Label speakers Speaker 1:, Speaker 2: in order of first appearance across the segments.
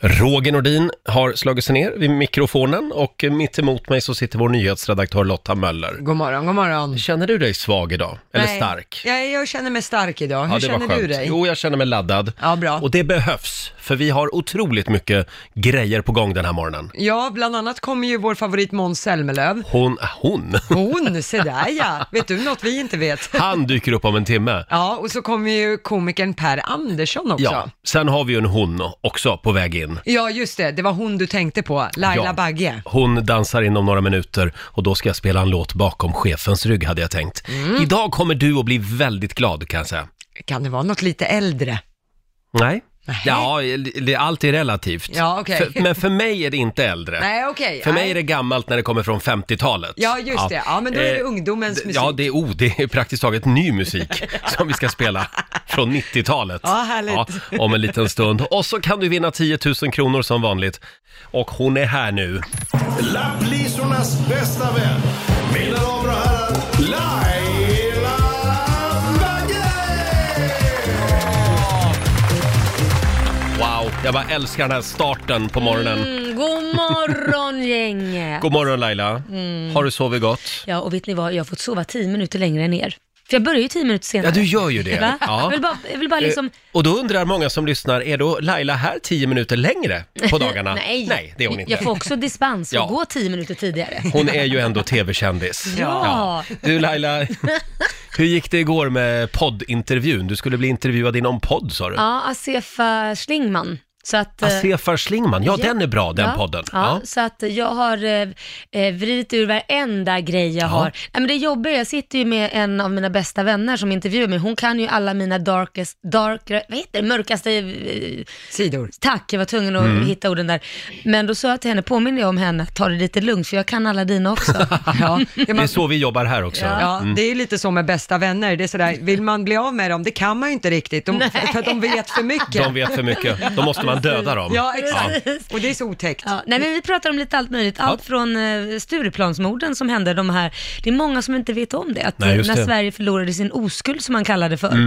Speaker 1: Roger Nordin har slagit sig ner vid mikrofonen och mitt emot mig så sitter vår nyhetsredaktör Lotta Möller.
Speaker 2: God morgon, god morgon.
Speaker 1: Känner du dig svag idag? Eller
Speaker 2: Nej.
Speaker 1: stark?
Speaker 2: Jag, jag känner mig stark idag. Hur känner du dig?
Speaker 1: Jo, jag känner mig laddad.
Speaker 2: Ja, bra.
Speaker 1: Och det behövs, för vi har otroligt mycket grejer på gång den här morgonen.
Speaker 2: Ja, bland annat kommer ju vår favorit Måns Zelmerlöw.
Speaker 1: Hon, hon,
Speaker 2: Hon, se där ja. Vet du något vi inte vet?
Speaker 1: han dyker upp om en timme.
Speaker 2: Ja, och så kommer ju komikern Per Andersson också.
Speaker 1: Ja,
Speaker 2: Ja.
Speaker 1: sen har vi ju en hon också på väg in.
Speaker 2: just det. Det var hon du tänkte på, Laila
Speaker 1: Ja.
Speaker 2: Bagge.
Speaker 1: Hon dansar inom några minuter och då ska jag spela en låt bakom chefens rygg hade jag tänkt.
Speaker 2: Mm.
Speaker 1: Idag kommer du att bli väldigt glad kan jag säga.
Speaker 2: Kan det vara något lite äldre?
Speaker 1: Nej.
Speaker 2: Nej.
Speaker 1: Ja, det, allt är relativt.
Speaker 2: Ja, okej.
Speaker 1: För- men för mig är det inte äldre.
Speaker 2: Nej, okej.
Speaker 1: För mig
Speaker 2: Nej.
Speaker 1: är det gammalt när det kommer från 50-talet.
Speaker 2: Ja, just det. Ja, men då är det
Speaker 1: Eh,
Speaker 2: ungdomens
Speaker 1: d-
Speaker 2: musik.
Speaker 1: Ja, det är, oh, det är praktiskt taget ny musik som vi ska spela från 90-talet.
Speaker 2: Ja, härligt.
Speaker 1: om en liten stund. Och så kan du vinna 10 000 kronor som vanligt. Och hon är här nu.
Speaker 3: Lapplisornas bästa vän. Mina damer och herrar, Laila Bagge!
Speaker 1: Wow, jag bara älskar den här starten på morgonen.
Speaker 4: Mm, god morgon gänget!
Speaker 1: God morgon Laila.
Speaker 2: Mm.
Speaker 1: Har du sovit gott?
Speaker 4: Ja, och vet ni vad? Jag har fått sova tio minuter längre än er. För jag börjar ju tio minuter senare.
Speaker 1: Ja, du gör ju det.
Speaker 4: Va?
Speaker 1: Ja.
Speaker 4: Jag vill bara, jag vill bara liksom...
Speaker 1: Eh, Och då undrar många som lyssnar, är då Laila här tio minuter längre på dagarna?
Speaker 4: Nej,
Speaker 1: Nej, det är hon inte.
Speaker 4: jag får också dispens och
Speaker 1: Ja.
Speaker 4: gå tio minuter tidigare.
Speaker 1: Hon är ju ändå tv-kändis.
Speaker 4: Ja.
Speaker 1: Du Laila, hur gick det igår med poddintervjun? Du skulle bli intervjuad i någon podd sa du.
Speaker 4: Ja, Asefa Schlingman. Så att, eh,
Speaker 1: Asefar Schlingman, ja,
Speaker 4: ja.
Speaker 1: den är bra den
Speaker 4: ja,
Speaker 1: podden.
Speaker 4: Ja,
Speaker 1: Ja.
Speaker 4: Så att jag har eh, eh, vridit ur varenda grej jag har. Nej, men det jobbiga, jag sitter ju med en av mina bästa vänner som intervjuar mig. Hon kan ju alla mina darkest, dark, vad heter det, mörkaste eh,
Speaker 2: Sidor.
Speaker 4: Tack, jag var tvungen att
Speaker 1: Mm.
Speaker 4: hitta orden där. Men då sa jag till henne, påminner jag om henne, ta det lite lugnt för jag kan alla dina också.
Speaker 2: Ja, det,
Speaker 1: Det är
Speaker 2: man,
Speaker 1: så vi jobbar här också. Mm.
Speaker 2: ja, det är lite så med bästa vänner. Det är sådär, vill man bli av med dem? Det kan man ju inte riktigt, de, för att de vet för mycket.
Speaker 1: De vet för mycket, då måste man döda dem.
Speaker 2: Ja, exakt. Och det är så otäckt.
Speaker 4: Ja, nej men vi pratar om lite allt möjligt, allt från eh, Stureplansmorden som hände de här, det är många som inte vet om det, att
Speaker 1: Nej, just
Speaker 4: när
Speaker 1: det. Mm.
Speaker 4: Sverige förlorade sin oskuld som man kallade det för,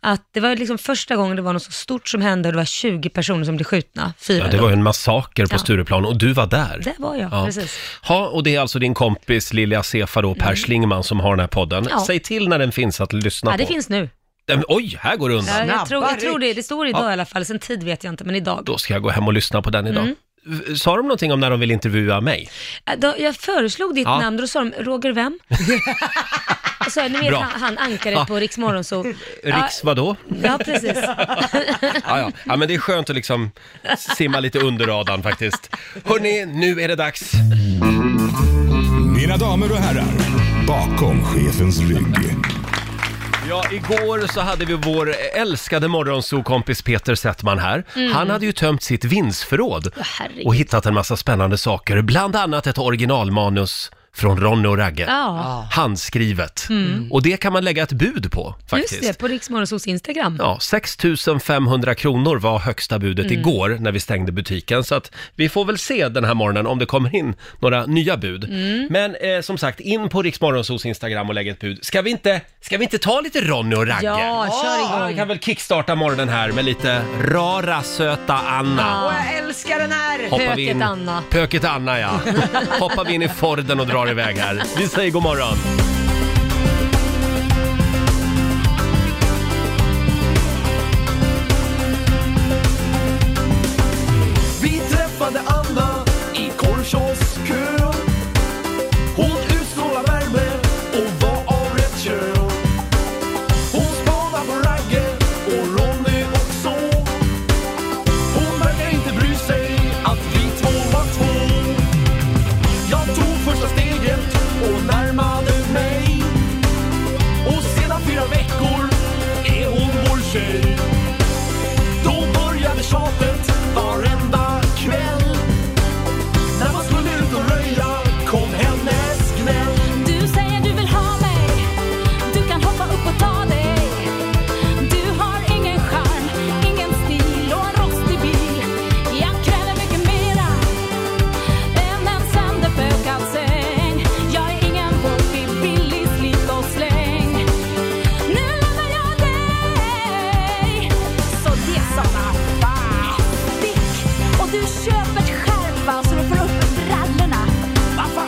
Speaker 4: att det var liksom första gången det var något så stort som hände och det var 20 personer som blev skjutna, fyra
Speaker 1: Ja, det
Speaker 4: då.
Speaker 1: var ju en massaker på
Speaker 4: Ja.
Speaker 1: Stureplan och du var där.
Speaker 4: Där var jag,
Speaker 1: Ja.
Speaker 4: precis.
Speaker 1: Ha, och det är alltså din kompis Lilja Sefa då, Per Schlingman som har den här podden.
Speaker 4: Mm. Ja.
Speaker 1: Säg till när den finns att lyssna
Speaker 4: Ja, det
Speaker 1: på.
Speaker 4: finns nu.
Speaker 1: Den, oj, här går det undan.
Speaker 4: Ja,
Speaker 2: Snabba
Speaker 4: jag, tror, jag
Speaker 2: ryck.
Speaker 4: tror det, det står idag i alla fall, sen tid vet jag inte, men idag.
Speaker 1: Då ska jag gå hem och lyssna på den idag.
Speaker 4: Mm.
Speaker 1: V- Sa de någonting om när de vill intervjua mig?
Speaker 4: Äh, Då, jag föreslog ditt
Speaker 1: Ja.
Speaker 4: namn, då sa de Roger vem? Och så, ni vet
Speaker 1: Bra.
Speaker 4: han, han ankaret på Rix så
Speaker 1: Riks vadå?
Speaker 4: Ja, precis.
Speaker 1: Ja, ja. ja, men det är skönt att liksom simma lite under radarn faktiskt. Hörni, nu är det dags.
Speaker 3: Mina damer och herrar, bakom chefens rygg.
Speaker 1: Ja, igår så hade vi vår älskade morgonsokompis Peter Settman här.
Speaker 4: Mm.
Speaker 1: Han hade ju tömt sitt vindsförråd
Speaker 4: herregud.
Speaker 1: och hittat en massa spännande saker, bland annat ett originalmanus från Ronny och Ragge.
Speaker 4: Ja, Mm.
Speaker 1: Handskrivet. Och det kan man lägga ett bud på faktiskt.
Speaker 4: just det, på Rix Morgonzos Instagram.
Speaker 1: Ja, 6 500 kronor var högsta budet
Speaker 4: Mm.
Speaker 1: igår när vi stängde butiken. Så att vi får väl se den här morgonen om det kommer in några nya bud.
Speaker 4: Mm.
Speaker 1: Men eh, som sagt, in på Riksmorgonsos Instagram och lägg ett bud. Ska vi inte, ska vi inte ta lite Ronny och Ragge?
Speaker 4: Ja, kör igång.
Speaker 1: Vi kan väl kickstarta morgonen här med lite rara söta Anna.
Speaker 2: Och jag älskar den här!
Speaker 1: vi
Speaker 4: Pöket Anna.
Speaker 1: Pöket Anna, ja. Hoppar vi in i Forden och drar iväg här. Vi säger god morgon.
Speaker 3: Vi träffade Anna i korvkioskön. Hon utstrålar värme och var av rätt kön. Hon spanar på Ragge och Ronny också. Hon verkar inte bry sig att vi två var två. Jag tog första steget och närmade mig. alltså,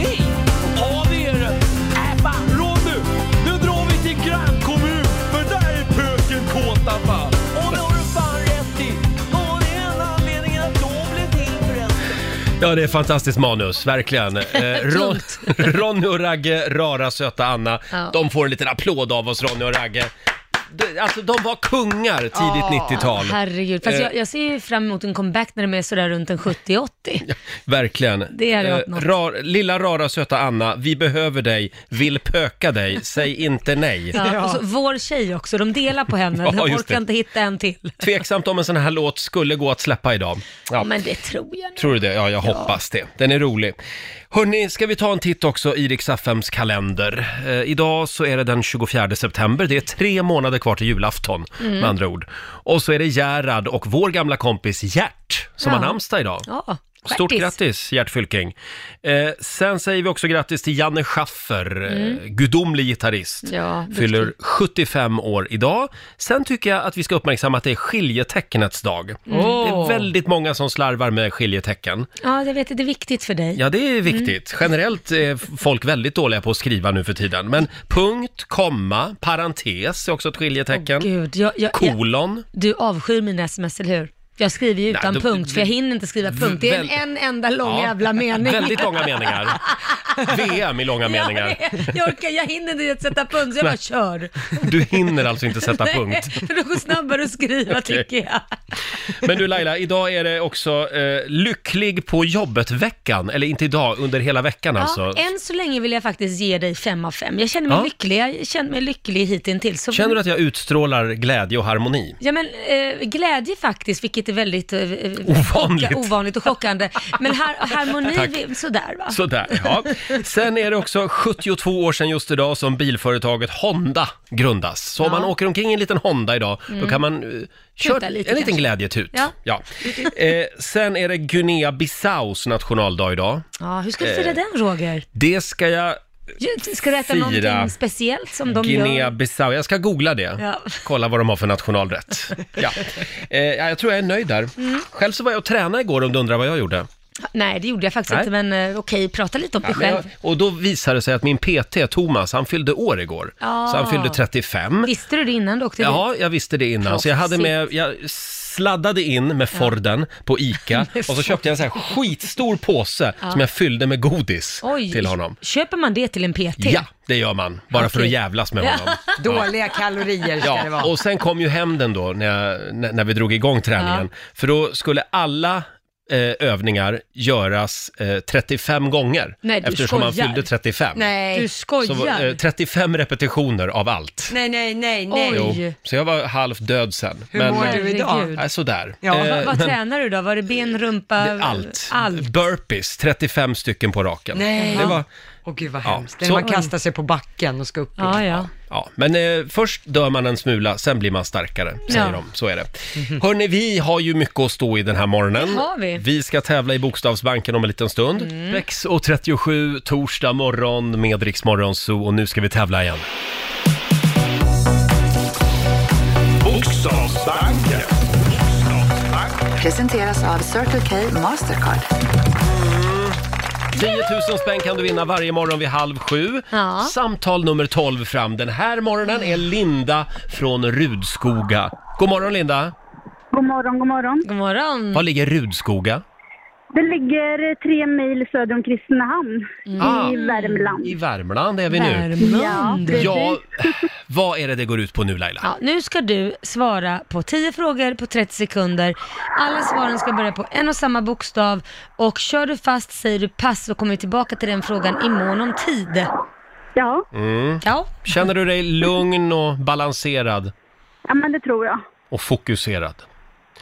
Speaker 3: Äh,
Speaker 1: Ja, det är fantastiskt manus, verkligen. Eh, Ron, Ronny och Ragge, rara söta Anna.
Speaker 4: Ja.
Speaker 1: De får en liten applåd av oss, Ronny och Ragge. De, alltså, de var kungar tidigt 90-tal.
Speaker 4: Herregud, fast
Speaker 1: Eh.
Speaker 4: jag, jag ser ju fram emot en comeback när de är sådär runt en 70-80.
Speaker 1: Verkligen.
Speaker 4: Det hade varit något.
Speaker 1: rar, lilla rara söta Anna, vi behöver dig, vill pöka dig, säg inte nej.
Speaker 4: Ja, och så vår tjej också, de delar på henne,
Speaker 1: Ja,
Speaker 4: de
Speaker 1: just
Speaker 4: orkar
Speaker 1: det.
Speaker 4: inte hitta en till.
Speaker 1: Tveksamt om en sån här låt skulle gå att släppa idag. Ja.
Speaker 4: Men det tror jag nog.
Speaker 1: Tror du det? Ja, jag hoppas det. Den är rolig. Hörni, ska vi ta en titt också i Rix FMs kalender? Eh, idag så är det den 24 september. Det är tre månader kvar till julafton,
Speaker 4: Mm.
Speaker 1: med andra ord. Och så är det Gerhard och vår gamla kompis Gert som
Speaker 4: Ja.
Speaker 1: har namnsdag idag.
Speaker 4: Ja,
Speaker 1: Stort grattis Gert Fylking. Eh, sen säger vi också grattis till Janne Schaffer, eh, gudomlig gitarrist.
Speaker 4: Mm. Ja, duktig.
Speaker 1: Fyller 75 år idag. Sen tycker jag att vi ska uppmärksamma att det är skiljetecknets dag. Det är
Speaker 4: Mm. Åh.
Speaker 1: väldigt många som slarvar med skiljetecken.
Speaker 4: Ja, jag vet att det är viktigt för dig.
Speaker 1: Ja, det är
Speaker 4: Mm.
Speaker 1: viktigt. Generellt är f- folk väldigt dåliga på att skriva nu för tiden. Men punkt, komma, parentes är också ett skiljetecken.
Speaker 4: Gud, jag, jag, jag,
Speaker 1: Kolon.
Speaker 4: du avskyr mina sms, eller hur? Jag skriver ju utan
Speaker 1: då-
Speaker 4: punkt, för jag hinner inte skriva punkt. Det är en,
Speaker 1: väl-
Speaker 4: en enda lång
Speaker 1: Ja.
Speaker 4: jävla mening.
Speaker 1: Väldigt långa meningar. VM i långa meningar.
Speaker 4: Ja, det- jag orkar, jag hinner inte ens sätta punkt, så jag bara kör.
Speaker 1: Du hinner alltså inte sätta punkt.
Speaker 4: Nej, För det går snabbare att skriva tycker jag.
Speaker 1: Men du Laila, idag är det också eh, lycklig på jobbet-veckan. Eller inte idag, under hela veckan alltså.
Speaker 4: Ja, än så länge vill jag faktiskt ge dig fem av fem. Jag känner mig
Speaker 1: Ja.
Speaker 4: lycklig, jag känner mig lycklig hittills. Så...
Speaker 1: Känner du att jag utstrålar glädje och harmoni?
Speaker 4: Ja men eh, glädje faktiskt, vilket är väldigt eh,
Speaker 1: Ovanligt.
Speaker 4: chocka- ovanligt och chockande. Men har, harmoni,
Speaker 1: Tack.
Speaker 4: vi- sådär va?
Speaker 1: Sådär, ja. Sen är det också 72 år sedan just idag som bilföretaget Honda grundas. Så om
Speaker 4: Ja. Mm.
Speaker 1: man åker omkring i en liten Honda idag, då kan man uh, köra en
Speaker 4: lite
Speaker 1: liten
Speaker 4: kanske.
Speaker 1: glädjetut.
Speaker 4: Ja.
Speaker 1: Eh, sen är det Guinea-Bissaus nationaldag idag.
Speaker 4: Ja, hur ska du fira den Roger?
Speaker 1: Det ska jag
Speaker 4: Ska du äta
Speaker 1: Eh, Fira.
Speaker 4: någonting speciellt som de gör?
Speaker 1: Guinea-Bissau. Jag ska googla det.
Speaker 4: Ja.
Speaker 1: Kolla vad de har för nationalrätt. Ja. Eh, ja, jag tror jag är nöjd där.
Speaker 4: Mm.
Speaker 1: Själv så var jag och tränade igår om du undrar vad jag gjorde.
Speaker 4: Nej, det gjorde jag faktiskt
Speaker 1: Nej.
Speaker 4: inte, men eh, okej, prata lite om dig
Speaker 1: Men
Speaker 4: själv.
Speaker 1: jag, och då visade det sig att min PT, Thomas, han fyllde år igår.
Speaker 4: Ja.
Speaker 1: Så han fyllde 35.
Speaker 4: Visste du det innan du åkte dit?
Speaker 1: Ja, jag visste det innan. Så jag hade
Speaker 4: Proffsigt.
Speaker 1: med, jag sladdade in med Forden på ICA och så köpte jag en sån här skitstor påse som jag fyllde med godis
Speaker 4: Oj,
Speaker 1: till honom.
Speaker 4: köper man det till en PT?
Speaker 1: Ja, det gör man. Bara för att
Speaker 4: Okej.
Speaker 1: jävlas med honom. Ja.
Speaker 2: Dåliga kalorier ska det
Speaker 1: Ja,
Speaker 2: vara.
Speaker 1: och sen kom ju hämnden då när, jag, när när vi drog igång träningen. För då skulle alla eh, övningar göras eh, 35 gånger.
Speaker 4: Nej, du
Speaker 1: eftersom han
Speaker 4: skojar.
Speaker 1: fyllde 35.
Speaker 4: Du
Speaker 2: Nej,
Speaker 1: Så,
Speaker 4: skojar?
Speaker 1: var- eh, 35 repetitioner av allt.
Speaker 2: nej, nej, nej. nej.
Speaker 4: Oj.
Speaker 1: Jo, så jag var halvt död sen. eh,
Speaker 2: Hur mår du idag?
Speaker 4: Herregud.
Speaker 1: Nej, sådär.
Speaker 2: Ja,
Speaker 1: Eh,
Speaker 4: Vad, vad
Speaker 1: men
Speaker 4: tränar du då? Var det ben, rumpa?
Speaker 1: allt.
Speaker 4: Allt.
Speaker 1: Burpees, 35 stycken på raken.
Speaker 2: Nej.
Speaker 1: Det var,
Speaker 2: Åh gud vad
Speaker 1: Ja,
Speaker 2: hemskt. Det är
Speaker 1: så-
Speaker 2: när man kastar sig på backen och ska upp.
Speaker 4: Ja,
Speaker 2: igen.
Speaker 4: ja.
Speaker 1: Ja, men eh, först dör man en smula, sen blir man starkare, säger
Speaker 4: Ja.
Speaker 1: de. Så är det. Hörni, vi har ju mycket att stå i den här morgonen.
Speaker 4: Det har vi. Mm.
Speaker 1: ska tävla i Bokstavsbanken om en liten stund. 6.37, torsdag morgon med Rix Morgon Zoo och nu ska vi tävla igen.
Speaker 5: Bokstavsbanken.
Speaker 6: Presenteras av Circle K Mastercard.
Speaker 1: 10 000 spänn kan du vinna varje morgon vid halv sju.
Speaker 4: Ja.
Speaker 1: Samtal nummer 12 fram den här morgonen är Linda från Rudskoga. God morgon Linda!
Speaker 7: God morgon, god morgon.
Speaker 4: God morgon.
Speaker 1: Var ligger Rudskoga?
Speaker 7: Det ligger tre mil söder om Kristinehamn
Speaker 4: Mm.
Speaker 1: Ah,
Speaker 7: i Värmland.
Speaker 1: I Värmland är vi nu.
Speaker 4: Värmland. Ja.
Speaker 1: Ja, vad är det det går ut på nu Laila?
Speaker 4: nu ska du svara på 10 frågor på 30 sekunder. Alla svaren ska börja på en och samma bokstav och kör du fast säger du pass så kommer vi tillbaka till den frågan i mån om tid.
Speaker 7: Ja.
Speaker 4: Ja,
Speaker 1: Mm. Känner du dig lugn och balanserad
Speaker 7: ja, men det tror jag.
Speaker 1: och fokuserad?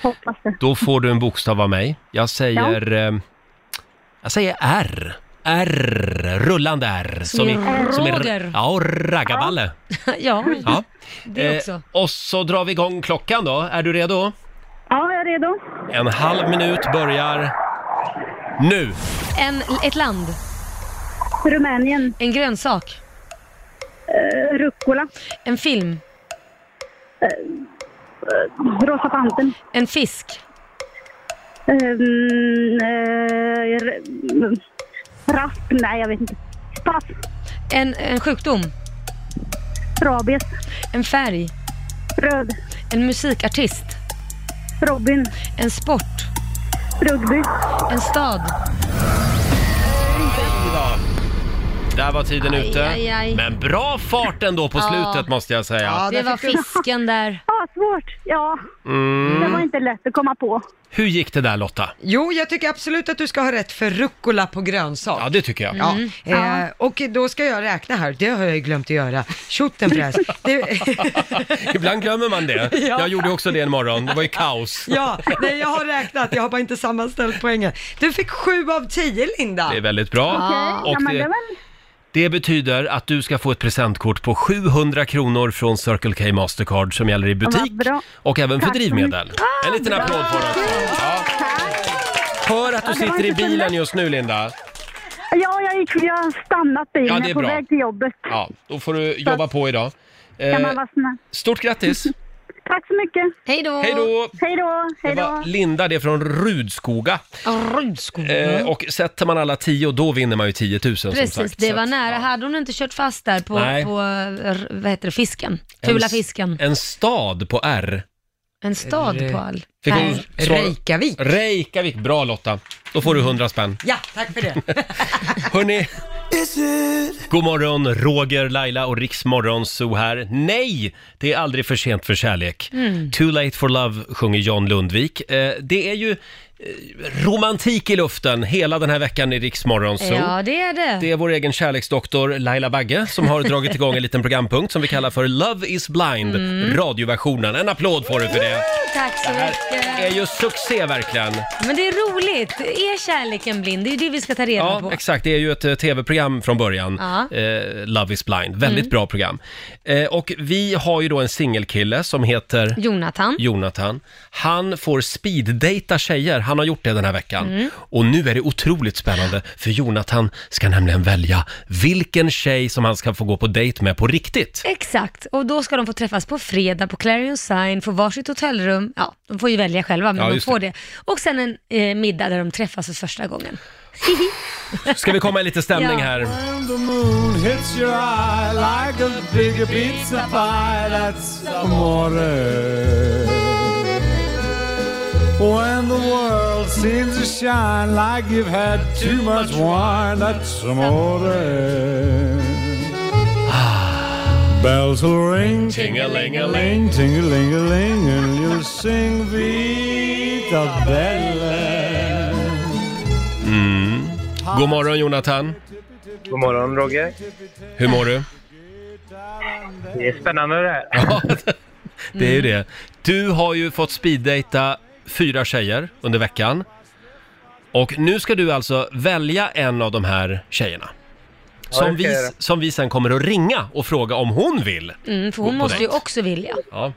Speaker 7: Hoppas det.
Speaker 1: Då får du en bokstav av mig. Jag säger... eh, Jag säger R. R. Rullande R. Som
Speaker 4: Som i Roger.
Speaker 1: Ja, raggarballe.
Speaker 4: ja,
Speaker 1: Ja. Eh,
Speaker 4: det också.
Speaker 1: och så drar vi igång klockan då. Är du redo?
Speaker 7: Ja, jag är redo.
Speaker 1: En halv minut börjar nu.
Speaker 4: En, ett land,
Speaker 7: Rumänien,
Speaker 4: en grönsak,
Speaker 7: eh, rucola, Eh,
Speaker 4: en film,
Speaker 7: rosa panten,
Speaker 4: en fisk,
Speaker 7: ehm, eh, r- rasp, nej jag vet inte. Pass,
Speaker 4: en, en sjukdom,
Speaker 7: rabies,
Speaker 4: en färg,
Speaker 7: röd,
Speaker 4: en musikartist,
Speaker 7: Robin,
Speaker 4: en sport,
Speaker 7: rugby,
Speaker 4: en stad,
Speaker 1: Där var tiden
Speaker 4: Aj,
Speaker 1: ute.
Speaker 4: aj, aj.
Speaker 1: Men bra fart ändå på
Speaker 4: Ja.
Speaker 1: slutet måste jag säga.
Speaker 2: Ja,
Speaker 4: Det
Speaker 2: där
Speaker 4: var
Speaker 2: fick du-
Speaker 4: fisken där.
Speaker 7: Ja, svårt. Ja, det var inte lätt att komma på.
Speaker 1: Mm. Hur gick det där Lotta?
Speaker 2: Jo, jag tycker absolut att du ska ha rätt för rucola på grönsak.
Speaker 1: Ja, det tycker jag.
Speaker 2: Ja,
Speaker 4: Mm.
Speaker 2: eh, och då ska jag räkna här, det har jag ju glömt att göra. Tjottenpress. Det-
Speaker 1: Ibland glömmer man det.
Speaker 2: Ja.
Speaker 1: Jag gjorde också det en morgon. Det var ju kaos.
Speaker 2: ja, nej jag har räknat, jag har bara inte sammanställt poängen. Du fick sju av tio Linda.
Speaker 1: Det är väldigt bra.
Speaker 7: Okej, ja,
Speaker 1: Och
Speaker 7: men det
Speaker 1: det,
Speaker 7: var
Speaker 1: det betyder att du ska få ett presentkort på 700 kronor från Circle K Mastercard som gäller i butik
Speaker 7: Vad bra.
Speaker 1: och även för
Speaker 7: Tack så
Speaker 1: drivmedel.
Speaker 7: mycket. Ah,
Speaker 1: En liten applåd för oss. Ja. Hör att du
Speaker 7: det var
Speaker 1: sitter i
Speaker 7: inte så
Speaker 1: bilen
Speaker 7: lätt.
Speaker 1: just nu Linda.
Speaker 7: Ja, jag, gick, jag har stannat bilen.
Speaker 1: Ja, det är
Speaker 7: jag är på
Speaker 1: bra.
Speaker 7: väg till jobbet.
Speaker 1: Ja, då får du jobba på idag.
Speaker 7: Kan
Speaker 1: Eh,
Speaker 7: man vara snäll?
Speaker 1: stort grattis!
Speaker 7: Tack så mycket.
Speaker 4: Hej då!
Speaker 1: Hej då!
Speaker 7: Hej då,
Speaker 1: Det
Speaker 7: hej då.
Speaker 1: var Linda, det är från Rudskoga.
Speaker 4: Rudskog.
Speaker 1: Eh, och sätter man alla tio, då vinner man ju 10 000 som
Speaker 4: Precis,
Speaker 1: sagt. Så
Speaker 4: det
Speaker 1: att-
Speaker 4: var nära. Hade hon inte kört fast där på,
Speaker 1: Nej.
Speaker 4: på eh, r- vad heter det, fisken? Fula
Speaker 1: En-
Speaker 4: fisken.
Speaker 1: En stad på R.
Speaker 4: En stad
Speaker 2: Re-
Speaker 4: på all.
Speaker 1: Fick hon
Speaker 4: Nej.
Speaker 1: svara-
Speaker 2: Reykjavik.
Speaker 1: Reykjavik. Bra Lotta. Då får du 100 spänn.
Speaker 2: Ja, tack för det.
Speaker 1: Hörni. God morgon, Roger, Laila och Riksmorgon Zoo här. Nej, det är aldrig för sent för kärlek.
Speaker 4: Mm.
Speaker 1: Too late for love sjunger John Lundvik. Eh, det är ju eh, romantik i luften hela den här veckan i Riksmorgon Zoo.
Speaker 4: Ja, det är det.
Speaker 1: Det är vår egen kärleksdoktor Laila Bagge som har dragit igång en liten programpunkt som vi kallar för Love is blind,
Speaker 4: Mm.
Speaker 1: radioversionen. En applåd får du för det.
Speaker 4: Tack så
Speaker 1: Det här är
Speaker 4: mycket.
Speaker 1: ju succé verkligen.
Speaker 4: Men det är roligt. Är kärleken blind? Det är ju det vi ska ta reda
Speaker 1: Ja,
Speaker 4: på.
Speaker 1: exakt. Det är ju ett eh, tv-program från början,
Speaker 4: Ja. Mm.
Speaker 1: eh, Love is blind. Väldigt bra program. Eh, och vi har ju då en singelkille som heter
Speaker 4: Jonathan.
Speaker 1: Jonathan. Han får speeddejta tjejer. Han har gjort det den här veckan.
Speaker 4: Mm.
Speaker 1: Och nu är det otroligt spännande, för Jonathan ska nämligen välja vilken tjej som han ska få gå på dejt med på riktigt.
Speaker 4: Exakt, och då ska de få träffas på fredag på Clarion Sign, få varsitt hotellrum. Ja, de får ju välja själva, men
Speaker 1: Ja,
Speaker 4: de
Speaker 1: just
Speaker 4: får det. Och sen en eh, middag där de träffas för första gången.
Speaker 1: Ska vi komma i lite stämning
Speaker 4: Ja.
Speaker 1: här?
Speaker 3: When the moon hits your eye like a bigger pizza pie, that's amore. When the world seems to shine like you've had too much wine, that's amore. Bells will ring, Ah. ting-a-ling-a-ling, ting-a-ling-a-ling, and you'll sing Vita Bella.
Speaker 1: Mm. God morgon Jonathan.
Speaker 5: God morgon Roger.
Speaker 1: Hur mår du?
Speaker 5: Det är spännande det här.
Speaker 1: Ja, det är ju det. Du har ju fått speeddejta fyra tjejer under veckan. Och nu ska du alltså välja en av de här tjejerna.
Speaker 5: det
Speaker 1: Som
Speaker 5: ska jag
Speaker 1: vi,
Speaker 5: göra.
Speaker 1: som vi sen kommer att ringa och fråga om hon vill.
Speaker 4: Mm, för hon
Speaker 1: På
Speaker 4: måste ju
Speaker 1: dejt.
Speaker 4: också vilja.
Speaker 1: Ja.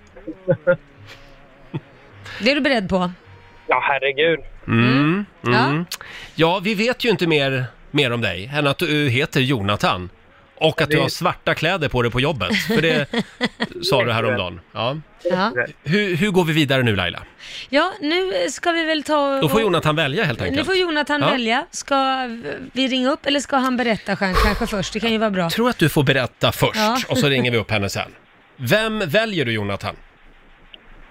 Speaker 4: Det är du beredd på?
Speaker 5: Ja, herregud.
Speaker 1: Mm.
Speaker 4: Ja.
Speaker 1: ja, vi vet ju inte mer, mer om dig än att du heter Jonathan. Och att du har svarta kläder på dig på jobbet. För det sa du häromdagen. Ja.
Speaker 4: Ja.
Speaker 1: Hur, hur går vi vidare nu Laila?
Speaker 4: ja, nu ska vi väl ta...
Speaker 1: Då får
Speaker 4: och-
Speaker 1: Jonathan välja helt
Speaker 4: Nu
Speaker 1: enkelt.
Speaker 4: får Jonathan
Speaker 1: Ja.
Speaker 4: välja. Ska vi ringa upp eller ska han berätta själv, kanske först? Det kan ju vara bra.
Speaker 1: tror att du får berätta först
Speaker 4: Ja.
Speaker 1: och så ringer vi upp henne sen. Vem väljer du Jonathan?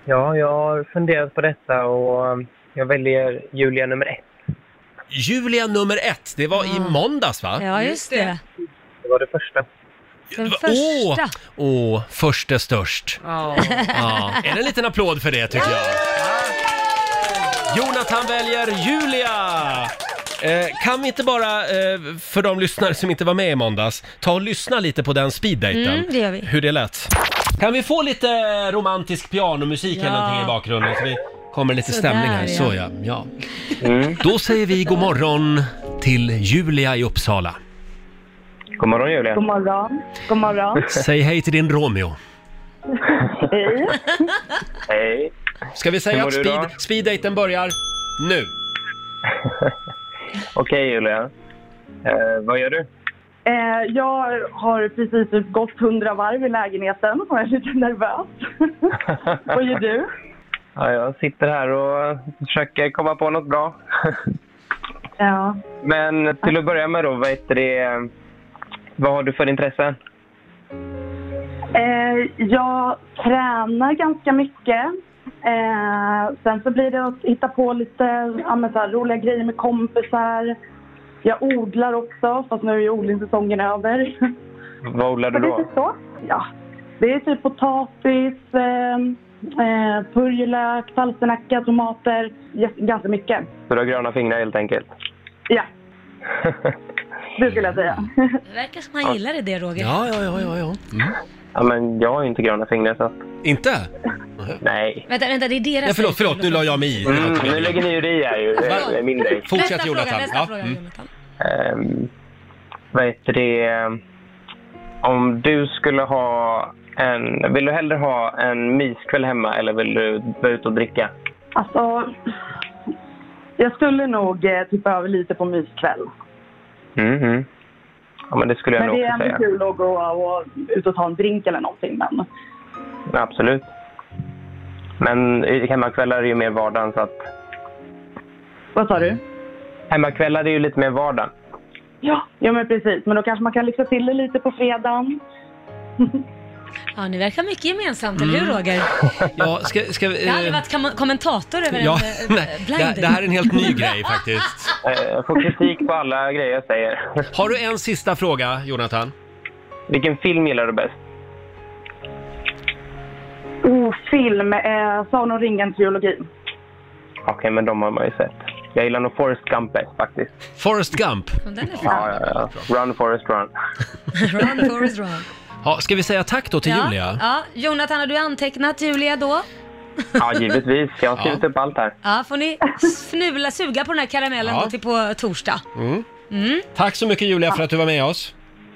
Speaker 5: Ja, jag har funderat på detta och um, jag väljer Julia nummer ett.
Speaker 1: Julia nummer ett, det var i måndags va?
Speaker 4: Ja, just det.
Speaker 5: Det var det första.
Speaker 4: Den
Speaker 1: Va-
Speaker 4: första.
Speaker 1: Åh, åh först är störst. Ja. Är det en liten applåd för det tycker jag? Jonathan väljer Julia! Eh, kan vi inte bara, eh, för de lyssnare som inte var med i måndags, ta och lyssna lite på den speeddaten.
Speaker 4: Mm, det gör vi.
Speaker 1: Hur det lät. Kan vi få lite romantisk pianomusik eller
Speaker 4: Ja.
Speaker 1: någonting i bakgrunden så vi kommer lite
Speaker 4: Sådär,
Speaker 1: stämning här.
Speaker 4: ja.
Speaker 1: Så ja. ja.
Speaker 5: Mm.
Speaker 1: Då säger vi god morgon till Julia i Uppsala.
Speaker 5: God morgon Julia.
Speaker 7: God morgon. God morgon.
Speaker 1: Säg hej till din Romeo.
Speaker 7: Hej.
Speaker 5: Hej.
Speaker 1: Ska vi
Speaker 5: Hur
Speaker 1: säga
Speaker 5: mår
Speaker 1: att
Speaker 5: du
Speaker 1: speed,
Speaker 5: då?
Speaker 1: speeddaten börjar nu?
Speaker 5: Okej Julia. Eh, vad gör du?
Speaker 7: Eh, jag har precis typ gått hundra varv i lägenheten och är lite nervös. Vad gör du?
Speaker 5: Ja, jag sitter här och försöker komma på något bra.
Speaker 7: Ja.
Speaker 5: Men till att börja med då, vad heter det? Vad har du för intressen?
Speaker 7: Eh, jag tränar ganska mycket. Eh, sen så blir det att hitta på lite ja, men så här, roliga grejer med kompisar. Jag odlar också, fast nu är ju odlingssäsongen över.
Speaker 5: Vad odlar
Speaker 7: Så
Speaker 5: du
Speaker 7: det är
Speaker 5: då?
Speaker 7: typ så. Ja. Det är typ potatis, eh, eh, purjolök, palsternacka, tomater. Yes, ganska mycket.
Speaker 5: Så du har gröna fingrar helt enkelt?
Speaker 7: Ja, det skulle jag säga.
Speaker 4: Det verkar som han gillade det Roger.
Speaker 1: Ja, ja, ja, ja, ja. Mm.
Speaker 5: ja, men jag har ju inte gröna fingrar så att,
Speaker 1: Inte?
Speaker 5: nej.
Speaker 4: Vänta, vänta, det är deras...
Speaker 1: Ja, förlåt, förlåt, nu la jag mig i.
Speaker 5: Mm, nu lägger ni ju dig här ju,
Speaker 4: Förlåt.
Speaker 5: eller min dig.
Speaker 4: Nästa
Speaker 1: Fortsätt
Speaker 4: fråga,
Speaker 1: Jonathan.
Speaker 4: nästa
Speaker 1: Ja,
Speaker 4: fråga,
Speaker 1: mm.
Speaker 4: Jonathan.
Speaker 5: Ehm, vad heter det? Om du skulle ha en... Vill du hellre ha en myskväll hemma eller vill du vara ute och dricka?
Speaker 7: Alltså, jag skulle nog eh, tippa över lite på myskväll.
Speaker 5: Mm, mm. Ja, men det skulle jag
Speaker 7: Men det
Speaker 5: nog
Speaker 7: är
Speaker 5: också
Speaker 7: ändå
Speaker 5: säga.
Speaker 7: kul att gå och ut och ta en drink eller någonting. Men
Speaker 5: Absolut. Men i- hemmakvällar är ju mer vardagen så att...
Speaker 7: vad sa du?
Speaker 5: Hemmakvällar är ju lite mer vardagen.
Speaker 7: Ja, ja men precis. Men då kanske man kan lyxa till det lite på fredagen.
Speaker 4: Ja, ni verkar mycket gemensamt, eller
Speaker 1: Mm.
Speaker 4: hur Roger?
Speaker 1: Ja, ska, ska vi...
Speaker 4: Jag har aldrig
Speaker 1: eh,
Speaker 4: varit kom- kommentator över
Speaker 1: Ja,
Speaker 4: en eh,
Speaker 1: nej,
Speaker 4: blind
Speaker 1: det, det här är en helt ny grej faktiskt.
Speaker 5: Eh, Jag får kritik på alla grejer jag säger.
Speaker 1: Har du en sista fråga, Jonathan?
Speaker 5: Vilken film gillar du bäst?
Speaker 7: Oh, film. Eh, Sagan om ringen-trilogin.
Speaker 5: Okej, men de har man ju sett. Jag gillar nog Forrest Gump bäst faktiskt.
Speaker 1: Forrest Gump.
Speaker 4: Den är fin.
Speaker 5: Ja, ja, ja. Run Forrest Run.
Speaker 4: Run, Forrest, run.
Speaker 1: Ja, ska vi säga tack då till
Speaker 4: ja,
Speaker 1: Julia?
Speaker 4: Ja, Jonathan, har du antecknat Julia då?
Speaker 5: Ja, givetvis. Jag har skrivit upp allt här.
Speaker 4: Ja, får ni snula, suga på den här karamellen
Speaker 1: Ja.
Speaker 4: då till på torsdag.
Speaker 1: Mm.
Speaker 4: Mm.
Speaker 1: Tack så mycket Julia för att du var med oss.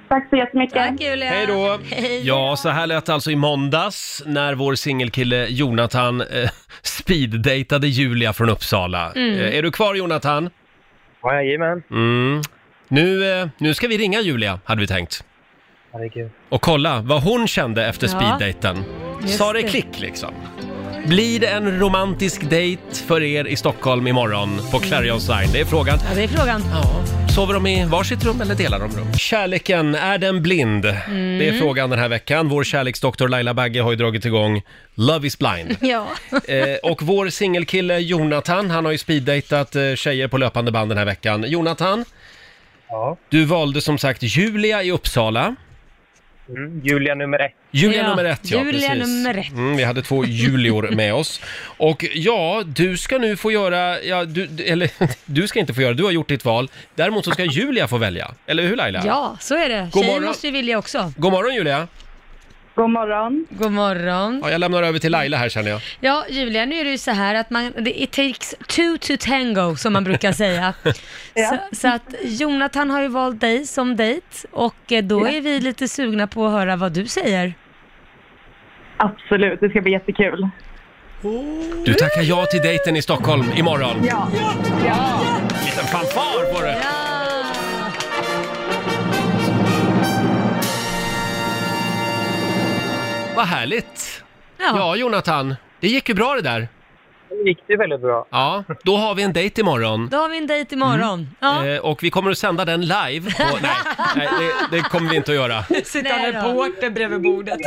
Speaker 7: Tack så jättemycket.
Speaker 4: Tack Julia!
Speaker 1: Hej då!
Speaker 4: Hej.
Speaker 1: Ja, så här lät det alltså i måndags när vår singelkille Jonathan eh, speeddejtade Julia från Uppsala.
Speaker 4: Mm.
Speaker 1: Eh, är du kvar Jonathan?
Speaker 5: Ja, jajamän.
Speaker 1: Mm. Nu, eh, nu ska vi ringa Julia, hade vi tänkt.
Speaker 5: Herregud.
Speaker 1: Och kolla vad hon kände efter
Speaker 4: Ja.
Speaker 1: speeddejten.
Speaker 4: Just
Speaker 1: Sa det
Speaker 4: det.
Speaker 1: klick liksom? Blir det en romantisk dejt för er i Stockholm imorgon på Clarion Sign? Det är frågan.
Speaker 4: Ja, det är frågan.
Speaker 1: Sover de i varsitt rum eller delar de rum? Mm. Kärleken, är den blind? Det är frågan den här veckan. Vår kärleksdoktor Laila Bagge har ju dragit igång Love is blind.
Speaker 4: Ja.
Speaker 1: Eh, och vår singelkille Jonathan, han har ju speeddejtat eh, tjejer på löpande band den här veckan. Jonathan,
Speaker 5: Ja.
Speaker 1: du valde som sagt Julia i Uppsala.
Speaker 5: Mm, Julia nummer ett.
Speaker 1: Julia
Speaker 4: Ja,
Speaker 1: nummer ett, ja
Speaker 4: Julia
Speaker 1: precis.
Speaker 4: nummer ett.
Speaker 1: Mm, vi hade två Julior med oss. Och ja, du ska nu få göra, ja, du, du- eller du ska inte få göra, du har gjort ditt val. Däremot så ska Julia få välja, eller hur Laila?
Speaker 4: ja, så är det.
Speaker 1: God
Speaker 4: Tjejer
Speaker 1: morgon.
Speaker 4: måste ju vilja också.
Speaker 1: God morgon Julia!
Speaker 7: God morgon.
Speaker 4: God morgon.
Speaker 1: Ja, jag lämnar över till Laila här känner jag.
Speaker 4: Ja, Julia, nu är det ju så här att man, det- it takes two to tango, som man brukar säga.
Speaker 7: Ja.
Speaker 4: så, så att Jonathan har ju valt dig som dejt och eh, då är vi lite sugna på att höra vad du säger.
Speaker 7: Absolut, det ska bli jättekul.
Speaker 1: Du tackar ja till dejten i Stockholm imorgon.
Speaker 7: Ja. ja.
Speaker 1: Liten fanfar på det! Vad härligt!
Speaker 4: Ja.
Speaker 1: Ja, Jonathan, det gick ju bra det där.
Speaker 5: Det gick ju väldigt bra.
Speaker 1: Ja, då har vi en dejt imorgon.
Speaker 4: Då har vi en dejt imorgon.
Speaker 7: Mm.
Speaker 4: Ja.
Speaker 1: Eh, och vi kommer att sända den live. På, nej, nej det, det kommer vi inte att göra.
Speaker 2: Sitta
Speaker 4: Nej
Speaker 2: en
Speaker 4: då.
Speaker 2: reporter bredvid bordet.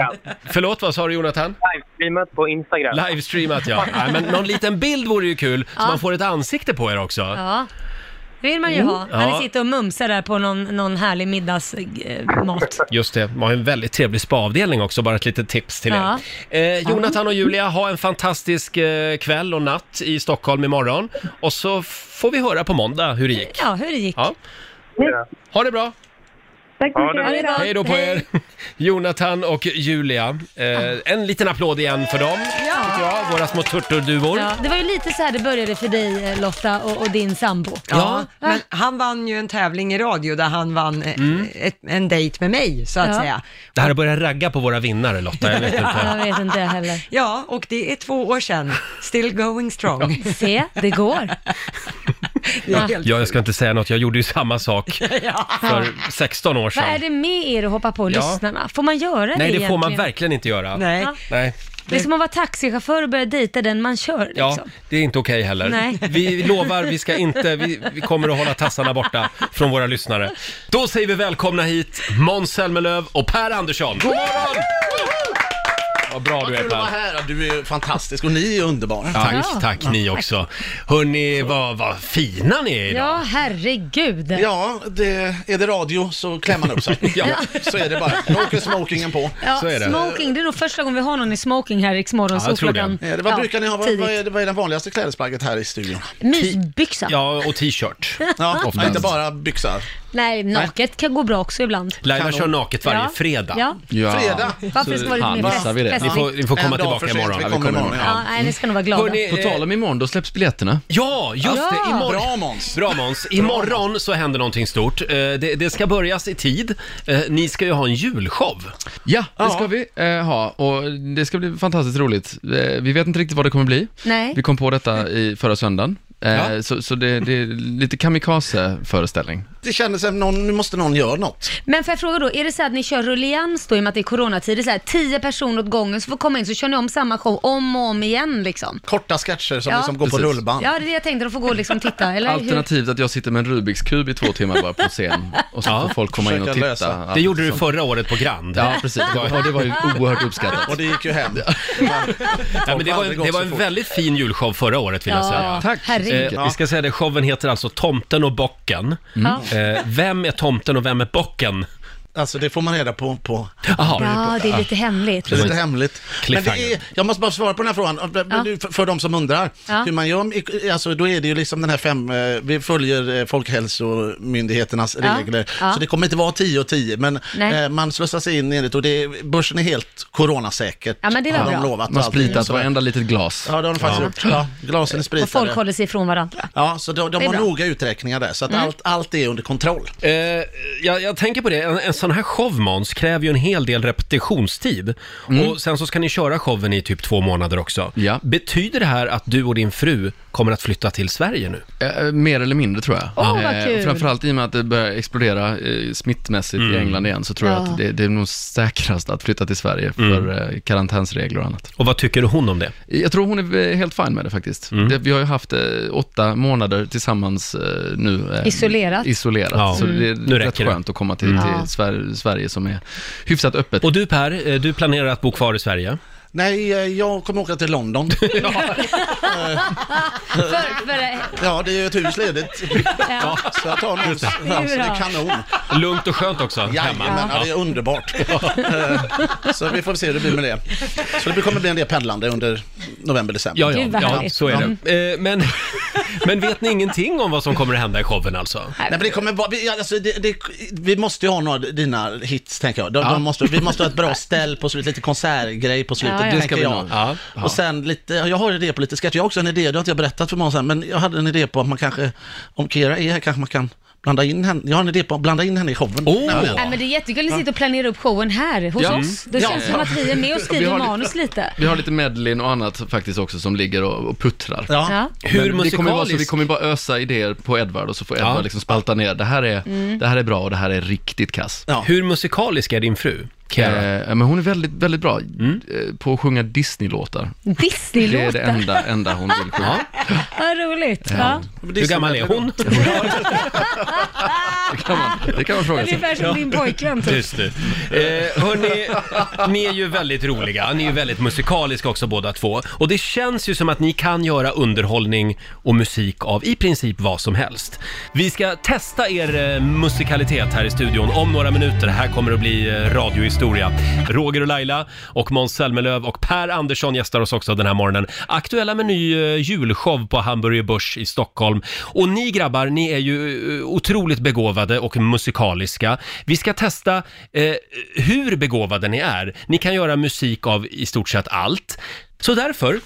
Speaker 1: Förlåt, vad sa du Jonathan?
Speaker 5: Livestreamat på Instagram.
Speaker 1: Livestreamat ja. Nej, men någon liten bild vore ju kul, så
Speaker 4: Ja.
Speaker 1: man får ett ansikte på er också.
Speaker 4: ja. Det vill man
Speaker 7: Mm.
Speaker 4: ju ha.
Speaker 1: Ja.
Speaker 4: När ni sitter och mumsar där på någon, någon härlig eh, middagsmat.
Speaker 1: Just det, man har en väldigt trevlig spaavdelning också, bara ett litet tips till
Speaker 4: Ja.
Speaker 1: er. Eh, Jonathan och Julia, ha en fantastisk eh, kväll och natt i Stockholm imorgon. Och så får vi höra på måndag hur det gick.
Speaker 4: Ja, hur det gick.
Speaker 1: Ja. Ha det bra!
Speaker 7: Tack så
Speaker 5: Ja, det
Speaker 7: mycket.
Speaker 5: var-
Speaker 7: Hej då.
Speaker 1: Hej då på er! Jonathan och Julia. Eh, en liten applåd igen för dem, tycker jag. Våra små turturduvor.
Speaker 4: Ja, det var ju lite så här det började för dig eh, Lotta och, och din sambo.
Speaker 1: Ja.
Speaker 2: Men han vann ju en tävling i radio där han vann eh,
Speaker 1: Mm.
Speaker 2: ett, en dejt med mig, så att
Speaker 4: Ja.
Speaker 2: säga.
Speaker 1: Det här börjar ragga på våra vinnare Lotta, jag vet inte.
Speaker 4: Jag vet inte jag heller.
Speaker 2: Ja, och det är två år sedan. Still going strong.
Speaker 4: Se, det går.
Speaker 2: Det är helt
Speaker 1: Ja, jag ska inte säga något, jag gjorde ju samma sak för 16 år
Speaker 4: Vad är
Speaker 1: sedan.
Speaker 4: det med er att hoppa på
Speaker 1: Ja.
Speaker 4: lyssnarna? Får man göra det
Speaker 1: Nej, det får man
Speaker 4: egentligen?
Speaker 1: verkligen inte göra.
Speaker 2: Nej.
Speaker 4: Ja.
Speaker 1: Nej.
Speaker 4: Det är som att vara taxichaufför och börja dejta den man kör. Liksom.
Speaker 1: Ja, det är inte okej heller.
Speaker 4: Nej.
Speaker 1: Vi lovar, vi ska inte, vi, vi kommer att hålla tassarna borta från våra lyssnare. Då säger vi välkomna hit Måns Zelmerlöw och Per Andersson. God morgon! Vad bra
Speaker 8: Vad
Speaker 1: du
Speaker 8: kul
Speaker 1: är
Speaker 8: att vara
Speaker 1: Per.
Speaker 8: här. Du är fantastisk och ni är underbara.
Speaker 1: Tack,
Speaker 4: Ja.
Speaker 1: tack ni också. Hörni, vad, vad fina ni är idag.
Speaker 4: Ja, herregud.
Speaker 8: Ja, det, är det radio så klär man upp sig.
Speaker 1: Ja.
Speaker 8: Så är det bara. Då åker smokingen på.
Speaker 4: Ja,
Speaker 1: så är det.
Speaker 4: Smoking, det är nog första gången vi har någon i smoking här i Riksmorgon.
Speaker 1: Ja, jag tror det.
Speaker 8: Eh, det- Vad brukar ni ha? Vad, vad,
Speaker 4: Tidigt.
Speaker 8: är, det- vad är den vanligaste klädesplagget här i studion?
Speaker 4: Mysbyxa.
Speaker 1: Ja, och t-shirt.
Speaker 8: Ja,
Speaker 1: Oftast.
Speaker 8: inte bara byxor.
Speaker 4: Nej, naket kan gå bra också ibland.
Speaker 1: Laila
Speaker 8: Kanon.
Speaker 1: kör naket varje
Speaker 4: Ja.
Speaker 1: fredag.
Speaker 4: Ja.
Speaker 9: Ja.
Speaker 8: Fredag.
Speaker 4: Varför ska det vara lite mer
Speaker 9: missar vi det.
Speaker 4: fest,
Speaker 1: Ni får,
Speaker 4: festligt?
Speaker 1: ni får komma
Speaker 8: En dag
Speaker 1: tillbaka
Speaker 8: för sent,
Speaker 1: imorgon.
Speaker 8: Vi kommer imorgon,
Speaker 4: Ja,
Speaker 8: ja.
Speaker 4: nej, ni ska nog vara glada.
Speaker 1: Hörni,
Speaker 9: På
Speaker 1: eh,
Speaker 9: tal om imorgon, då släpps biljetterna.
Speaker 1: Ja, just
Speaker 4: Ja.
Speaker 1: det! Imorgon.
Speaker 8: Bra Måns.
Speaker 1: Bra Måns! Imorgon så händer någonting stort. Eh, Det, det ska börjas i tid. Eh, Ni ska ju ha en julshow.
Speaker 9: Ja,
Speaker 8: Ja.
Speaker 9: det ska vi eh, ha och det ska bli fantastiskt roligt. Eh, vi vet inte riktigt vad det kommer bli.
Speaker 4: Nej.
Speaker 9: Vi kom på detta i förra söndagen. Eh,
Speaker 1: Ja.
Speaker 9: Så, så det, det är lite kamikaze-föreställning.
Speaker 8: Det kändes som någon, nu måste någon göra något.
Speaker 4: Men får jag fråga då, är det så att ni kör rullians då i och med att det är coronatider? Så här, tio personer åt gången som får komma in så kör ni om samma show om och om igen liksom?
Speaker 8: Korta sketcher som
Speaker 4: Ja.
Speaker 8: liksom går på
Speaker 9: Precis.
Speaker 8: rullband.
Speaker 4: Ja, det är det jag tänkte. De får gå och liksom titta, eller hur?
Speaker 9: Alternativt att jag sitter med en Rubiks kub i två timmar bara på scen och så får folk komma in och
Speaker 8: Försöka
Speaker 9: titta.
Speaker 8: lösa.
Speaker 9: Ja,
Speaker 1: Det gjorde du
Speaker 9: så-
Speaker 1: förra året på Grand.
Speaker 9: Ja, precis. Det var- Och det var ju oerhört uppskattat.
Speaker 8: Och det gick ju hem.
Speaker 1: Ja, men det, var, det var en väldigt fin julshow förra året vill jag
Speaker 4: Ja.
Speaker 1: säga.
Speaker 9: Tack så
Speaker 4: Herregud. Mm.
Speaker 9: mycket.
Speaker 1: Eh, vi ska säga det, showen heter alltså Tomten och Bocken.
Speaker 4: Ja.
Speaker 1: Eh, vem är tomten och vem är bocken?
Speaker 8: Alltså det får man reda på på...
Speaker 1: Jaha.
Speaker 4: Ja, det är lite hemligt.
Speaker 8: Det är lite hemligt. Men det
Speaker 1: Cliffhanger.
Speaker 8: är, jag måste bara svara på den här frågan,
Speaker 4: Ja.
Speaker 8: Nu för, för de som undrar.
Speaker 4: Ja.
Speaker 8: Hur man gör, alltså, då är det ju liksom den här fem, eh, vi följer eh, Folkhälsomyndigheternas
Speaker 4: Ja.
Speaker 8: regler.
Speaker 4: Ja.
Speaker 8: Så det kommer inte vara 10 och 10, men
Speaker 4: Nej.
Speaker 8: eh, man slussas in enligt och det, är- börsen är helt coronasäker.
Speaker 4: Ja, men det var
Speaker 8: har
Speaker 4: bra.
Speaker 8: de lovat. och
Speaker 9: Man har
Speaker 8: allting och
Speaker 9: spritat
Speaker 8: sådär.
Speaker 9: varenda litet glas.
Speaker 8: Ja, det har de faktiskt gjort. Ja, glasen är
Speaker 4: Och folk
Speaker 8: spritade.
Speaker 4: håller sig ifrån varandra.
Speaker 8: Ja, så de,
Speaker 4: Det
Speaker 8: de
Speaker 4: är
Speaker 8: har
Speaker 4: bra. Mm.
Speaker 8: noga uträkningar där, så att allt, allt är under kontroll.
Speaker 1: Eh, jag, jag tänker på det, en, en sån här show Måns kräver ju en hel del repetitionstid.
Speaker 8: Mm.
Speaker 1: Och sen så ska ni köra showen i typ två månader också.
Speaker 9: Ja.
Speaker 1: Betyder det här att du och din fru kommer att flytta till Sverige nu?
Speaker 9: Eh, mer eller mindre tror jag.
Speaker 4: Åh, vad kul.
Speaker 9: och framförallt i och med att det börjar explodera eh, smittmässigt
Speaker 1: Mm.
Speaker 9: i England igen så tror jag
Speaker 4: Ja.
Speaker 9: att det, det är nog säkrast att flytta till Sverige för eh, karantänsregler och annat.
Speaker 1: Och vad tycker hon Mm. om det? Mm.
Speaker 9: Jag tror hon är eh, helt fin med det faktiskt. Det, vi har ju haft eh, åtta månader tillsammans eh, nu. eh,
Speaker 4: Isolerat. Mm.
Speaker 9: Isolerat,
Speaker 1: Ja.
Speaker 9: så det är
Speaker 1: Nu
Speaker 9: rätt
Speaker 1: räcker det. Mm.
Speaker 9: skönt att komma till, till Sver- Sverige som är hyfsat öppet.
Speaker 1: Och du Per, eh, du planerar att bo kvar i Sverige?
Speaker 8: Nej, eh, jag kommer åka till London.
Speaker 4: För, för, eh,
Speaker 8: Ja, det är ju ett hus ledigt.
Speaker 4: ja.
Speaker 8: Så jag tar nog... Ja, så det är kanon.
Speaker 1: Lugnt och skönt också hemma?
Speaker 8: Jajamän, ja. det är underbart. Eh, så vi får se hur det blir med det. Så det kommer bli en del pendlande under november, december.
Speaker 1: Ja,
Speaker 4: Gud,
Speaker 1: ja,
Speaker 4: vad
Speaker 1: ja
Speaker 4: härligt.
Speaker 1: så är det. Eh, Men, men vet ni ingenting om vad som kommer att hända i showen alltså?
Speaker 8: Nej, men det kommer vara, vi, alltså, det, det, vi måste ju ha några av dina hits, tänker jag. De,
Speaker 9: Ja.
Speaker 8: de måste, vi måste ha ett bra ställ på slutet, lite konsertgrej på slutet,
Speaker 4: Ja, ja.
Speaker 8: tänker
Speaker 4: Det
Speaker 9: ska vi
Speaker 8: jag.
Speaker 9: nog.
Speaker 1: Ja.
Speaker 8: Och sen lite, jag har en idé på lite sketch. Jag har också en idé, det har inte jag berättat för många sen, men jag hade en idé på att man kanske, om Kira är här kanske man kan blanda in henne. Jag har en idé på att blanda in henne i showen.
Speaker 1: Åh!
Speaker 4: Nej, men det är jättekul att sitta och planera upp showen här hos
Speaker 9: Ja.
Speaker 4: oss. Det
Speaker 8: Ja.
Speaker 4: känns som att vi är med och
Speaker 9: Vi
Speaker 4: skriver
Speaker 9: har lite-
Speaker 4: manus lite.
Speaker 9: Vi har lite medlin och annat faktiskt också som ligger och, och puttrar.
Speaker 8: Ja.
Speaker 4: Ja.
Speaker 1: Hur
Speaker 9: Men det kommer ju vara så, vi
Speaker 1: musikaliskt?
Speaker 9: kommer ju bara ösa idéer på Edvard och så får Edvard
Speaker 1: Ja.
Speaker 9: liksom spalta ner. Det här, är,
Speaker 4: Mm.
Speaker 9: det här är bra och det här är riktigt kass.
Speaker 8: Ja.
Speaker 1: Hur musikalisk är din fru? Cara?
Speaker 9: Eh, men hon är väldigt, väldigt bra
Speaker 1: Mm.
Speaker 9: eh, på att sjunga Disney-låtar. Det är det
Speaker 4: Disney-låtar.
Speaker 9: enda, enda hon vill sjunga. Eh,
Speaker 4: Vad roligt. Ja.
Speaker 1: Hur gammal är hon?
Speaker 9: Det, kan man, det kan man fråga sig.
Speaker 4: Ungefär som din pojkvän typ.
Speaker 1: Just det. Eh, hörni, ni är ju väldigt roliga, ni är ju väldigt musikaliska också båda två. Och det känns ju som att ni kan göra underhållning och musik av i princip vad som helst. Vi ska testa er eh, musikalitet här i studion om några minuter. Här kommer det att bli eh, radiohistoria. Roger och Laila och Måns Zelmerlöw och Per Andersson gästar oss också den här morgonen. Aktuella med ny eh, julshow på Hamburger Börs i Stockholm. Och ni grabbar, ni är ju eh, otroligt begåvade och musikaliska. Vi ska testa eh, hur begåvade ni är. Ni kan göra musik av i stort sett allt. Så därför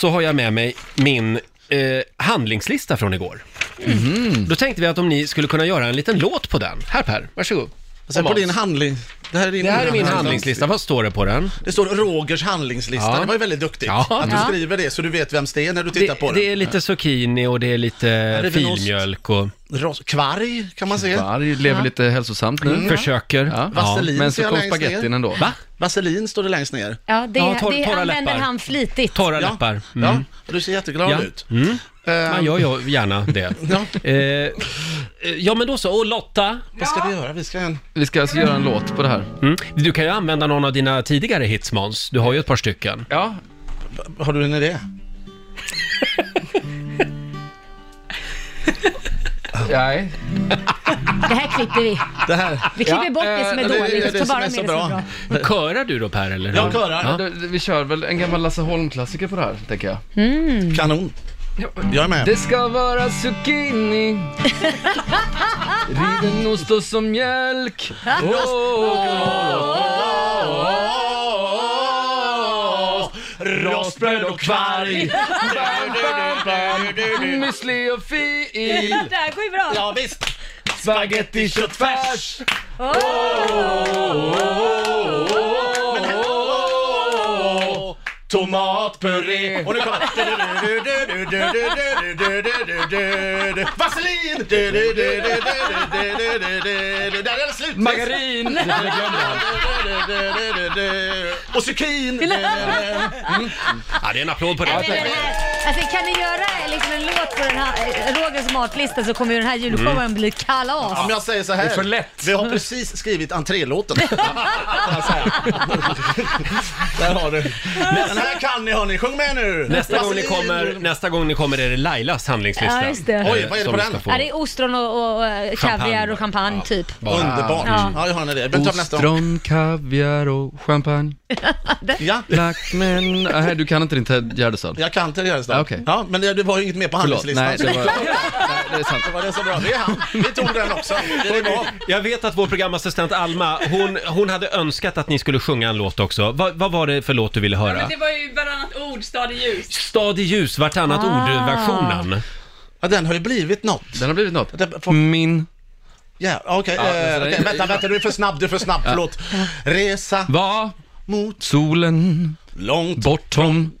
Speaker 1: så har jag med mig min eh, handlingslista från igår.
Speaker 8: Mhm.
Speaker 1: Då tänkte vi att om ni skulle kunna göra en liten låt på den. Här Per, varsågod.
Speaker 8: Sen Alltså, på din handling. Det här är, din
Speaker 1: Det här är min handlingslista, vad står det på den?
Speaker 8: Det står Rogers handlingslista.
Speaker 1: Ja.
Speaker 8: Det var ju väldigt duktigt
Speaker 1: Ja.
Speaker 8: att du
Speaker 1: Ja.
Speaker 8: skriver det så du vet vems det är när du tittar
Speaker 1: Det,
Speaker 8: på
Speaker 1: det
Speaker 8: det.
Speaker 1: är lite zucchini och det är lite
Speaker 8: är väl ost.
Speaker 1: filmjölk och
Speaker 8: Eh, Ros- Kvarg kan man se.
Speaker 9: Varg lever lite hälsosamt nu.
Speaker 1: Mm. försöker.
Speaker 9: Ja.
Speaker 8: Vaselin
Speaker 9: Men
Speaker 8: ser
Speaker 9: så
Speaker 8: jag
Speaker 9: kom
Speaker 8: längst ner.
Speaker 9: spagettin ändå.
Speaker 1: Va?
Speaker 8: Vaselin står det längst ner.
Speaker 4: Ja, det,
Speaker 1: Ja, torr-
Speaker 4: det
Speaker 1: torra
Speaker 4: använder
Speaker 1: läppar.
Speaker 4: han flitigt.
Speaker 1: Torra läppar. Mm.
Speaker 8: Ja, och du ser jätteglad
Speaker 1: Ja.
Speaker 8: ut.
Speaker 1: Man gör ju gärna det.
Speaker 8: Ehm. Ja.
Speaker 1: Eh, eh, ja men då så. Och Lotta,
Speaker 8: Vad ska vi göra? Vi ska...
Speaker 9: Vi ska alltså göra en låt på det här.
Speaker 1: mm. du kan ju använda någon av dina tidigare hits Måns. Du har ju ett par stycken.
Speaker 9: Ja,
Speaker 8: Har du en idé?
Speaker 9: nej.
Speaker 4: Det här klipper vi.
Speaker 8: Det här.
Speaker 4: Vi klipper
Speaker 9: Ja,
Speaker 4: bort det som är
Speaker 9: eh, det-
Speaker 4: dåligt,
Speaker 8: det- det
Speaker 4: ta
Speaker 8: som
Speaker 4: bara
Speaker 8: är
Speaker 4: med
Speaker 8: så
Speaker 4: det som
Speaker 8: bra.
Speaker 4: är bra.
Speaker 1: Körar du då Per eller?
Speaker 8: Jag körar.
Speaker 1: Ja.
Speaker 9: Det- Vi kör väl en gammal Lasse Holm-klassiker på det här, tänker jag. Mm.
Speaker 8: Kanon. Jag är med.
Speaker 9: Det ska vara zucchini Riven ost och som mjölk Åh,
Speaker 8: Rostbröd och kvarg.
Speaker 9: Müsli och fil
Speaker 4: Det här går ju bra.
Speaker 8: Ja, visst.
Speaker 9: Spaghetti
Speaker 8: köttfärs. Oh. Tomatpuré. Och nu kommer... Vaselin! Där är det slut!
Speaker 9: Margarin
Speaker 8: Och zucchini!
Speaker 1: ja, det är en applåd på
Speaker 4: Nej,
Speaker 1: det.
Speaker 4: men den här- Alltså, kan ni göra liksom en låt på den här eh, Rogers matlista så kommer ju den här julshowen bli kalas.
Speaker 8: Om jag säger så här.
Speaker 1: Mm. Det är för lätt.
Speaker 8: Vi har precis skrivit entrélåten. Kan jag säga. Där har du. Den här kan ni hörni, sjung med nu!
Speaker 1: Nästa gång, ni
Speaker 8: Vaselin.
Speaker 1: kommer, nästa gång ni kommer är det Lailas handlingslista.
Speaker 4: Ja, just det.
Speaker 8: Oj, vad är det
Speaker 1: Som
Speaker 8: på
Speaker 1: vi
Speaker 8: den?
Speaker 1: ska få.
Speaker 4: Ja, det är ostron och, och eh, kaviar
Speaker 1: Champagne.
Speaker 4: och champagne typ.
Speaker 1: Bara.
Speaker 8: Underbart!
Speaker 4: Ja.
Speaker 8: Ja, jag har en idé. Vänta nästa gång.
Speaker 9: Mm. Ostron, kaviar och champagne
Speaker 8: Ja,
Speaker 9: Lackmen Nej, du kan inte din Ted Gärdestad
Speaker 8: jag kan till det här
Speaker 9: Ja,
Speaker 8: snart.
Speaker 9: okej.
Speaker 8: Ja, men det, det var ju inget mer på
Speaker 9: Förlåt,
Speaker 8: handelslistan.
Speaker 9: nej det var... Nej, det är sant
Speaker 8: det var det så bra. Det är han. Vi tog den också. Det är bra.
Speaker 1: Jag vet att vår programassistent Alma, hon, hon hade önskat att ni skulle sjunga en låt också. Vad- vad var det för låt du ville höra?
Speaker 10: Men det var ju bland annat ord, stad i ljus.
Speaker 1: Stad i ljus, vartannat
Speaker 4: Ah.
Speaker 1: ord-versionen.
Speaker 8: Ja, den har ju blivit något.
Speaker 9: Den har blivit något
Speaker 8: Det- får-
Speaker 9: Min
Speaker 8: Ja, okej.
Speaker 9: Ja,
Speaker 8: eh,
Speaker 9: alltså, det-
Speaker 8: okej, Vänta, vänta, du är för snabb, du är för snabb. Förlåt. Resa
Speaker 9: var
Speaker 8: mot
Speaker 9: solen
Speaker 8: långt
Speaker 9: bortom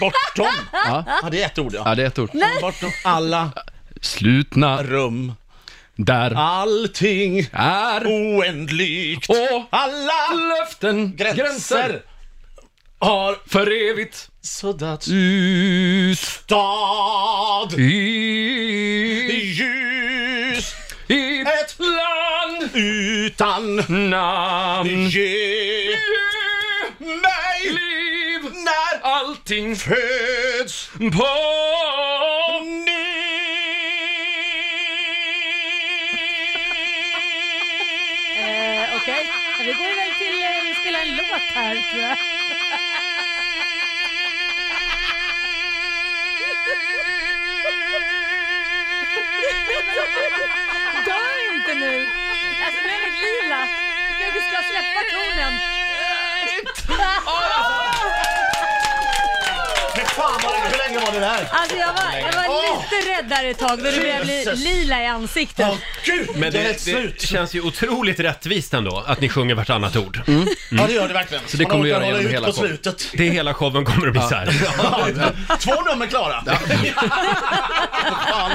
Speaker 8: bortom.
Speaker 9: Ja.
Speaker 8: Ja, det är ett ord
Speaker 9: Ja,
Speaker 8: ja.
Speaker 9: det är ett ord
Speaker 8: Bortom alla
Speaker 9: Slutna
Speaker 8: rum.
Speaker 9: där
Speaker 8: Allting
Speaker 9: är
Speaker 8: oändligt.
Speaker 9: och
Speaker 8: Alla
Speaker 9: löften
Speaker 8: gränser har
Speaker 9: för evigt
Speaker 8: suddats
Speaker 9: ut
Speaker 8: stad i
Speaker 9: i,
Speaker 8: ljus
Speaker 9: i
Speaker 8: ett
Speaker 9: land
Speaker 8: utan
Speaker 9: namn
Speaker 8: ge mig
Speaker 9: liv
Speaker 8: när
Speaker 9: allting
Speaker 8: föds
Speaker 9: på
Speaker 4: Eh, Okej, Ja, vi går väl till eh, spela en låt här tror jag. Dö inte nu! Alltså nu är det lila. Vi ska släppa tonen.
Speaker 8: Fy fan vad länge, hur länge var det där?
Speaker 4: Alltså jag var, jag var lite rädd där ett tag då det blev li-
Speaker 8: Jesus.
Speaker 4: lila i ansiktet.
Speaker 8: Åh gud,
Speaker 1: Men
Speaker 8: det är
Speaker 1: det,
Speaker 8: ett
Speaker 1: det
Speaker 8: slut.
Speaker 1: känns ju otroligt rättvist ändå, att ni sjunger vartannat ord.
Speaker 8: Mm.
Speaker 1: Mm.
Speaker 8: Ja det gör det verkligen. Så
Speaker 9: det kommer vi göra
Speaker 8: hålla
Speaker 9: genom
Speaker 8: ut
Speaker 9: hela
Speaker 8: på
Speaker 9: showen.
Speaker 8: slutet.
Speaker 1: Det är hela showen kommer att bli så här.
Speaker 8: Två nummer klara. Ja. Fan,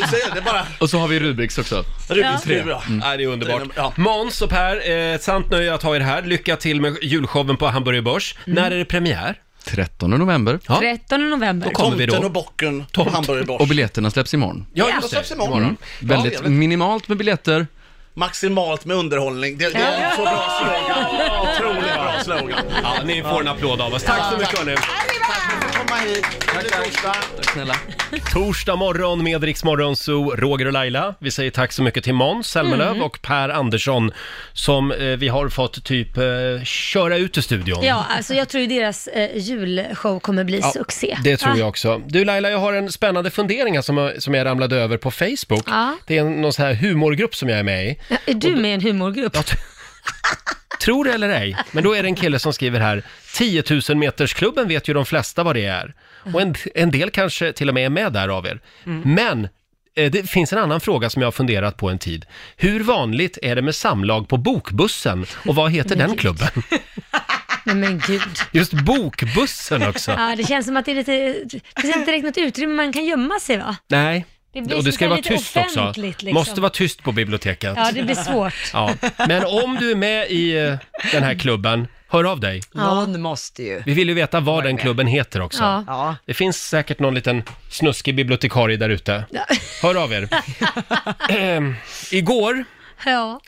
Speaker 8: du ser, det är bara
Speaker 9: Och så har vi Rubiks också.
Speaker 8: Rubiks ja.
Speaker 1: Ja, Mm. det är underbart.
Speaker 8: Ja.
Speaker 1: Måns och Per, eh, ett sant nöje att ha er här. Lycka till med julshowen på Hamburger Börs.
Speaker 8: Mm.
Speaker 1: När är det premiär?
Speaker 9: 13 november.
Speaker 1: Ja.
Speaker 4: 13 november.
Speaker 1: kommer vi då.
Speaker 8: Tomten och bocken och
Speaker 1: Tomt.
Speaker 8: hamburgerbars.
Speaker 9: Och biljetterna släpps imorgon.
Speaker 1: Ja,
Speaker 8: Och
Speaker 1: just
Speaker 8: släpps
Speaker 1: det.
Speaker 8: imorgon. Ja, jag
Speaker 9: Väldigt
Speaker 8: vet.
Speaker 9: minimalt med biljetter.
Speaker 8: Maximalt med underhållning. Det, det är en så bra slogan. Otroligt bra slogan.
Speaker 1: Ja, ni får en applåd av oss. Tack så mycket hörni.
Speaker 8: Komma hit. Tack, tack.
Speaker 9: Snälla.
Speaker 1: Torsdag morgon med Rix Morgon Zoo, Roger och Laila. Vi säger tack så mycket till Måns Zelmerlöw
Speaker 4: Mm.
Speaker 1: och Per Andersson som eh, vi har fått typ eh, köra ut ur studion.
Speaker 4: Ja, alltså jag tror ju deras eh, julshow kommer bli succé. Ah.
Speaker 1: Det tror
Speaker 4: Va?
Speaker 1: jag också. Du Laila, jag har en spännande fundering här som, eh, som jag ramlade över på Facebook.
Speaker 4: Ja.
Speaker 1: Det är en, någon sån här humorgrupp som jag är med i.
Speaker 4: Ja, Är du med i en humorgrupp?
Speaker 1: Tror det eller ej, men då är det en kille som skriver här, 10 000 metersklubben vet ju de flesta vad det är. Och en, en del kanske till och med är med där av er.
Speaker 4: Mm.
Speaker 1: Men eh, det finns en annan fråga som jag har funderat på en tid. Hur vanligt är det med samlag på Bokbussen och vad heter den klubben?
Speaker 4: Nej men gud.
Speaker 1: Just Bokbussen också.
Speaker 4: Ja, det känns som att det är lite, det finns inte direkt något utrymme man kan gömma sig va?
Speaker 1: Nej,
Speaker 4: Det blir
Speaker 1: och det
Speaker 4: så
Speaker 1: ska ju
Speaker 4: här
Speaker 1: vara
Speaker 4: lite
Speaker 1: tyst också.
Speaker 4: offentligt, liksom.
Speaker 1: Måste vara tyst på biblioteket.
Speaker 4: Ja, det blir svårt.
Speaker 1: Ja. Men om du är med i eh, den här klubben, hör av dig.
Speaker 2: Någon måste ju.
Speaker 1: Vi vill ju veta vad den klubben heter också.
Speaker 2: Ja. Ja.
Speaker 1: Det finns säkert någon liten snuskig bibliotekarie där ute. Hör av er. Ehm, Igår,
Speaker 4: Ja.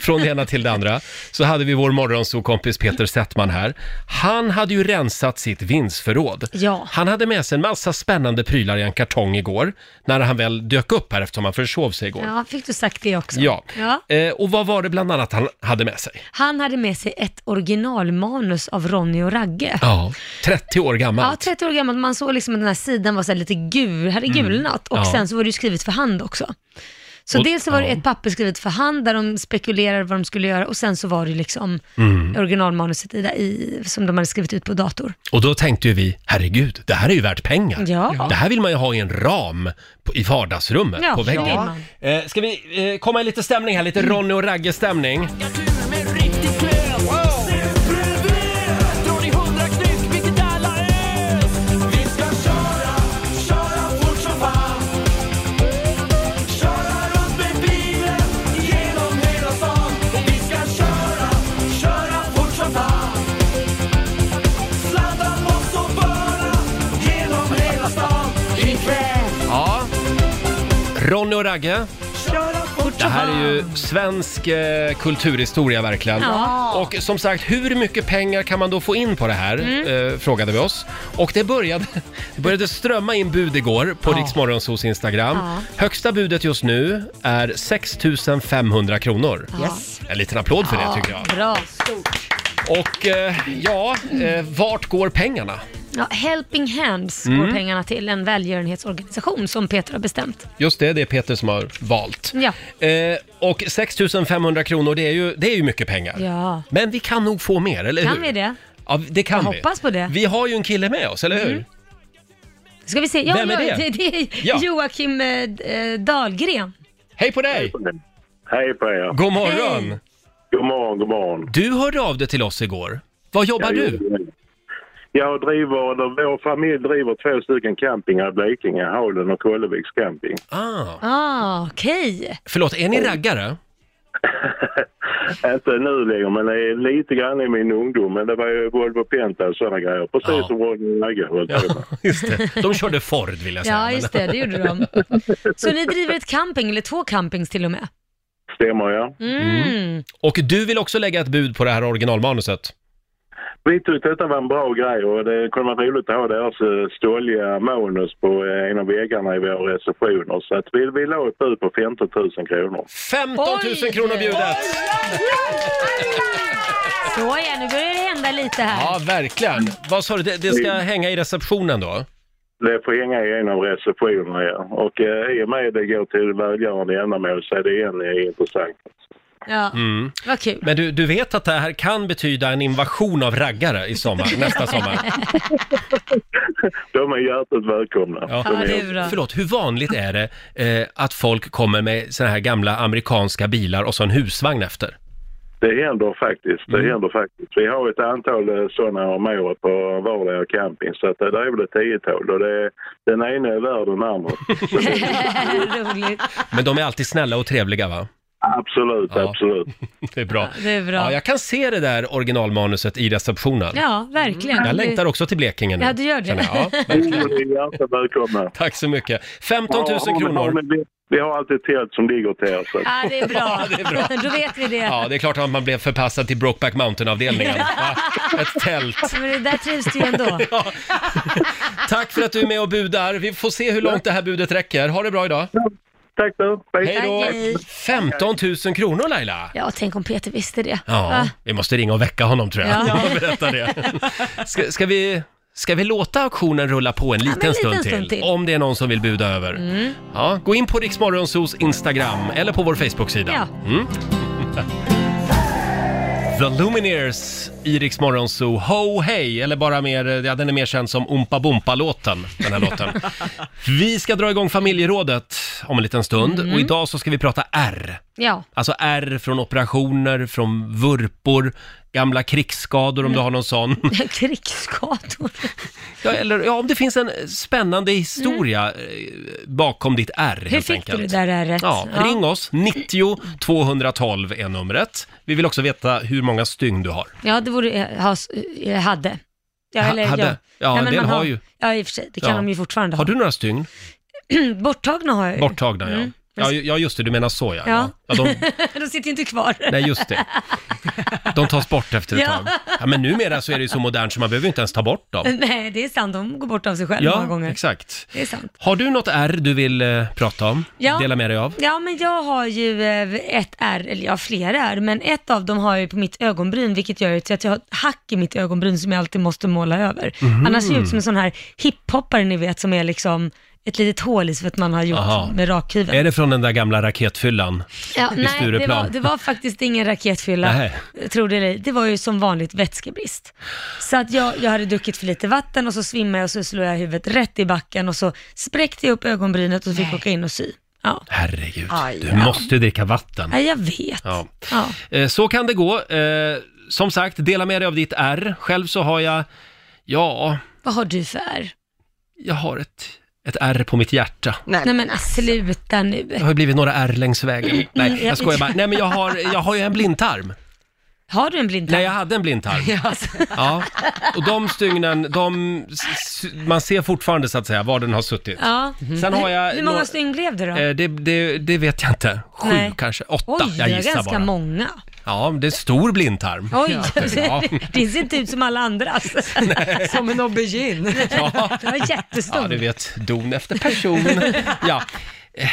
Speaker 1: från det ena till det andra, så hade vi vår morgonsokompis Peter Settman här. Han hade ju rensat sitt vindsförråd.
Speaker 4: Ja.
Speaker 1: Han hade med sig en massa spännande prylar i en kartong igår, när han väl dök upp här eftersom han försov sig igår.
Speaker 4: ja, fick du sagt det också?
Speaker 1: Ja.
Speaker 4: ja.
Speaker 1: Eh, och vad var det bland annat han hade med sig?
Speaker 4: Han hade med sig ett originalmanus av Ronny och Ragge.
Speaker 1: Ja, 30 år gammalt.
Speaker 4: Ja, 30 år gammalt. Man såg liksom att den här sidan var så här lite gul, hade
Speaker 1: Mm.
Speaker 4: gulnat. Och
Speaker 1: Ja.
Speaker 4: sen så var det ju skrivet för hand också. Så
Speaker 1: Och-
Speaker 4: dels så var det
Speaker 1: ja.
Speaker 4: ett papper skrivet för hand där de spekulerade vad de skulle göra och sen så var det liksom
Speaker 1: Mm.
Speaker 4: originalmanuset i, i, som de hade skrivit ut på dator.
Speaker 1: Och då tänkte ju vi, herregud, det här är ju värt pengar.
Speaker 4: Ja.
Speaker 1: Det här vill man ju ha i en ram på, i vardagsrummet,
Speaker 4: Ja,
Speaker 1: på
Speaker 4: det vill
Speaker 1: väggen.
Speaker 4: man.
Speaker 1: Eh, ska vi eh, komma i lite stämning här, lite Ronny och Ragge-stämning? Ja. Ronny och Ragge. Det här är ju svensk eh, kulturhistoria verkligen.
Speaker 3: Ja.
Speaker 1: Och som sagt, hur mycket pengar kan man då få in på det här?
Speaker 3: Mm.
Speaker 1: Eh, frågade vi oss. Och det började, det började strömma in bud igår på
Speaker 3: Ja.
Speaker 1: Rix Morgonzos Instagram.
Speaker 3: Ja.
Speaker 1: Högsta budet just nu är 6 500 kronor.
Speaker 3: Ja. Yes.
Speaker 1: En liten applåd för det tycker jag.
Speaker 4: Bra.
Speaker 1: Och eh, ja, eh, vart går pengarna?
Speaker 4: Ja, Helping Hands
Speaker 1: Mm.
Speaker 4: går pengarna till, en välgörenhetsorganisation som Peter har bestämt.
Speaker 1: Just det, det är Peter som har valt.
Speaker 4: Ja.
Speaker 1: Eh, och 6 500 kronor, det är ju, det är ju mycket pengar.
Speaker 4: Ja.
Speaker 1: Men vi kan nog få mer, eller hur?
Speaker 4: Kan vi det?
Speaker 1: Ja, det kan
Speaker 4: Jag
Speaker 1: vi.
Speaker 4: hoppas på det. Mm.
Speaker 1: Vi har ju en kille med oss, eller hur?
Speaker 4: Ska vi se? Ja,
Speaker 1: Vem är
Speaker 4: ja,
Speaker 1: det?
Speaker 4: Det, är
Speaker 1: Ja.
Speaker 4: Joakim eh, eh, Dahlgren.
Speaker 1: Hej på dig!
Speaker 11: Hej på er.
Speaker 1: God morgon!
Speaker 11: God morgon, god morgon.
Speaker 1: Du hörde av dig till oss igår. Vad jobbar
Speaker 11: Jag
Speaker 1: du?
Speaker 11: jobbar- Jag driver, eller vår familj driver två stycken campingar i Blekinge, Halen och Kolleviks camping.
Speaker 1: Ah.
Speaker 4: Ah, okej.
Speaker 1: Förlåt, är ni raggare?
Speaker 11: Inte nu längre, men det är lite grann i min ungdom. Men det var ju Volvo Penta och sådana grejer. Precis
Speaker 1: Ja.
Speaker 11: som Ronny Ragge höll på med.
Speaker 1: Just det. De körde Ford vill jag säga.
Speaker 4: Ja, just det, det gjorde de. Så ni driver ett camping, eller två campings till och med?
Speaker 11: Stämmer ja.
Speaker 4: Mm.
Speaker 1: Och du vill också lägga ett bud på det här originalmanuset?
Speaker 11: Vi tyckte detta var en bra grej och det kunde vara roligt att ha deras eh, ståliga manus på eh, en av väggarna i våra receptioner. Så att vi, vi la ett bud på 15 000 kronor.
Speaker 1: 15 000 kronor bjudet!
Speaker 4: Så ja, nu börjar det hända lite här.
Speaker 1: Ja, verkligen. Vad sa du, det, det ska
Speaker 11: Mm.
Speaker 1: hänga i receptionen då?
Speaker 11: Det får hänga i en av receptionerna ja. Och eh, i och med det går till välgörande ändamål så är det en eh, intressant.
Speaker 4: Ja,
Speaker 1: Mm.
Speaker 4: vad kul.
Speaker 1: Men du, du vet att det här kan betyda en invasion av raggare i sommar, nästa sommar?
Speaker 11: De är hjärtligt välkomna.
Speaker 1: Ja.
Speaker 11: De
Speaker 1: Förlåt, hur vanligt är det eh, att folk kommer med såna här gamla amerikanska bilar och så en husvagn efter?
Speaker 11: Det händer faktiskt. Det
Speaker 1: Mm.
Speaker 11: händer faktiskt. Vi har ett antal eh, sådana om året på vardera camping. Så att eh, det där är väl ett tiotal. Och det, den ena är värd den andra.
Speaker 4: Roligt.
Speaker 1: Men de är alltid snälla och trevliga va?
Speaker 11: Absolut, absolut.
Speaker 1: Det är bra.
Speaker 4: Det är bra.
Speaker 1: Ja, jag kan se det där originalmanuset i receptionen.
Speaker 4: Ja, verkligen.
Speaker 1: Jag längtar också till Blekinge nu.
Speaker 4: Ja, du gör det.
Speaker 1: känner jag. Ja,
Speaker 11: verkligen. Hjärtligt välkomna.
Speaker 1: Tack så mycket. 15 000
Speaker 11: Ja, men-
Speaker 1: kronor.
Speaker 11: men vi, vi har alltid tält som ligger till er. Så.
Speaker 4: Ja, det är bra.
Speaker 1: det är bra.
Speaker 4: Då vet vi det.
Speaker 1: Ja, det är klart att man blev förpassad till Brokeback Mountain-avdelningen. Va? Ett tält.
Speaker 4: Men det där trivs du ju ändå.
Speaker 1: Tack för att du är med och budar. Vi får se hur långt det här budet räcker. Ha det bra idag.
Speaker 11: Tack då.
Speaker 1: Hej då.
Speaker 4: Tack, hej.
Speaker 1: 15 000 kronor Laila.
Speaker 4: Ja, tänk om Peter visste det.
Speaker 1: Ja,
Speaker 4: Va?
Speaker 1: vi måste ringa och väcka honom tror jag.
Speaker 4: Ja.
Speaker 1: Ja. Berätta det. Ska, ska, vi, ska vi låta auktionen rulla på en liten,
Speaker 4: men en liten
Speaker 1: stund,
Speaker 4: stund
Speaker 1: till,
Speaker 4: till.
Speaker 1: Om det är någon som vill buda över.
Speaker 4: Mm.
Speaker 1: Ja, gå in på Riksmorgonsos Instagram eller på vår Facebook-sida.
Speaker 4: Ja.
Speaker 1: Mm. The Lumineers i Rix Morgon Zoo, Ho Hey, eller bara mer, ja den är mer känd som Oompa Boompa-låten, den här låten. Vi ska dra igång familjerådet om en liten stund
Speaker 4: Mm.
Speaker 1: och idag så ska vi prata R.
Speaker 4: Ja.
Speaker 1: Alltså R från operationer, från vurpor, gamla krigsskador om du har någon sån.
Speaker 4: Mm. Krigsskador.
Speaker 1: Ja, eller ja, om det finns en spännande historia eh, bakom ditt R
Speaker 4: Mm. Hur
Speaker 1: helt
Speaker 4: fick
Speaker 1: enkelt.
Speaker 4: du det där ärret?
Speaker 1: Ja,
Speaker 4: Ja.
Speaker 1: ring oss, 90 212 är numret. Vi vill också veta hur många stygn du har.
Speaker 4: Ja, det borde jag ha, jag hade. Ja,
Speaker 1: Ha- hade?
Speaker 4: Ja,
Speaker 1: Ja,
Speaker 4: Nej,
Speaker 1: en
Speaker 4: men
Speaker 1: del
Speaker 4: man
Speaker 1: har ju.
Speaker 4: Ja, i och för sig. Det kan
Speaker 1: Ja.
Speaker 4: de ju fortfarande ha.
Speaker 1: Har du några stygn?
Speaker 4: Borttagna har jag ju.
Speaker 1: Borttagna, ja.
Speaker 4: Mm.
Speaker 1: Ja, ju- ja, just det, du menar så ja.
Speaker 4: Ja.
Speaker 1: ja. ja de,
Speaker 4: de sitter ju inte kvar.
Speaker 1: Nej, just det. de tas bort efter ett
Speaker 4: Ja.
Speaker 1: tag. Ja, men numera så är det ju så modernt så man behöver ju inte ens ta bort dem.
Speaker 4: Nej, det är sant. De går bort av sig själva många
Speaker 1: Ja,
Speaker 4: gånger.
Speaker 1: exakt.
Speaker 4: Det är sant.
Speaker 1: Har du något R du vill eh, prata om?
Speaker 4: Ja.
Speaker 1: Dela med dig av?
Speaker 4: Ja, men jag har ju eh, ett R, eller jag har flera R, men ett av dem har jag ju på mitt ögonbryn, vilket gör ju till att jag har ett hack i mitt ögonbryn som jag alltid måste måla över.
Speaker 12: Mhm.
Speaker 4: Annars ser jag ut som en sån här hiphoppare ni vet, som är liksom ett litet hål i så att man har gjort
Speaker 1: Aha.
Speaker 4: med rakhyveln.
Speaker 1: Är det från den där gamla raketfyllan
Speaker 4: Ja,
Speaker 1: i
Speaker 4: nej, det
Speaker 1: Stureplan?
Speaker 4: var, det var faktiskt ingen raketfylla,
Speaker 1: Nej.
Speaker 4: tror det eller ej. Det var ju som vanligt vätskebrist. Så att jag, jag hade druckit för lite vatten och så svimmade jag och så slog jag huvudet rätt i backen och så spräckte jag upp ögonbrynet och fick åka in och sy. Ja.
Speaker 1: Herregud,
Speaker 4: Aj,
Speaker 1: du
Speaker 4: ja.
Speaker 1: måste ju dricka vatten.
Speaker 4: Ja, jag vet.
Speaker 1: Ja.
Speaker 4: Ja.
Speaker 1: Eh, Så kan det gå. Eh, Som sagt, dela med dig av ditt R. Själv så har jag, ja,
Speaker 4: Vad har du för R?
Speaker 1: jag har ett, ett R på mitt hjärta.
Speaker 4: Nej, men alltså, sluta nu.
Speaker 1: Det har ju blivit några R längs vägen. Nej,
Speaker 4: jag-
Speaker 1: jag skojar bara. Nej, men jag har, jag har ju en blindtarm.
Speaker 4: Har du en blindtarm?
Speaker 1: Nej, jag hade en blindtarm.
Speaker 4: Ja, alltså.
Speaker 1: Ja, och de stygnen, de, s- man ser fortfarande så att säga var den har suttit.
Speaker 4: ja.
Speaker 1: Mhm. Sen har jag
Speaker 4: Hur många
Speaker 1: nå-
Speaker 4: stygn blev det då?
Speaker 1: Eh, Det, det, det vet jag inte. Sju
Speaker 4: Nej.
Speaker 1: kanske, åtta.
Speaker 4: Oj,
Speaker 1: jag
Speaker 4: det är
Speaker 1: gissar
Speaker 4: ganska
Speaker 1: bara.
Speaker 4: många.
Speaker 1: Ja, det är stor blindtarm.
Speaker 4: Oj,
Speaker 1: Ja.
Speaker 4: det ser inte ut som alla andras. som en aubergine.
Speaker 1: Ja.
Speaker 4: Det var jättestor.
Speaker 1: Ja, du vet, don efter person. Ja. Eh,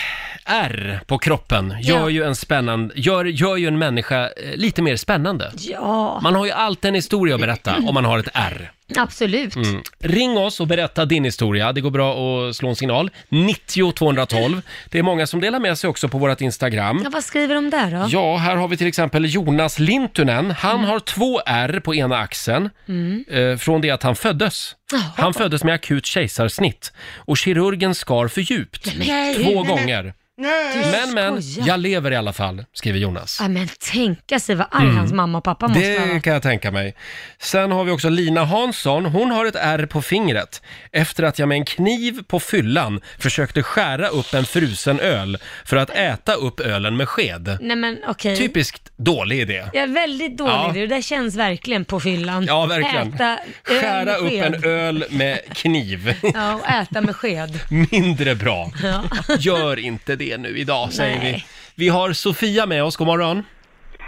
Speaker 1: R på kroppen gör,
Speaker 4: Ja.
Speaker 1: ju en spännande, gör, gör ju en människa eh, lite mer spännande.
Speaker 4: Ja.
Speaker 1: Man har ju alltid en historia att berätta om man har ett R.
Speaker 4: Absolut.
Speaker 1: Mm. Ring oss och berätta din historia. Det går bra att slå en signal. 90 212. Det är många som delar med sig också på vårt Instagram.
Speaker 4: Ja, Mm. vad skriver de där då?
Speaker 1: Mm. Ja, här har vi till exempel Jonas Lintunen. Han har två R på ena axeln
Speaker 4: Mm.
Speaker 1: eh, från det att han föddes. Han föddes med akut kejsarsnitt och kirurgen skar för djupt.
Speaker 4: men gud.
Speaker 1: två
Speaker 4: Nej, men-
Speaker 1: gånger.
Speaker 4: Nej.
Speaker 1: Men, men,
Speaker 4: Skoja.
Speaker 1: jag lever i alla fall, skriver Jonas.
Speaker 4: Ja, men tänka sig vad arg
Speaker 1: Mm.
Speaker 4: hans mamma och pappa måste ha
Speaker 1: Det
Speaker 4: varit.
Speaker 1: kan jag tänka mig. Sen har vi också Lina Hansson. Hon har ett R på fingret efter att jag med en kniv på fyllan försökte skära upp en frusen öl för att äta upp ölen med sked.
Speaker 4: Nej men okej.
Speaker 1: Typiskt dålig idé.
Speaker 4: Jag är väldigt dålig
Speaker 1: Ja.
Speaker 4: ja. det där känns verkligen på fyllan.
Speaker 1: Ja, verkligen.
Speaker 4: Äta öl
Speaker 1: Skära
Speaker 4: med
Speaker 1: upp
Speaker 4: sked.
Speaker 1: en öl med kniv.
Speaker 4: Ja, och äta med sked.
Speaker 1: Mindre bra.
Speaker 4: Ja.
Speaker 1: Gör inte det nu idag, säger vi.
Speaker 4: Nej.
Speaker 1: Vi har Sofia med oss, god morgon.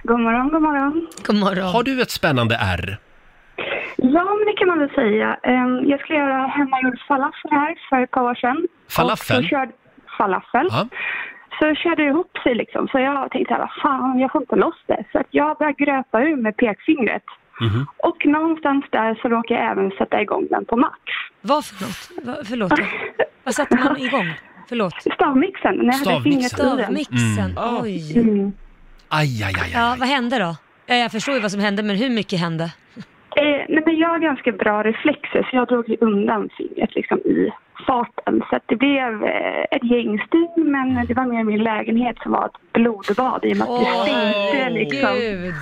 Speaker 12: God morgon, god morgon.
Speaker 4: God morgon.
Speaker 1: Har du ett spännande R?
Speaker 12: Ja, men det kan man väl säga. Ehm, Jag skulle göra hemmagjord falafel här för ett par år sedan.
Speaker 1: Falafel?
Speaker 12: Och så körde, falafel.
Speaker 1: Ja.
Speaker 12: Så körde det ihop sig liksom. Så jag tänkte alla, fan jag får inte loss det. Så att jag började gröpa ur med pekfingret.
Speaker 1: Mhm.
Speaker 12: Och någonstans där så råkade jag även sätta igång den på max.
Speaker 4: Vad för något? Vad, förlåt. Vad satte man igång? Förlåt.
Speaker 12: Stavmixen. När jag hade fingret i den.
Speaker 4: Stavmixen.
Speaker 12: Mm.
Speaker 4: Oj.
Speaker 12: Mm.
Speaker 1: Aj, aj, aj.
Speaker 4: Ja, vad hände då? Ja, jag förstår ju vad som hände, men hur mycket hände?
Speaker 12: Eh, nej, men jag har ganska bra reflexer så jag drog ju undan fingret liksom, i farten. Så att det blev eh, ett gäng stygn men det var mer min lägenhet som var ett blodbad i och med att det stänkte liksom.
Speaker 4: Gud.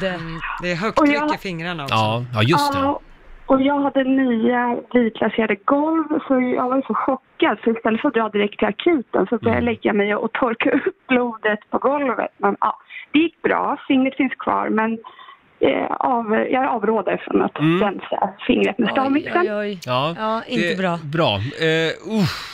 Speaker 2: Det är högt
Speaker 12: Och
Speaker 2: tryck
Speaker 12: jag-
Speaker 2: i fingrarna också.
Speaker 1: Ja, ja just det.
Speaker 12: Ja, och jag hade nya vitlaserade golv så jag var ju så chockad så istället för att dra direkt till akuten så
Speaker 1: Mm.
Speaker 12: började jag lägga mig och torka upp blodet på golvet. Men ja, det gick bra, fingret finns kvar men eh, av, jag avråder från att
Speaker 1: Mm.
Speaker 12: rensa fingret med stavmixen.
Speaker 1: Ja,
Speaker 4: Ja, inte
Speaker 1: det-
Speaker 4: bra.
Speaker 1: Bra. Eh, uff.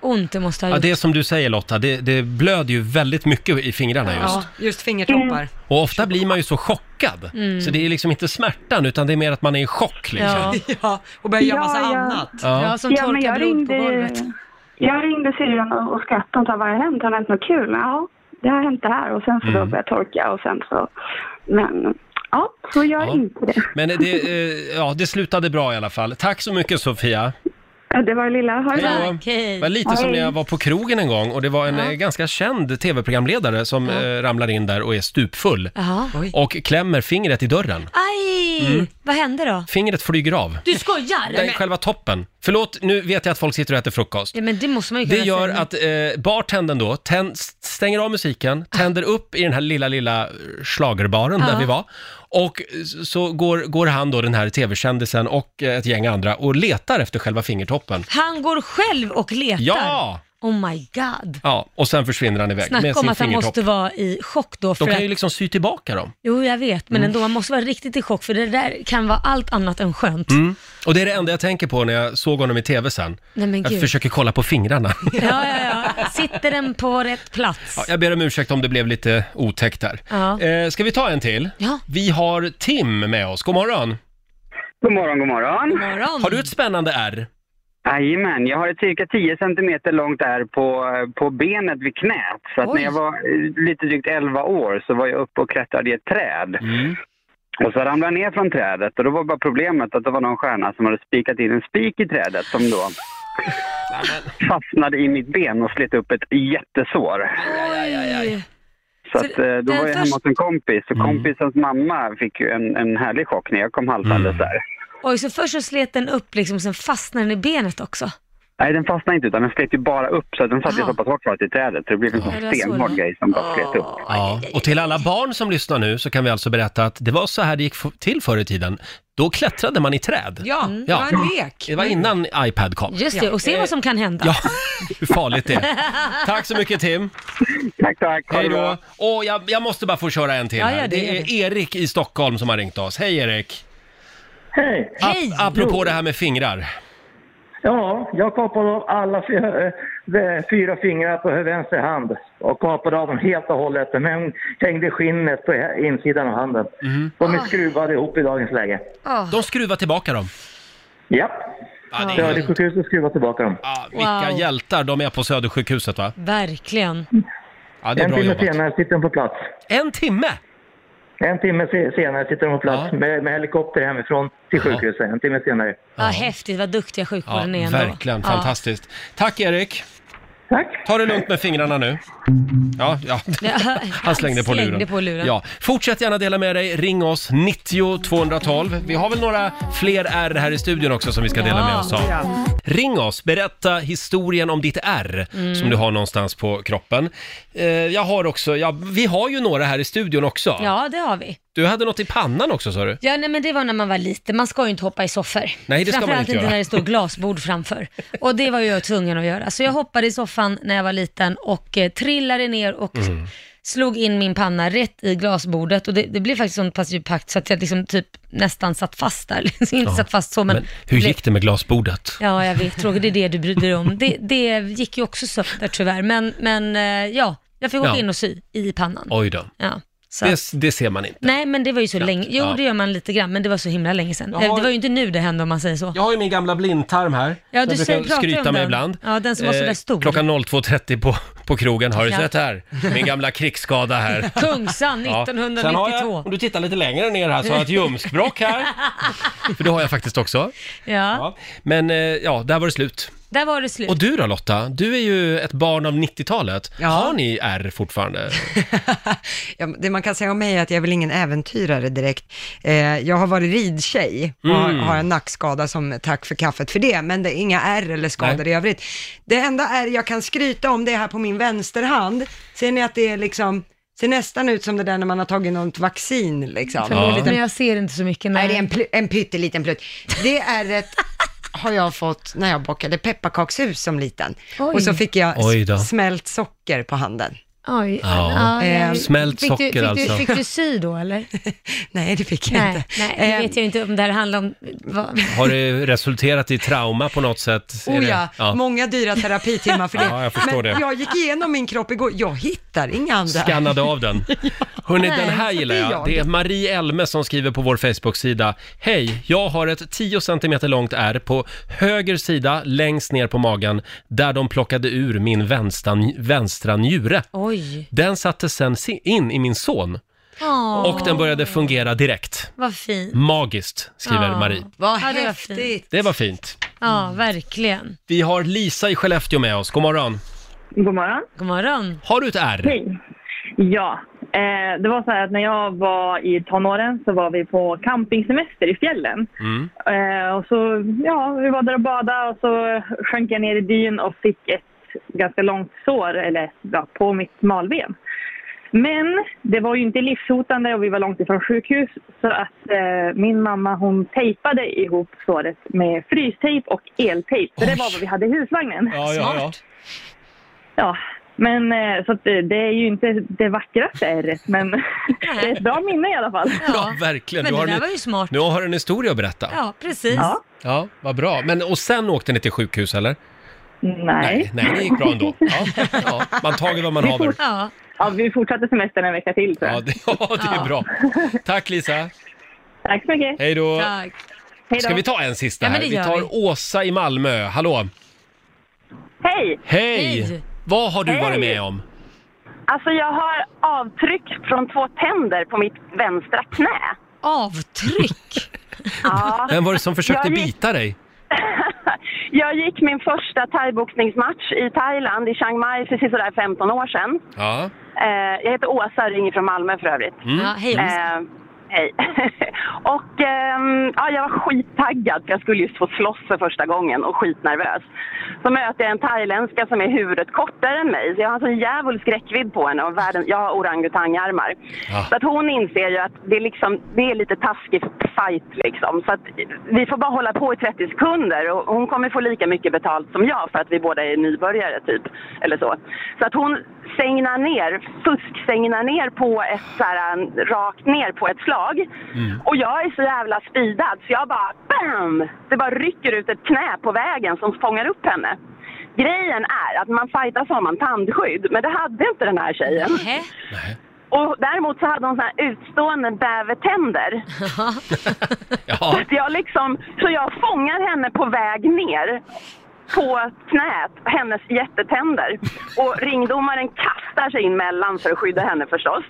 Speaker 4: Ont det måste ha
Speaker 1: Ja,
Speaker 4: gjort.
Speaker 1: det är som du säger Lotta, det, det blöder ju väldigt mycket i fingrarna just.
Speaker 2: Ja, just
Speaker 12: Mm.
Speaker 2: fingertoppar.
Speaker 1: Och ofta blir man ju så chockad,
Speaker 2: Mm.
Speaker 1: så det är liksom inte smärtan utan det är mer att man är i chock liksom.
Speaker 2: ja, och börjar göra massa
Speaker 12: Ja, ja.
Speaker 2: annat.
Speaker 1: Ja. Ja, som
Speaker 12: men
Speaker 4: torkar
Speaker 12: jag
Speaker 4: blod på
Speaker 12: ringde-
Speaker 4: golvet.
Speaker 12: Jag ringde syrran och, och skrattade och sa vad har hänt? Har det hänt något kul? Ja, det har hänt det här och sen så
Speaker 1: Mm.
Speaker 12: då började jag torka och sen så, men ja, så gör inte det.
Speaker 1: Men det, eh, ja, det slutade bra i alla fall. Tack så mycket Sofia.
Speaker 12: Ja, Det var det lilla. Ha det
Speaker 1: Hej
Speaker 12: bra.
Speaker 1: då. Det var lite som när jag var på krogen en gång och det var en eh, ganska känd tv-programledare som eh, ramlar in där och är stupfull.
Speaker 4: Jaha.
Speaker 1: Och klämmer fingret i dörren.
Speaker 4: Aj! Nej!
Speaker 1: Mm.
Speaker 4: Vad hände då?
Speaker 1: Fingret flyger av.
Speaker 4: Du skojar?
Speaker 1: Den själva toppen. Förlåt, nu vet jag att folk sitter och äter frukost.
Speaker 4: Ja, men det måste man ju
Speaker 1: Det
Speaker 4: kunna
Speaker 1: gör
Speaker 4: säga.
Speaker 1: att eh, bartendern då tän- stänger av musiken, tänder upp i den här lilla, lilla slagerbaren där
Speaker 4: Ja.
Speaker 1: vi var. Och s- så går, går han då, den här tv-kändisen och eh, ett gäng andra och letar efter själva fingertoppen.
Speaker 4: Han går själv och letar?
Speaker 1: Ja!
Speaker 4: Oh my god.
Speaker 1: Ja, och sen försvinner han iväg med
Speaker 4: Snacka om
Speaker 1: sin
Speaker 4: att han
Speaker 1: fingertopp.
Speaker 4: måste vara i chock då. För
Speaker 1: De kan
Speaker 4: att...
Speaker 1: ju liksom sy tillbaka dem.
Speaker 4: Jo, jag vet, men
Speaker 1: Mm.
Speaker 4: ändå, man måste vara riktigt i chock för det där kan vara allt annat än skönt.
Speaker 1: Mm. Och det är det enda jag tänker på när jag såg honom i tv sen.
Speaker 4: Nej, men
Speaker 1: jag
Speaker 4: gud.
Speaker 1: försöker kolla på fingrarna.
Speaker 4: Ja, ja, ja. Sitter den på rätt plats?
Speaker 1: Ja, jag ber om ursäkt om det blev lite otäckt där.
Speaker 4: Ja.
Speaker 1: Eh, ska vi ta en till? Vi har Tim med oss. God morgon.
Speaker 13: God morgon, god morgon. God
Speaker 4: morgon.
Speaker 1: Har du ett spännande R?
Speaker 13: Jajamän, jag har ett cirka 10 centimeter långt ärr på, på benet vid knät. Så att
Speaker 14: Oj.
Speaker 13: när jag var eh, lite drygt 11 år så var jag uppe och klättrade i ett träd. Och så ramlade jag ner från trädet och då var bara problemet att det var någon stjärna som hade spikat in en spik i trädet som då fastnade i mitt ben och slet upp ett jättesår.
Speaker 4: Oj.
Speaker 13: Så att, eh, då
Speaker 4: den
Speaker 13: var jag hemma hos en kompis och kompisens mamma fick ju en, en härlig chock när jag kom haltandes där.
Speaker 4: Oj, så först så slet den upp liksom, sen fastnade den i benet också.
Speaker 13: Nej, den fastnade inte utan den slet ju bara upp så att den satt ju
Speaker 4: Jaha.
Speaker 13: så pass hårt fast i trädet så det blev en
Speaker 4: Ja, det
Speaker 13: sån
Speaker 4: var så
Speaker 13: stenhård
Speaker 4: det var.
Speaker 13: grej som bara slet upp.
Speaker 1: Ja. Och till alla barn som lyssnar nu så kan vi alltså berätta att det var så här det gick f- till förr i tiden. Då klättrade man i träd.
Speaker 2: Ja, det var en lek.
Speaker 1: Det var innan iPad kom.
Speaker 4: Mm. Just det, och se vad som kan hända.
Speaker 1: Ja, hur farligt det är. Tack så mycket Tim.
Speaker 13: Tack, tack.
Speaker 1: Hej då. Och jag, jag måste bara få köra en till
Speaker 4: Ja,
Speaker 1: här.
Speaker 4: ja, det
Speaker 1: det
Speaker 4: gör
Speaker 1: är Erik i Stockholm som har ringt oss. Hej Erik!
Speaker 15: Hej!
Speaker 1: Ap- apropå det här med fingrar.
Speaker 15: Ja, jag kapade av alla fyra, eh, fyra fingrar på vänster hand och kapade av dem helt och hållet men hängde skinnet på insidan av handen.
Speaker 1: Mhm.
Speaker 15: De är skruvade ihop i dagens läge.
Speaker 4: Ah.
Speaker 1: De skruvar tillbaka dem.
Speaker 15: Japp.
Speaker 1: Ja, det är helt-
Speaker 15: Södersjukhuset skruvar tillbaka dem.
Speaker 1: Vilka
Speaker 4: Wow.
Speaker 1: hjältar de är på Södersjukhuset va?
Speaker 4: Verkligen.
Speaker 1: Ja, det är
Speaker 15: en
Speaker 1: bra
Speaker 15: timme
Speaker 1: jobbat.
Speaker 15: senare sitter de på plats.
Speaker 1: En timme?
Speaker 15: En timme se- senare sitter de på plats med, med helikopter hemifrån till sjukhuset. En timme senare.
Speaker 4: Vad häftigt, vad duktiga
Speaker 1: Ja,
Speaker 4: sjukvården är ändå.
Speaker 1: verkligen,
Speaker 4: Ja.
Speaker 1: fantastiskt. Tack Erik!
Speaker 15: Tack!
Speaker 1: Ta det lugnt med fingrarna nu. Ja, ja.
Speaker 4: Ja,
Speaker 1: Han slängde på luren.
Speaker 4: Slängde på luren.
Speaker 1: Ja. Fortsätt gärna dela med dig. Ring oss, 90 212. Vi har väl några fler R här i studion också som vi ska dela
Speaker 3: Ja,
Speaker 1: med oss av.
Speaker 3: ja.
Speaker 1: Ring oss, berätta historien om ditt R
Speaker 3: Mm.
Speaker 1: som du har någonstans på kroppen. Eh, jag har också, ja, vi har ju några här i studion också.
Speaker 4: Ja, det har vi.
Speaker 1: Du hade något i pannan också sa du?
Speaker 4: Ja, nej, men det var när man var liten. Man ska ju inte hoppa i soffor.
Speaker 1: Nej, det ska man
Speaker 4: Framförallt
Speaker 1: inte
Speaker 4: inte
Speaker 1: göra.
Speaker 4: när det står glasbord framför. Och det var jag tvungen att göra. Så jag hoppade i soffan när jag var liten och eh, trillade ner och
Speaker 3: Mm.
Speaker 4: slog in min panna rätt i glasbordet. Och det, det blev faktiskt sånt pass djup pakt så att jag liksom typ nästan satt fast där. Liksom, inte
Speaker 1: Ja.
Speaker 4: satt fast så, men...
Speaker 1: Men hur gick det med glasbordet?
Speaker 4: Ja, jag vet. Roger, det är det du bryr dig om. Det, det gick ju också sönder tyvärr. Men, men eh, ja, jag fick åka
Speaker 1: Ja.
Speaker 4: in och sy i pannan.
Speaker 1: Oj då.
Speaker 4: Ja, så.
Speaker 1: Det, det ser man inte.
Speaker 4: Nej, men det var ju så länge. Jo,
Speaker 1: Ja.
Speaker 4: det gör man lite grann, men det var så himla länge sedan. Eh,
Speaker 1: Jag har-
Speaker 4: Det var ju inte nu det hände om man säger så.
Speaker 1: Jag har ju min gamla blindtarm här.
Speaker 4: Ja,
Speaker 1: som
Speaker 4: du
Speaker 1: jag
Speaker 4: säger,
Speaker 1: brukar
Speaker 4: pratar
Speaker 1: skryta
Speaker 4: om
Speaker 1: med
Speaker 4: den.
Speaker 1: ibland. Eh,
Speaker 4: Ja, den som var så där stor.
Speaker 1: Klockan 02.30 på, på krogen. Har du
Speaker 4: Ja.
Speaker 1: sett här? Min gamla krigsskada här.
Speaker 4: Kungsan
Speaker 1: Ja.
Speaker 4: 1992.
Speaker 1: Sen har jag, om du tittar lite längre ner här så har jag ett ljumskbråck här. För det har jag faktiskt också.
Speaker 4: Ja.
Speaker 1: Men eh, ja, där var det slut.
Speaker 4: där var det slut.
Speaker 1: Och du då Lotta? Du är ju ett barn av 90-talet. Har ni R fortfarande?
Speaker 2: Ja, det man kan säga om mig är att jag är väl ingen äventyrare direkt. Eh, jag har varit ridtjej och har,
Speaker 16: Mm.
Speaker 2: har en nackskada som tack för kaffet för det, men det är inga ärr eller skador
Speaker 16: Nej.
Speaker 2: i övrigt. Det enda ärr jag kan skryta om det är här på min vänsterhand. Ser ni att det är liksom, ser nästan ut som det där när man har tagit något vaccin liksom.
Speaker 4: Förmodligen, men jag ser inte så mycket. Nej,
Speaker 2: det är en, pl- en pytteliten plutt. Det ärret har jag fått när jag bakade pepparkakshus som liten. Och så fick jag
Speaker 1: Oj då.
Speaker 2: s- smält socker på handen.
Speaker 4: Oj.
Speaker 1: Ja. Eh,
Speaker 4: ja, ja.
Speaker 2: Ehm,
Speaker 4: fick
Speaker 1: Smält
Speaker 4: du,
Speaker 1: socker
Speaker 4: fick du,
Speaker 1: alltså.
Speaker 4: Fick du sy då eller?
Speaker 2: Nej, det fick jag
Speaker 4: nej,
Speaker 2: inte.
Speaker 4: nej, det
Speaker 2: Ehm,
Speaker 4: vet jag inte om det här handlar om... Vad?
Speaker 1: Har det resulterat i trauma på något sätt? Är
Speaker 2: Oh
Speaker 1: det-
Speaker 2: ja, många dyra terapitimmar för det.
Speaker 1: Ja, jag förstår
Speaker 2: Men
Speaker 1: det.
Speaker 2: jag gick igenom min kropp igår, jag hittar inga andra.
Speaker 1: Skannade av den. Hörrni,
Speaker 2: Nej,
Speaker 1: den här
Speaker 4: alltså,
Speaker 2: så
Speaker 1: gillar
Speaker 2: det är
Speaker 1: jag.
Speaker 2: jag.
Speaker 1: Det är Marie Elme som skriver på vår Facebook-sida. Hej, jag har ett 10 cm långt ärr på höger sida längst ner på magen där de plockade ur min vänstra, vänstra njure.
Speaker 4: Oj.
Speaker 1: Den sattes sen si- in i min son
Speaker 4: Åh,
Speaker 1: och den började fungera direkt.
Speaker 4: Vad fint.
Speaker 1: Magiskt, skriver
Speaker 4: Ja.
Speaker 1: Marie.
Speaker 2: Vad
Speaker 4: Ja, det var
Speaker 2: häftigt.
Speaker 4: fint.
Speaker 1: Det var fint.
Speaker 4: Ja, verkligen.
Speaker 1: Vi har Lisa i Skellefteå med oss. God morgon.
Speaker 17: God morgon.
Speaker 4: God morgon.
Speaker 1: Har du ett ärr?
Speaker 17: Hej. Ja,
Speaker 14: Eh, det var så här att när jag var i tonåren så var vi på campingsemester i fjällen.
Speaker 3: Mm.
Speaker 14: Eh, och så, ja, vi var där och badade och så sjönk jag ner i dyn och fick ett ganska långt sår eller, ja, på mitt malben. Men det var ju inte livshotande och vi var långt ifrån sjukhus så att eh, min mamma hon tejpade ihop såret med frystejp och eltejp. För det var vad vi hade i husvagnen. Ja, men eh, så att det, det är ju inte det vackraste ärret, men det är ett bra minne i alla fall.
Speaker 1: Ja, verkligen.
Speaker 4: Men
Speaker 1: Du
Speaker 4: det
Speaker 1: har
Speaker 4: där
Speaker 1: en-
Speaker 4: var ju smart.
Speaker 1: Nu har du en historia att berätta.
Speaker 4: Ja, precis.
Speaker 14: Ja.
Speaker 1: Ja, vad bra. Men, och sen åkte ni till sjukhus eller?
Speaker 14: Nej.
Speaker 1: Nej, det gick bra ändå. Ja, ja. Man tager vad man
Speaker 14: Vi
Speaker 1: haver.
Speaker 14: fort- Ja, vi fortsatte semestern en vecka till. Så.
Speaker 1: Ja, det, ja, det är bra. Tack Lisa.
Speaker 14: Tack så mycket.
Speaker 1: Hej då.
Speaker 4: Tack.
Speaker 1: Ska vi ta en sista
Speaker 4: Ja,
Speaker 1: här?
Speaker 4: men det
Speaker 1: Vi
Speaker 4: gör
Speaker 1: tar
Speaker 4: vi.
Speaker 1: Åsa i Malmö. Hallå!
Speaker 16: Hej!
Speaker 1: Hej! Vad har du varit med om?
Speaker 16: Alltså jag har avtryck från två tänder på mitt vänstra knä.
Speaker 4: Avtryck?
Speaker 16: ja.
Speaker 1: Vem var det som försökte
Speaker 16: jag gick,
Speaker 1: bita dig?
Speaker 16: Jag gick min första thaiboxningsmatch i Thailand, i Chiang Mai, för sådär 15 år sedan.
Speaker 1: Ja.
Speaker 16: Eh, jag heter Åsa och ringer från Malmö för övrigt.
Speaker 1: Mm. Ja, hej, Åsa.
Speaker 16: Eh, hej. och ehm, ja, jag var skittaggad för jag skulle just få slåss för första gången och skitnervös. Så möter jag en thailändska som är huvudet kortare än mig så jag har en sån djävulsk räckvidd på henne och världen, jag har orangutangarmar.
Speaker 3: Ah.
Speaker 16: Så att hon inser ju att det är, liksom, det är lite taskig fight liksom. Så att vi får bara hålla på i 30 sekunder och hon kommer få lika mycket betalt som jag för att vi båda är nybörjare typ. Eller så. Så att hon sängnar ner, fusk-sängnar ner på ett så här, rakt ner på ett slag. Och jag är så jävla speedad så jag bara BAM! Det bara rycker ut ett knä på vägen som fångar upp henne. Grejen är att man fightas har man tandskydd, men det hade inte den här tjejen. Och däremot så hade hon såna här utstående bävertänder. Så, att jag liksom, så jag fångar henne på väg ner på knät, hennes jättetänder. Och ringdomaren kastar sig in mellan för att skydda henne förstås.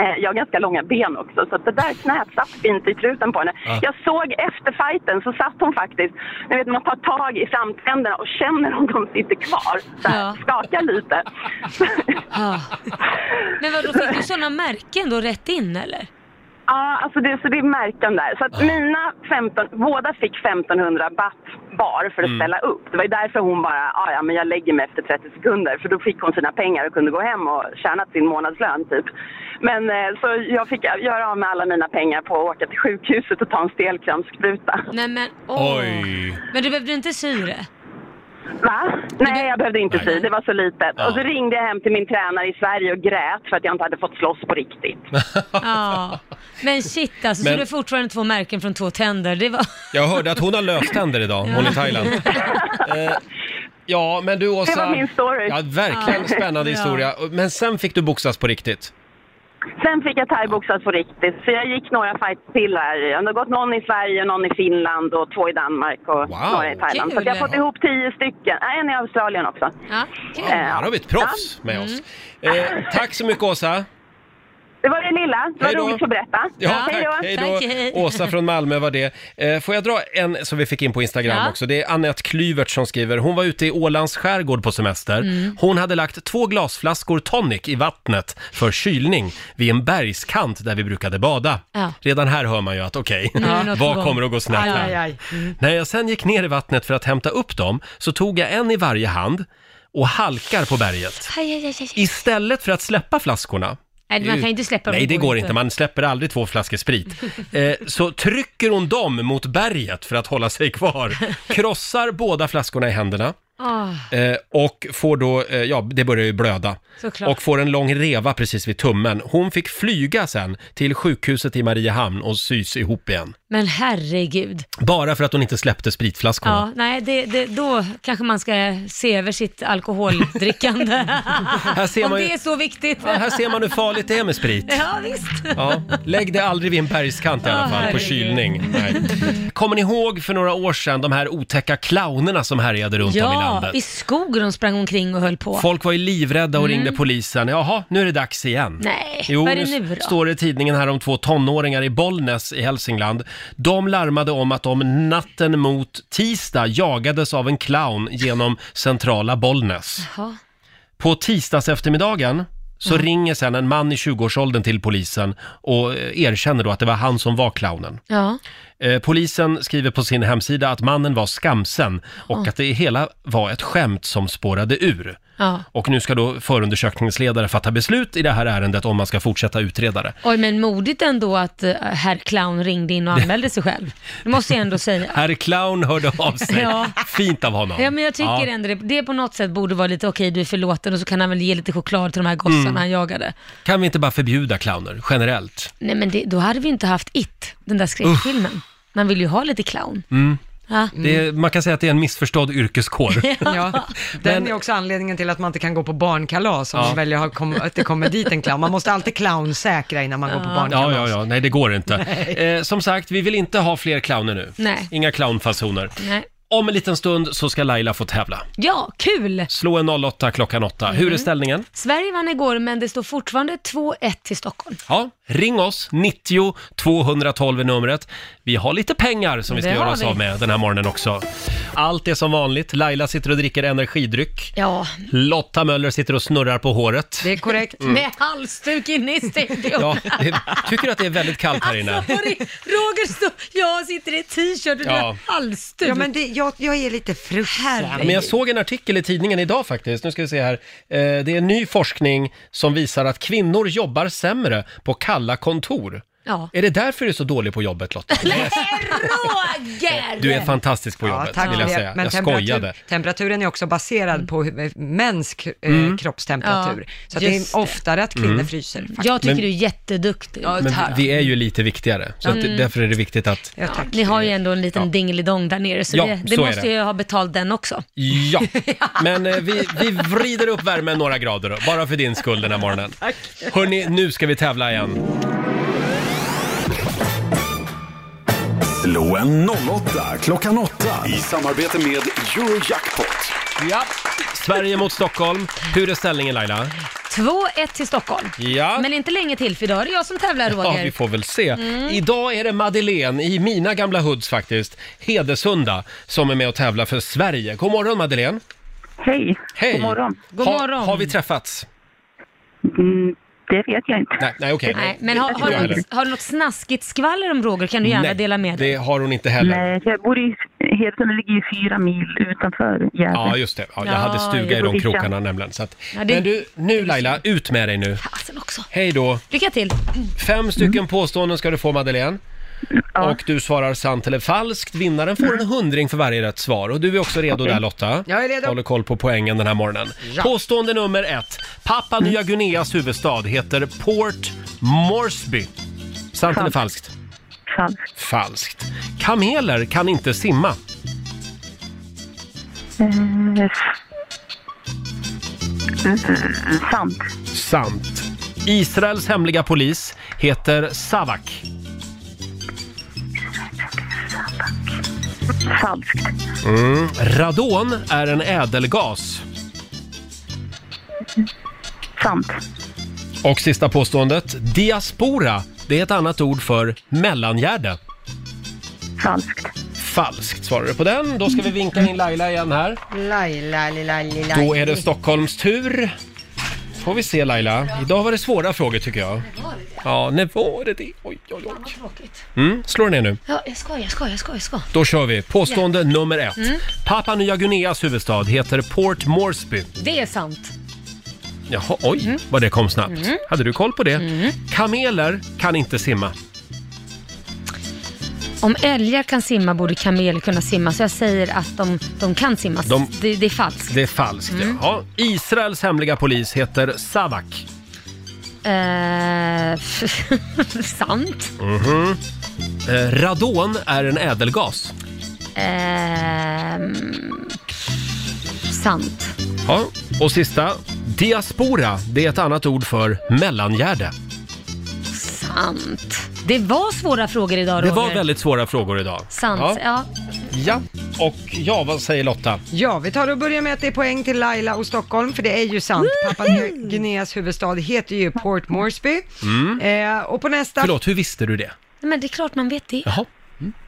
Speaker 16: Eh, Jag har ganska långa ben också, så att det där knät satt fint i truten på henne.
Speaker 3: Ja.
Speaker 16: Jag såg efter fighten så satt hon faktiskt, ni vet man tar tag i framtänderna och känner om de sitter kvar. Så här, Skakar lite.
Speaker 4: Men vadå, fick du sådana märken då rätt in eller?
Speaker 16: Ja, alltså det, så det är märken där. Så att mina 15, båda fick 1500 baht var för att
Speaker 3: Mm.
Speaker 16: ställa upp. Det var ju därför hon bara, "Ah, ja men jag lägger mig efter 30 sekunder. För då fick hon sina pengar och kunde gå hem och tjäna sin månadslön typ. Men eh, så jag fick göra av med alla mina pengar på att åka till sjukhuset och ta en stelkrampsspruta.
Speaker 4: Nej men åh.
Speaker 1: Oj!
Speaker 4: Men du behövde inte syre?
Speaker 16: Va? Nej, jag behövde inte sy. Det var så litet.
Speaker 4: Ja.
Speaker 16: Och så ringde jag hem till min tränare i Sverige och grät för att jag inte hade fått slåss på riktigt.
Speaker 4: Ja. Men shit alltså, så
Speaker 1: Men-
Speaker 4: du har fortfarande två märken från två tänder. Det var...
Speaker 1: Jag hörde att hon har löständer idag, hon i Thailand. Eh, Ja, men du Åsa.
Speaker 16: var min story.
Speaker 1: Ja, verkligen
Speaker 16: Ja.
Speaker 1: spännande
Speaker 16: Ja.
Speaker 1: historia. Men sen fick du boxas på riktigt.
Speaker 16: Sen fick jag thaiboxas på riktigt, så jag gick några fights till här. Jag har gått någon i Sverige, någon i Finland och två i Danmark och några i Thailand. Så att jag har fått
Speaker 1: Kul.
Speaker 16: ihop tio stycken. Nej, en i Australien också. Eh,
Speaker 4: Ja,
Speaker 1: Här har vi ett proffs med oss. Eh, tack så mycket Åsa.
Speaker 16: Det var det lilla. Det var
Speaker 1: Hej då.
Speaker 16: roligt att få berätta.
Speaker 1: Ja, tack. Hej då. Åsa från Malmö var det. Eh, Får jag dra en som vi fick in på Instagram
Speaker 3: Ja.
Speaker 1: också? Det är Annette Klyvert som skriver. Hon var ute i Ålands skärgård på semester.
Speaker 3: Mm.
Speaker 1: Hon hade lagt två glasflaskor tonic i vattnet för kylning vid en bergskant där vi brukade bada.
Speaker 3: Ja.
Speaker 1: Redan här hör man ju att okej,
Speaker 3: Nu är det något på
Speaker 1: vad
Speaker 3: gång.
Speaker 1: kommer att gå snett
Speaker 3: Aj,
Speaker 1: här?
Speaker 3: aj, aj. Mm.
Speaker 1: När jag sen gick ner i vattnet för att hämta upp dem så tog jag en i varje hand och halkar på berget.
Speaker 4: Aj, aj, aj, aj.
Speaker 1: Istället för att släppa flaskorna.
Speaker 4: Nej, man kan ju inte släppa dem,
Speaker 1: Nej,
Speaker 4: det
Speaker 1: det
Speaker 4: går
Speaker 1: går
Speaker 4: inte.
Speaker 1: inte. Man släpper aldrig två flaskor sprit. Eh, så trycker hon dem mot berget för att hålla sig kvar. Krossar båda flaskorna i händerna.
Speaker 4: Ah,
Speaker 1: Eh, och får då, eh, ja det börjar ju blöda.
Speaker 4: Såklart.
Speaker 1: Och får en lång reva precis vid tummen. Hon fick flyga sen till sjukhuset i Mariehamn och sys ihop igen.
Speaker 4: men herregud.
Speaker 1: Bara för att hon inte släppte spritflaskorna.
Speaker 4: Ja, nej, det, det, då kanske man ska se över sitt alkoholdrickande. här
Speaker 1: ser
Speaker 4: Om
Speaker 1: man ju-
Speaker 4: det är så viktigt.
Speaker 1: Ja, här ser man hur farligt det är med sprit.
Speaker 4: Ja, visst.
Speaker 1: Ja, lägg det aldrig vid en bergskant i alla
Speaker 4: Ja,
Speaker 1: fall, på
Speaker 4: herregud.
Speaker 1: kylning. Nej. Kommer ni ihåg för några år sedan de här otäcka clownerna som härjade runt om i
Speaker 4: Ja,
Speaker 1: landet?
Speaker 4: i skogen de sprang omkring och höll på.
Speaker 1: Folk var ju livrädda och
Speaker 4: Mm.
Speaker 1: ringde polisen. Jaha, nu är det dags igen.
Speaker 4: Nej,
Speaker 1: jo,
Speaker 4: vad är det nu då?
Speaker 1: står det i tidningen här om två tonåringar i Bollnäs i Hälsingland. De larmade om att de natten mot tisdag jagades av en clown genom centrala Bollnäs.
Speaker 4: Jaha.
Speaker 1: På tisdags eftermiddagen Så
Speaker 4: Mm.
Speaker 1: ringer sen en man i 20-årsåldern till polisen och eh, erkänner då att det var han som var clownen.
Speaker 4: Ja.
Speaker 1: Eh, Polisen skriver på sin hemsida att mannen var skamsen och
Speaker 4: Ja.
Speaker 1: att det hela var ett skämt som spårade ur.
Speaker 4: ja.
Speaker 1: Och nu ska då förundersökningsledare fatta beslut i det här ärendet om man ska fortsätta utreda det.
Speaker 4: Oj, men modigt ändå att eh, herr Clown ringde in och anmälde sig själv. Det måste jag ändå säga.
Speaker 1: Herr Clown hörde av sig.
Speaker 4: Ja.
Speaker 1: Fint av honom.
Speaker 4: Ja, men jag tycker
Speaker 1: Ja.
Speaker 4: ändå det. Det på något sätt borde vara lite, okej, du är förlåten och så kan han väl ge lite choklad till de här gossarna
Speaker 1: Mm.
Speaker 4: han jagade.
Speaker 1: Kan vi inte bara förbjuda clowner generellt?
Speaker 4: Nej, men det, då hade vi inte haft It, den där skräckfilmen. Man vill ju ha lite clown.
Speaker 1: Mm.
Speaker 4: Ja. Mm.
Speaker 1: Det är, man kan säga att det är en missförstådd yrkeskår.
Speaker 2: Ja, den är också anledningen till att man inte kan gå på barnkalas om
Speaker 1: Ja.
Speaker 2: man väljer att ha kom- att det kommer dit en clown. Man måste alltid clownsäkra innan man går på barnkalas.
Speaker 1: Ja, ja, ja. Nej, det går inte.
Speaker 2: Nej.
Speaker 1: Eh, som sagt, vi vill inte ha fler clowner nu.
Speaker 4: Nej.
Speaker 1: Inga clownfasoner.
Speaker 4: Nej.
Speaker 1: Om en liten stund så ska Laila få tävla.
Speaker 4: Ja, kul!
Speaker 1: Slå en 08 klockan 8. Hur är
Speaker 4: Mm.
Speaker 1: ställningen?
Speaker 4: Sverige vann igår, men det står fortfarande 2-1 till Stockholm.
Speaker 1: Ja, ring oss. 90 212 är numret. Vi har lite pengar som vi ska
Speaker 4: Det
Speaker 1: göra
Speaker 4: har
Speaker 1: oss
Speaker 4: vi.
Speaker 1: av med den här morgonen också. Allt är som vanligt. Laila sitter och dricker energidryck.
Speaker 4: Ja,
Speaker 1: Lotta Möller sitter och snurrar på håret.
Speaker 2: Det är korrekt.
Speaker 1: Mm.
Speaker 4: med halsduk inne i Alltså, studion.
Speaker 1: Ja, det, tycker att det är väldigt kallt här inne?
Speaker 4: Sorry, Roger, stå, jag sitter i t-shirt och du
Speaker 1: Ja.
Speaker 4: har halsduk.
Speaker 2: Ja, men det, jag, jag är lite frusen.
Speaker 1: Men jag såg en artikel i tidningen idag faktiskt, nu ska vi se här. Eh, Det är ny forskning som visar att kvinnor jobbar sämre på kalla kontor.
Speaker 4: Ja.
Speaker 1: Är det därför du är så dålig på jobbet Lotta?
Speaker 4: Roger!
Speaker 1: Du är fantastisk på jobbet, vill jag säga.
Speaker 2: Men
Speaker 1: jag
Speaker 2: temperatur-
Speaker 1: skojade.
Speaker 2: Temperaturen är också baserad på hur- mäns k- eh,
Speaker 1: Mm.
Speaker 2: kroppstemperatur.
Speaker 4: Ja,
Speaker 2: Så att det
Speaker 4: just
Speaker 2: är
Speaker 4: det.
Speaker 2: oftare att kvinnor
Speaker 1: Mm.
Speaker 2: fryser. Faktiskt.
Speaker 4: Jag tycker
Speaker 1: Men-
Speaker 4: du är jätteduktig.
Speaker 1: Men vi är ju lite viktigare, så att
Speaker 4: Mm.
Speaker 1: därför är det viktigt att...
Speaker 4: Ja, Ni har ju ändå en liten
Speaker 1: Ja.
Speaker 4: dingelidong där nere, så
Speaker 1: Ja,
Speaker 4: det, det
Speaker 1: så är
Speaker 4: måste
Speaker 1: det.
Speaker 4: ju ha betalt den också.
Speaker 1: Ja, men eh, vi, vi vrider upp värmen några grader då, bara för din skull den här morgonen. Hörni, nu ska vi tävla igen.
Speaker 17: Slå en 08 klockan 8 i samarbete med Eurojackpot.
Speaker 1: Ja. Sverige mot Stockholm. Hur är ställningen Laila?
Speaker 4: 2-1 till Stockholm.
Speaker 1: Ja.
Speaker 4: Men inte länge till, för idag är det jag som tävlar,
Speaker 1: Ja,
Speaker 4: Roger.
Speaker 1: vi får väl se.
Speaker 4: Mm.
Speaker 1: Idag är det Madeleine i mina gamla hoods faktiskt, Hedesunda, som är med och tävlar för Sverige. God morgon Madeleine!
Speaker 18: Hej!
Speaker 1: Hej!
Speaker 18: God morgon. God
Speaker 1: ha,
Speaker 18: morgon.
Speaker 1: Har vi träffats?
Speaker 18: Mm, det vet jag inte.
Speaker 1: Nej, nej okej.
Speaker 4: Nej, men har, har,
Speaker 1: Jag
Speaker 4: du
Speaker 1: heller.
Speaker 4: något, har du något snaskigt skvaller om Roger kan du gärna
Speaker 1: Nej,
Speaker 4: dela med dig.
Speaker 1: Det har hon inte heller.
Speaker 18: Nej, jag bor i Hedesunda ligger ju fyra mil utanför Gävle.
Speaker 1: Ja, just det. Ja, jag
Speaker 18: Ja,
Speaker 1: hade stuga i
Speaker 18: jag bor
Speaker 1: de
Speaker 18: i Kisa.
Speaker 1: krokarna nämligen. Så att,
Speaker 4: Ja, det-
Speaker 1: Men du, nu Laila, ut med dig nu. Hej då.
Speaker 4: Lycka till!
Speaker 1: Fem stycken
Speaker 2: Mm.
Speaker 1: påståenden ska du få Madeleine. Och du svarar sant eller falskt. Vinnaren får en hundring för varje rätt svar. Och du är också redo
Speaker 2: Okej.
Speaker 1: där Lotta.
Speaker 2: Jag är redo.
Speaker 1: Håller koll på poängen den här morgonen. Påstående nummer ett. Papua
Speaker 2: Mm.
Speaker 1: Nya Guineas huvudstad heter Port Moresby. Sant eller falskt?
Speaker 18: Falskt.
Speaker 1: Falskt. Kameler kan inte simma.
Speaker 18: Eh, Sant.
Speaker 1: Sant. Israels hemliga polis heter Savak.
Speaker 18: Falskt.
Speaker 1: Mm. Radon är en ädelgas.
Speaker 18: Sant.
Speaker 1: Och sista påståendet. Diaspora, det är ett annat ord för mellangärde.
Speaker 18: Falskt.
Speaker 1: Falskt svarar du på den. Då ska vi vinka in Laila igen här.
Speaker 2: Laila, lila, lila.
Speaker 1: Då är det Stockholms tur. Får vi se Laila. Idag var det svåra frågor tycker jag. Ja, när var det det? Oj, oj, oj. Mm, slår ner nu.
Speaker 4: Ja, jag ska, jag ska, jag ska, jag ska.
Speaker 1: Då kör vi. Påstående nummer ett.
Speaker 4: Mm.
Speaker 1: Papua Nya Guineas huvudstad heter Port Moresby.
Speaker 4: Det är sant.
Speaker 1: Jaha, oj, vad det kom snabbt.
Speaker 4: Mm.
Speaker 1: Hade du koll på det? Kameler kan inte simma.
Speaker 4: Om älgar kan simma borde kameler kunna simma, så jag säger att de, de kan simma.
Speaker 1: De-
Speaker 4: Det, det är falskt.
Speaker 1: Det är falskt.
Speaker 4: Mm.
Speaker 1: Jaha. Israels hemliga polis heter Savak.
Speaker 4: Eh, sant.
Speaker 1: Mhm. Eh, radon är en ädelgas.
Speaker 4: Ehm, sant.
Speaker 1: Ja. Och sista. Diaspora, det är ett annat ord för mellangärde.
Speaker 4: Sant. Det var svåra frågor idag, Roger.
Speaker 1: Det var väldigt svåra frågor idag.
Speaker 4: Sant,
Speaker 1: Ja.
Speaker 4: ja.
Speaker 1: ja. Och ja, vad säger Lotta?
Speaker 2: Ja, vi tar och börjar med att det är poäng till Laila och Stockholm, för det är ju sant. Papua Nya Guineas huvudstad heter ju Port Moresby.
Speaker 1: Mm.
Speaker 2: Eh, och på nästa...
Speaker 1: Förlåt, hur visste du det?
Speaker 4: Nej, men det är klart man vet det.
Speaker 1: Jaha.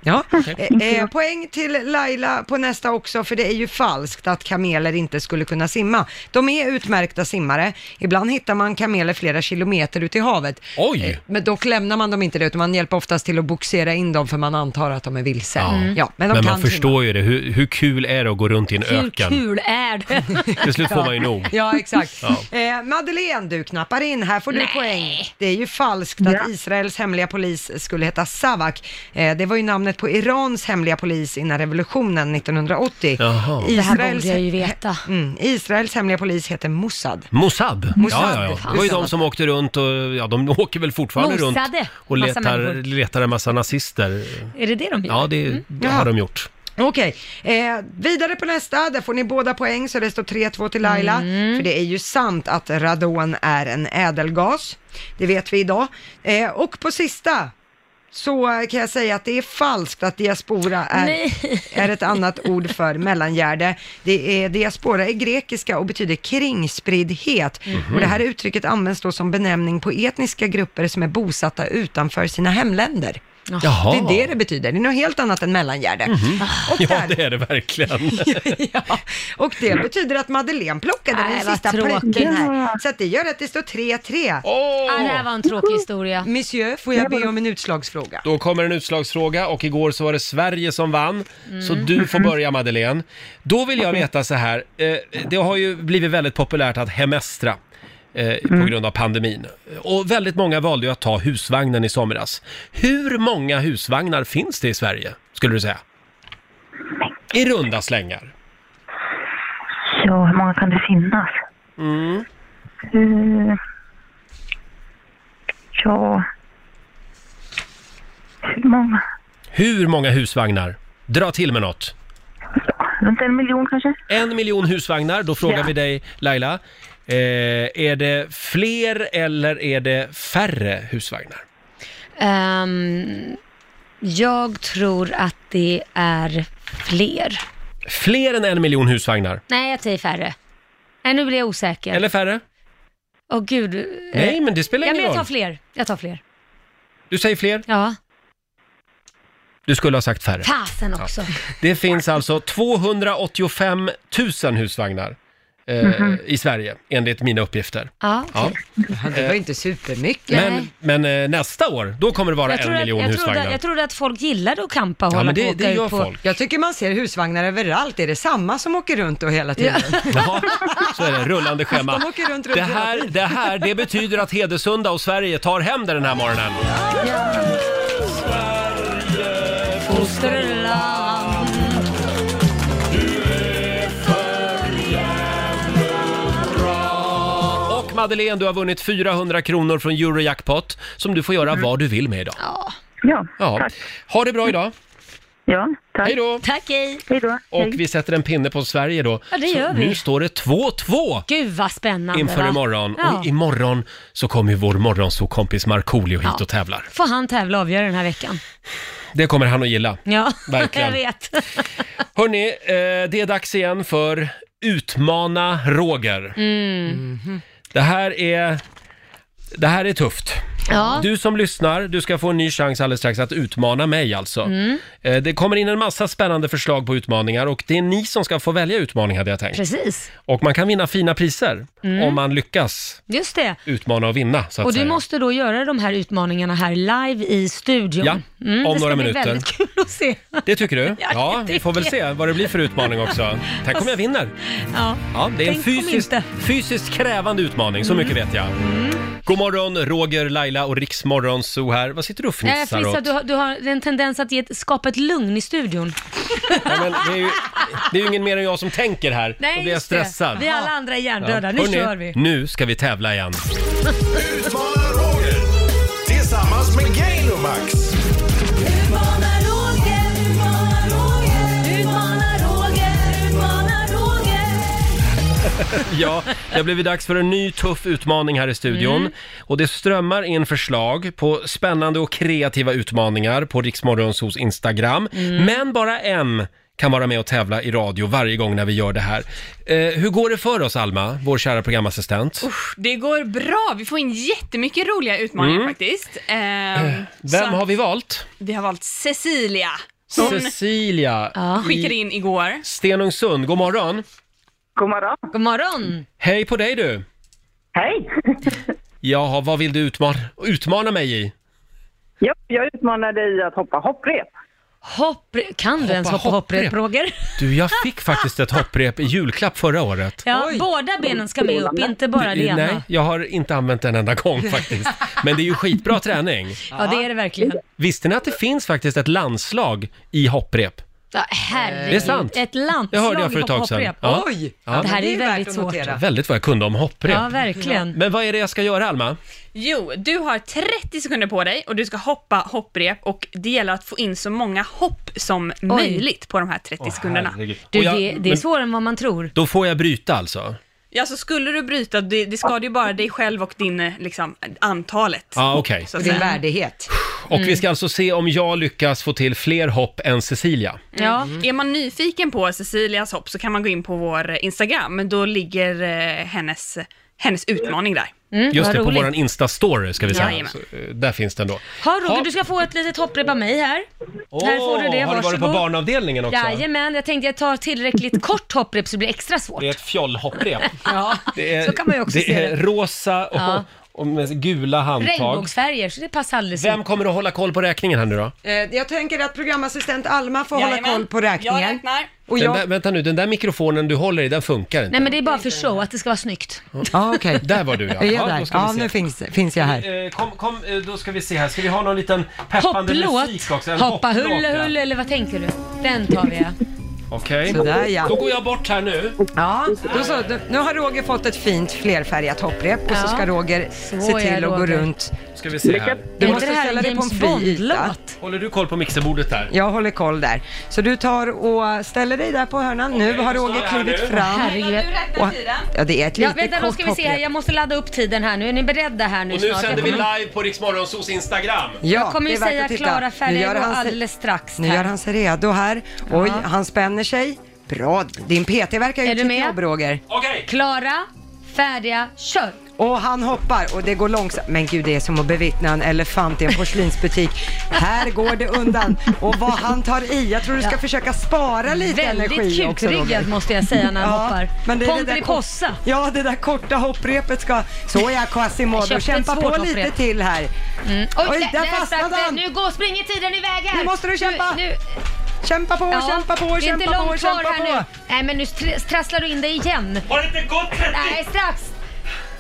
Speaker 2: Ja. Eh, eh, poäng till Laila på nästa också, för det är ju falskt att kameler inte skulle kunna simma. De är utmärkta simmare. Ibland hittar man kameler flera kilometer ute i havet. Eh,
Speaker 1: Oj!
Speaker 2: men dock lämnar man dem inte det, utan man hjälper oftast till att boxera in dem, för man antar att de är vilse. Mm. Ja. men de
Speaker 1: Men
Speaker 2: kan
Speaker 1: man
Speaker 2: simma.
Speaker 1: förstår ju det, hur, hur kul är det att gå runt i en
Speaker 2: Hur
Speaker 1: öken?
Speaker 4: Kul är det?
Speaker 1: Till slut får man ju nog.
Speaker 2: Ja, exakt.
Speaker 1: Ja.
Speaker 2: Eh, Madeleine, du knappar in. Här får du poäng. Det är ju falskt att Israels hemliga polis skulle heta Savak. Eh, det var ju namnet på Irans hemliga polis innan revolutionen 1980.
Speaker 1: Jaha.
Speaker 4: Det här borde jag ju veta.
Speaker 2: Mm, Israels hemliga polis heter Mossad.
Speaker 1: Mossad.
Speaker 2: Mossad,
Speaker 1: ja, ja, ja.
Speaker 2: fan.
Speaker 1: Det var ju de som åkte runt och, ja de åker väl fortfarande
Speaker 4: Mosade.
Speaker 1: runt och
Speaker 4: Massa
Speaker 1: letar,
Speaker 4: människor.
Speaker 1: letar en massa nazister.
Speaker 4: Är det det de gör?
Speaker 1: Ja, det, det har
Speaker 2: Jaha.
Speaker 1: de gjort.
Speaker 2: Okej, eh, vidare på nästa. Där får ni båda poäng så det står 3-2 till Laila. För det är ju sant att radon är en ädelgas. Det vet vi idag. Eh, och på sista så kan jag säga att det är falskt att diaspora är, är ett annat ord för mellangärde. Det är, diaspora är grekiska och betyder kringspriddhet.
Speaker 3: Mhm.
Speaker 2: Och det här uttrycket används då som benämning på etniska grupper som är bosatta utanför sina hemländer.
Speaker 1: Jaha.
Speaker 2: Det är det det betyder. Det är något helt annat än mellangärde.
Speaker 1: Mm-hmm. Ja, det är det verkligen.
Speaker 2: Och det betyder att Madeleine plockade
Speaker 4: Nej,
Speaker 2: den
Speaker 4: vad
Speaker 2: sista
Speaker 4: tråkigt.
Speaker 2: pricken här. Så att det gör att det står 3-3.
Speaker 4: Ah, det här var en tråkig historia.
Speaker 2: Monsieur, får jag be om en utslagsfråga?
Speaker 1: Då kommer en utslagsfråga och igår så var det Sverige som vann. Så
Speaker 4: Mm.
Speaker 1: du får börja Madeleine. Då vill jag veta så här, eh, det har ju blivit väldigt populärt att hemestra eh, på grund av pandemin. Och väldigt många valde ju att ta husvagnen i somras. Hur många husvagnar finns det i Sverige, skulle du säga? I runda slängar.
Speaker 18: Ja, hur många kan det finnas?
Speaker 1: Mm.
Speaker 18: Eh, ja... Hur många?
Speaker 1: Hur många husvagnar? Dra till med något.
Speaker 18: Runt en miljon kanske?
Speaker 1: En miljon husvagnar, då frågar
Speaker 18: Ja.
Speaker 1: vi dig Laila. Eh, är det fler eller är det färre husvagnar?
Speaker 4: Ehm, jag tror att det är fler.
Speaker 1: Fler än en miljon husvagnar?
Speaker 4: Nej, jag säger färre. Nej, nu blir jag osäker.
Speaker 1: Eller färre?
Speaker 4: Åh gud.
Speaker 1: Nej, men det spelar
Speaker 4: ja,
Speaker 1: ingen
Speaker 4: men jag tar
Speaker 1: roll.
Speaker 4: fler. Jag tar fler.
Speaker 1: Du säger fler?
Speaker 4: Ja.
Speaker 1: Du skulle ha sagt färre.
Speaker 4: Fasen också.
Speaker 1: Det finns alltså 285 000 husvagnar eh,
Speaker 4: Mhm.
Speaker 1: i Sverige, enligt mina uppgifter.
Speaker 4: Ja.
Speaker 1: Ja. Eh,
Speaker 2: Det var inte supermycket.
Speaker 1: Men,
Speaker 4: Nej.
Speaker 1: men eh, nästa år, då kommer det vara
Speaker 4: Jag
Speaker 1: en
Speaker 4: trodde, att,
Speaker 1: miljon
Speaker 4: jag,
Speaker 1: husvagnar.
Speaker 4: trodde, jag trodde att folk gillade att campa och
Speaker 1: Ja,
Speaker 4: hålla
Speaker 1: men
Speaker 4: på
Speaker 1: det-
Speaker 4: och
Speaker 1: det
Speaker 4: åka
Speaker 1: gör
Speaker 4: ut på...
Speaker 1: folk.
Speaker 2: Jag tycker man ser husvagnar överallt. Är det samma som åker runt då hela tiden?
Speaker 1: Ja, så är det. Rullande schema.
Speaker 2: De åker runt, runt,
Speaker 1: det, här,
Speaker 2: runt.
Speaker 1: det här, det betyder att Hedesunda och Sverige tar hem det den här morgonen.
Speaker 4: Fosterland.
Speaker 1: Och Madeleine, du har vunnit 400 kronor från Eurojackpot som du får
Speaker 4: Mm.
Speaker 1: göra vad du vill med idag.
Speaker 18: Ja,
Speaker 1: Ja. Ha det bra idag.
Speaker 18: Ja, tack.
Speaker 1: Hej då!
Speaker 4: Tack, hej.
Speaker 18: Hej då.
Speaker 1: Och vi sätter en pinne på Sverige då.
Speaker 4: Ja, det
Speaker 1: Så
Speaker 4: gör vi.
Speaker 1: Nu står det 2-2
Speaker 4: Gud vad spännande.
Speaker 1: inför
Speaker 4: va?
Speaker 1: imorgon.
Speaker 4: Ja.
Speaker 1: Och imorgon så kommer ju vår morgonsåkompis Markoolio hit
Speaker 4: Ja.
Speaker 1: och tävlar.
Speaker 4: Får han tävla och avgöra den här veckan?
Speaker 1: Det kommer han att gilla.
Speaker 4: Ja,
Speaker 1: Verkligen.
Speaker 4: jag vet.
Speaker 1: Hörni, eh, det är dags igen för Utmana Roger.
Speaker 4: Mm.
Speaker 1: Det här är... Det här är tufft.
Speaker 4: Ja.
Speaker 1: Du som lyssnar, du ska få en ny chans alldeles strax att utmana mig alltså.
Speaker 4: Mm.
Speaker 1: Eh, Det kommer in en massa spännande förslag på utmaningar och det är ni som ska få välja utmaning hade jag tänkt.
Speaker 4: Precis.
Speaker 1: Och man kan vinna fina priser
Speaker 4: Mm.
Speaker 1: om man lyckas
Speaker 4: Just det.
Speaker 1: utmana och vinna så att
Speaker 4: Och du
Speaker 1: säga.
Speaker 4: måste då göra de här utmaningarna här live i studion. Mm,
Speaker 1: Ja, om
Speaker 4: det ska
Speaker 1: några
Speaker 4: bli
Speaker 1: minuter.
Speaker 4: väldigt kul att se.
Speaker 1: Det tycker du?
Speaker 4: Ja,
Speaker 1: Ja,
Speaker 4: det
Speaker 1: vi får väl
Speaker 4: tycker jag.
Speaker 1: se vad det blir för utmaning också. Tänk om jag vinner?
Speaker 4: Ja,
Speaker 1: Ja, det är en
Speaker 4: Tänk om
Speaker 1: fysiskt,
Speaker 4: inte. Mm.
Speaker 1: fysiskt krävande utmaning, så mycket vet jag. God morgon, Roger, Laila och Riksmorgon Zoo här. Vad sitter du och
Speaker 4: Nej,
Speaker 1: fnissar
Speaker 4: Eh, Frissa,
Speaker 1: åt?
Speaker 4: du har, du har en tendens att ge ett, skapa ett lugn i studion.
Speaker 1: Ja, men det, är ju, det är ju ingen mer än jag som tänker här. Då blir jag
Speaker 4: just det.
Speaker 1: stressad.
Speaker 4: Vi alla andra är hjärndöda. Nu
Speaker 1: Hörrni,
Speaker 4: kör vi.
Speaker 1: Nu ska vi tävla igen.
Speaker 3: Utmana Roger tillsammans med Gainomax.
Speaker 1: ja, det har blivit dags för en ny tuff utmaning här i studion.
Speaker 4: Mm.
Speaker 1: Och det strömmar in förslag på spännande och kreativa utmaningar på Riksmorgonsos Instagram.
Speaker 4: Mm.
Speaker 1: Men bara en kan vara med och tävla i radio varje gång när vi gör det här. Eh, hur går det för oss, Alma, vår kära programassistent?
Speaker 10: Det går bra. Vi får in jättemycket roliga utmaningar
Speaker 1: Mm. Eh,
Speaker 10: faktiskt. Ehm,
Speaker 1: Vem
Speaker 10: så-
Speaker 1: har vi valt?
Speaker 10: Vi har valt Cecilia. Hon
Speaker 1: Cecilia
Speaker 10: skickade
Speaker 1: i
Speaker 10: in igår.
Speaker 1: Stenungsund. God morgon!
Speaker 10: God morgon. God morgon.
Speaker 1: Hej på dig du!
Speaker 10: Hej.
Speaker 1: Jaha, vad vill du utmana, utmana mig i?
Speaker 7: Ja, jag utmanar dig att hoppa hopprep.
Speaker 4: Hopp... Kan du ens hoppa hopprep, Roger?
Speaker 1: Du, jag fick faktiskt ett hopprep i julklapp förra året.
Speaker 4: Ja, båda benen ska med upp, inte bara det
Speaker 1: Eh,
Speaker 4: ena.
Speaker 1: Nej, jag har inte använt den en enda gång faktiskt. Men det är ju skitbra träning.
Speaker 4: Ja, det är det verkligen.
Speaker 1: Visste ni att det finns faktiskt ett landslag i hopprep?
Speaker 4: Ja, herregud.
Speaker 1: Det är sant.
Speaker 4: Ett landslag
Speaker 1: Det hörde jag för ett tag sedan.
Speaker 4: hopprep.
Speaker 1: Ja.
Speaker 4: Oj!
Speaker 1: Ja.
Speaker 4: Det här är,
Speaker 1: Det
Speaker 4: ju
Speaker 1: är
Speaker 4: väldigt
Speaker 10: värt att
Speaker 4: svårt.
Speaker 10: notera.
Speaker 1: Väldigt vad jag kunde om hopprep.
Speaker 10: Ja, verkligen.
Speaker 1: Men vad är det jag ska göra, Alma?
Speaker 10: Jo, du har 30 sekunder på dig och du ska hoppa hopprep och det gäller att få in så många hopp som möjligt på de här 30 sekunderna.
Speaker 1: herregud.
Speaker 4: Du,
Speaker 1: Och jag-
Speaker 4: det, det är
Speaker 1: men-
Speaker 4: svårare än vad man tror.
Speaker 1: Då får jag bryta alltså?
Speaker 10: Ja, så skulle du bryta, det, det skadar ju bara dig själv och din, eh, liksom, antalet.
Speaker 1: Ja, Ah, okej.
Speaker 10: så att Och din säga.
Speaker 2: värdighet.
Speaker 1: Och
Speaker 4: Mm.
Speaker 1: vi ska alltså se om jag lyckas få till fler hopp än Cecilia.
Speaker 4: Mm,
Speaker 10: Ja, är man nyfiken på Cecilias hopp så kan man gå in på vår Instagram, men då ligger eh, hennes, hennes utmaning där.
Speaker 1: Just det, på våran Insta-story ska vi säga.
Speaker 10: Jajamän.
Speaker 1: Så, eh, där finns den då.
Speaker 4: Ha Roger, du ska få ett litet hopprep av mig här. här får du det,
Speaker 1: har du varit på barnavdelningen också?
Speaker 4: Jajamän, jag tänkte jag tar tillräckligt kort hopprep så det blir extra svårt.
Speaker 1: Det är ett fjollhopprep.
Speaker 4: Ja,
Speaker 1: Det är,
Speaker 4: så kan man ju också
Speaker 1: det
Speaker 4: se
Speaker 1: är
Speaker 4: det.
Speaker 1: rosa och,
Speaker 4: Ja.
Speaker 1: och med gula handtag.
Speaker 4: Regnbågsfärger, så det passar alldeles
Speaker 1: Vem kommer att hålla koll på räkningen här nu då?
Speaker 2: Eh, Jag tänker att programassistent Alma får hålla
Speaker 4: Jajamän.
Speaker 2: koll på räkningen.
Speaker 4: Jag räknar.
Speaker 2: Och
Speaker 1: Den
Speaker 2: jag...
Speaker 1: där, vänta nu, den där mikrofonen du håller i, den funkar inte.
Speaker 4: Nej men det är bara för show, att det ska vara snyggt.
Speaker 2: Ja, okej.
Speaker 1: Där var du ja.
Speaker 2: Är jag
Speaker 1: ja,
Speaker 2: där?
Speaker 1: då ska vi
Speaker 2: Ja,
Speaker 1: se.
Speaker 2: nu finns, finns jag här.
Speaker 1: Eh, Kom, kom, eh, då ska vi se här. Ska vi ha någon liten peppande
Speaker 4: Hopplåt,
Speaker 1: musik också? En
Speaker 4: hoppa
Speaker 1: hopplåt,
Speaker 4: hulle
Speaker 1: ja.
Speaker 4: hulle eller vad tänker du? Den tar vi ja.
Speaker 1: Okej.
Speaker 2: Sådär, ja.
Speaker 1: Då går jag bort här nu.
Speaker 2: Ja, då så, då- nu har Roger fått ett fint flerfärgat hopprep och
Speaker 4: Ja.
Speaker 2: så ska Roger
Speaker 4: Så
Speaker 2: se
Speaker 4: är
Speaker 2: till att gå
Speaker 4: Roger.
Speaker 2: runt.
Speaker 1: Ska vi se här.
Speaker 2: Du måste ställa dig på en fri yta.
Speaker 1: Håller du koll på mixerbordet där?
Speaker 2: Jag håller koll där. Så du tar och ställer dig där på hörnan. Nu har Roger klivit fram.
Speaker 4: Herregud.
Speaker 2: Och, ja, det är ett
Speaker 4: Ja,
Speaker 2: litet
Speaker 4: vänta, då
Speaker 2: kort
Speaker 4: ska vi se här.
Speaker 2: hopprep.
Speaker 4: Jag måste ladda upp tiden här nu. Är ni beredda här nu
Speaker 1: Och nu
Speaker 4: snart?
Speaker 1: sänder
Speaker 4: Jag
Speaker 1: vi
Speaker 4: kommer-
Speaker 1: live på Riksmorgonsos Instagram.
Speaker 2: Ja,
Speaker 4: jag
Speaker 2: det
Speaker 4: kommer ju
Speaker 2: är värt
Speaker 4: säga
Speaker 2: att titta.
Speaker 4: klara
Speaker 2: Nu
Speaker 4: färger
Speaker 2: gör han sig-
Speaker 4: alldeles strax.
Speaker 2: Nu
Speaker 4: här.
Speaker 2: gör han sig redo här. Oj,
Speaker 4: Ja.
Speaker 2: han spänner sig. Bra, din PT verkar
Speaker 4: Är
Speaker 2: ju
Speaker 4: du
Speaker 2: sitt
Speaker 4: med?
Speaker 2: jobb Roger.
Speaker 4: Klara, färdiga, kör!
Speaker 2: Och han hoppar och det går långsamt. Men gud, det är som att bevittna en elefant i en porslinsbutik. Här går det undan. Och vad han tar i. Jag tror du ska försöka spara lite
Speaker 4: Väldigt
Speaker 2: energi också
Speaker 4: kukryggad
Speaker 2: Roger.
Speaker 4: måste jag säga när han
Speaker 2: Ja,
Speaker 4: hoppar.
Speaker 2: men det är det där kort-
Speaker 4: Pomperipossa.
Speaker 2: Ja, det där korta hopprepet ska... Så ja,
Speaker 4: Jag köpte
Speaker 2: Quasimodo.
Speaker 4: ett
Speaker 2: Kämpa
Speaker 4: svårt
Speaker 2: på lite
Speaker 4: hopprep.
Speaker 2: till här.
Speaker 4: Mm. Oj,
Speaker 2: Oj,
Speaker 4: där,
Speaker 2: där
Speaker 4: där
Speaker 2: fastnade
Speaker 4: satt det.
Speaker 2: han.
Speaker 4: Nu går, springer tiden iväg här!
Speaker 2: Nu måste du kämpa.
Speaker 4: Nu, nu,
Speaker 2: Kämpa på,
Speaker 4: ja,
Speaker 2: kämpa på,
Speaker 4: Det är inte
Speaker 2: kämpa på,
Speaker 4: långt kvar
Speaker 2: kämpa
Speaker 4: här
Speaker 2: på.
Speaker 4: nu. Nej, men nu str- trasslar du in dig igen.
Speaker 1: Har det inte gått 30?
Speaker 4: Nej, strax.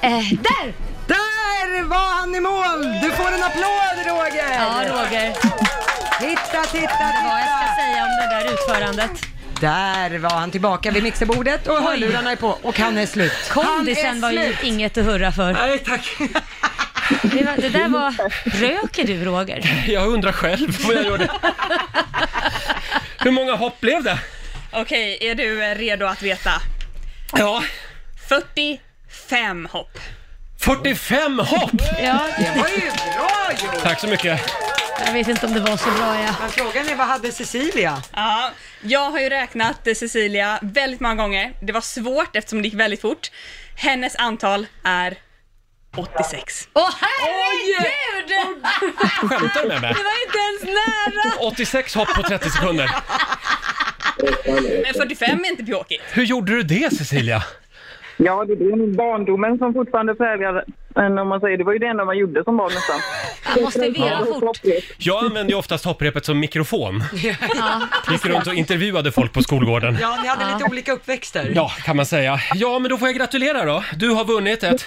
Speaker 4: Eh, där!
Speaker 2: Där var han i mål! Du får en applåd Roger!
Speaker 4: Ja, Roger.
Speaker 2: Titta, titta,
Speaker 4: Det var
Speaker 2: titta!
Speaker 4: jag ska säga om det där utförandet.
Speaker 2: Där var han tillbaka vid mixerbordet och
Speaker 4: Oj.
Speaker 2: hörlurarna är på och han är slut.
Speaker 4: Kondisen var ju inget att hurra för.
Speaker 1: Nej, tack.
Speaker 4: Det, var, det där var... Röker du, Roger?
Speaker 1: Jag undrar själv om jag gör det. Hur många hopp blev det?
Speaker 10: Okej, är du eh, redo att veta?
Speaker 1: Ja.
Speaker 10: 45 hopp.
Speaker 1: 45 hopp!
Speaker 4: Ja,
Speaker 2: Det var ju bra gjort!
Speaker 1: Tack så mycket.
Speaker 4: Jag vet inte om det var så bra, ja.
Speaker 2: Men frågan är vad hade Cecilia?
Speaker 10: Ja, jag har ju räknat eh, Cecilia väldigt många gånger. Det var svårt eftersom det gick väldigt fort. Hennes antal är 86.
Speaker 4: Åh herregud!
Speaker 1: Skämtar du med mig?
Speaker 4: Det var inte ens nära!
Speaker 1: 86 hopp på 30 sekunder.
Speaker 10: Men 45 är inte pjåkigt.
Speaker 1: Hur gjorde du det Cecilia?
Speaker 7: Ja, det är nog barndomen som fortfarande präglar en, om man säger. Det var ju det enda man gjorde som barn nästan.
Speaker 4: Han måste veva fort.
Speaker 1: Jag använde ju oftast hopprepet som mikrofon.
Speaker 4: Ja.
Speaker 1: Gick runt och intervjuade folk på skolgården.
Speaker 2: Ja, ni hade lite olika uppväxter.
Speaker 1: Ja, kan man säga. Ja, men då får jag gratulera då. Du har vunnit ett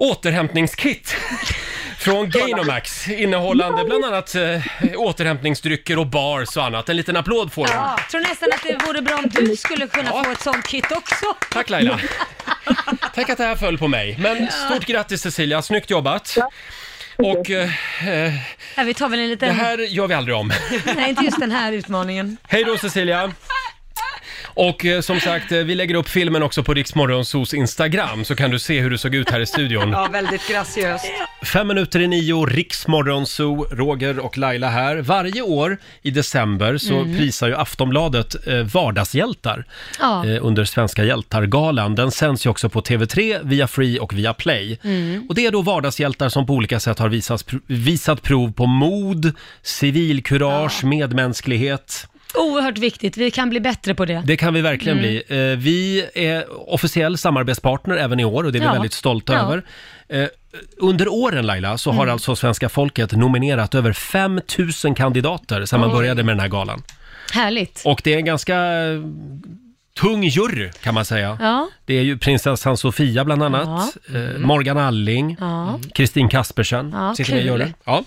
Speaker 1: återhämtningskit från Gainomax innehållande bland annat eh, återhämtningsdrycker och bars och annat. En liten applåd får du.
Speaker 4: Ja, jag tror nästan att det vore bra om du skulle kunna få ett sånt kit också.
Speaker 1: Tack Laila. Tänk att det här föll på mig. Men stort grattis Cecilia, snyggt jobbat. Och eh, eh,
Speaker 4: Ja, vi tar väl en
Speaker 1: det
Speaker 4: liten...
Speaker 1: här gör vi aldrig om.
Speaker 4: Nej, inte just den här utmaningen.
Speaker 1: Hej då Cecilia! Och eh, som sagt, eh, vi lägger upp filmen också på Riksmorgonsos Instagram så kan du se hur du såg ut här i studion.
Speaker 2: Ja, väldigt graciöst.
Speaker 1: Fem minuter i nio, Riksmorgonso, Roger och Laila här. Varje år i december så
Speaker 4: Mm.
Speaker 1: prisar ju Aftonbladet eh, vardagshjältar
Speaker 4: Ja.
Speaker 1: eh, under Svenska hjältar-galan. Den sänds ju också på TV3, via Free och via Play.
Speaker 4: Mm.
Speaker 1: Och det är då vardagshjältar som på olika sätt har visats, visat prov på mod, civilkurage, medmänsklighet.
Speaker 4: Oerhört viktigt, vi kan bli bättre på det.
Speaker 1: Det kan vi verkligen
Speaker 4: Mm.
Speaker 1: bli. Eh, Vi är officiell samarbetspartner även i år och det är
Speaker 4: Ja.
Speaker 1: vi väldigt stolta
Speaker 4: Ja.
Speaker 1: över. Eh, Under åren Laila så har
Speaker 4: Mm.
Speaker 1: alltså svenska folket nominerat över 5 000 kandidater sedan man
Speaker 4: Oj.
Speaker 1: började med den här galan.
Speaker 4: Härligt.
Speaker 1: Och det är en ganska eh, tung jury kan man säga.
Speaker 4: Ja. Mm.
Speaker 1: Det är ju prinsessan Sofia bland annat, eh, Morgan Alling,
Speaker 4: Ja.
Speaker 1: Kristin Kaspersen
Speaker 4: Ja,
Speaker 1: sitter med i
Speaker 4: kul.
Speaker 1: juryn. Ja.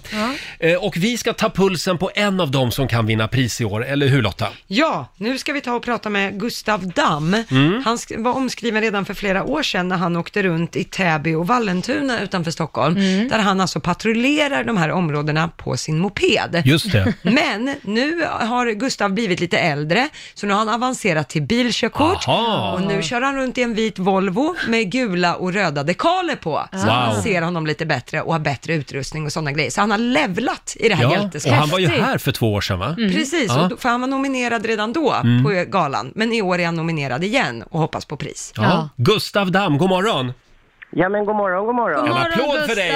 Speaker 4: Ja.
Speaker 1: Eh, Och vi ska ta pulsen på en av dem som kan vinna pris i år, eller hur Lotta?
Speaker 2: Ja, nu ska vi ta och prata med Gustav Damm.
Speaker 1: Mm.
Speaker 2: Han sk- var omskriven redan för flera år sedan när han åkte runt i Täby och Vallentuna utanför Stockholm, där han alltså patrullerar de här områdena på sin moped.
Speaker 1: Just det.
Speaker 2: Men nu har Gustav blivit lite äldre, så nu har han avancerat till bilkörkort
Speaker 1: Aha.
Speaker 2: och nu kör han runt i en vit Volvo med gula och röda dekaler på. Så
Speaker 1: Wow.
Speaker 2: man ser honom lite bättre och har bättre utrustning och sådana grejer. Så han har levlat i det här hjälteskapet.
Speaker 1: och han var ju här för två år sedan va?
Speaker 4: Mm.
Speaker 2: Precis,
Speaker 1: Ja.
Speaker 2: och då- för han var nominerad redan då
Speaker 1: Mm.
Speaker 2: på galan, men i år är han nominerad igen och hoppas på pris.
Speaker 1: Ja. Gustav Damm, god morgon!
Speaker 19: Ja, men god morgon, god morgon.
Speaker 1: God En morgon, applåd för dig.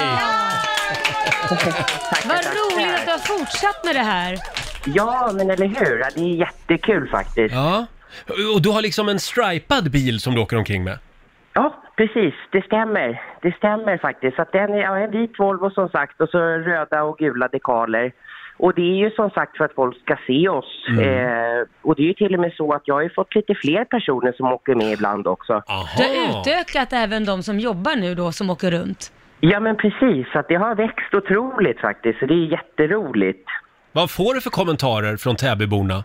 Speaker 4: Vad roligt att du har fortsatt med det här.
Speaker 19: Ja, men eller hur? Ja, Det är jättekul faktiskt.
Speaker 1: Ja. Och du har liksom en stripad bil som du åker omkring med?
Speaker 19: Ja, precis. Det stämmer. Det stämmer faktiskt. Så att den är ja, en vit Volvo som sagt och så röda och gula dekaler. Och det är ju som sagt för att folk ska se oss.
Speaker 14: Mm.
Speaker 19: Eh, och det är ju till och med så att jag har ju fått lite fler personer som åker med ibland också.
Speaker 4: Du har utökat även de som jobbar nu då, som åker runt.
Speaker 19: Ja men precis, så att det har växt otroligt faktiskt. Så det är jätteroligt.
Speaker 1: Vad får du för kommentarer från Täbyborna?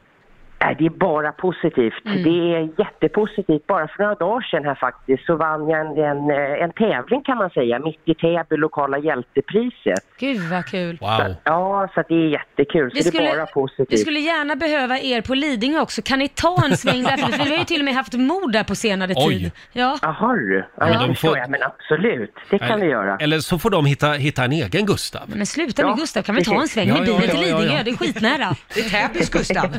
Speaker 19: Nej, det är bara positivt. Det är jättepositivt. Bara för några dagar sedan här faktiskt så vann jag en, en, eh, en tävling kan man säga, mitt i Täby lokala hjältepriset.
Speaker 4: Gud vad kul.
Speaker 19: Så, att- ja, så att det är jättekul. Så
Speaker 4: Vi
Speaker 19: det
Speaker 4: skulle-
Speaker 19: är bara positivt.
Speaker 4: Vi skulle gärna behöva er på Lidingö också. Kan ni ta en sväng där? För vi har ju till och med haft mord där på senare
Speaker 1: Oj.
Speaker 4: tid. Ja.
Speaker 19: Jaha du. Ja,
Speaker 1: men
Speaker 19: men
Speaker 1: de
Speaker 19: de
Speaker 1: får-
Speaker 19: jag, men absolut. Det kan vi göra.
Speaker 1: Eller så får de hitta, hitta en egen Gustav.
Speaker 4: Men sluta nu
Speaker 19: Ja,
Speaker 4: Gustav, kan vi ta en
Speaker 19: precis.
Speaker 4: sväng
Speaker 1: Ja,
Speaker 4: med bilen
Speaker 1: ja,
Speaker 4: till
Speaker 1: ja, ja,
Speaker 4: Lidingö?
Speaker 1: ja.
Speaker 4: Det är skitnära.
Speaker 2: Det är Täbys Gustav.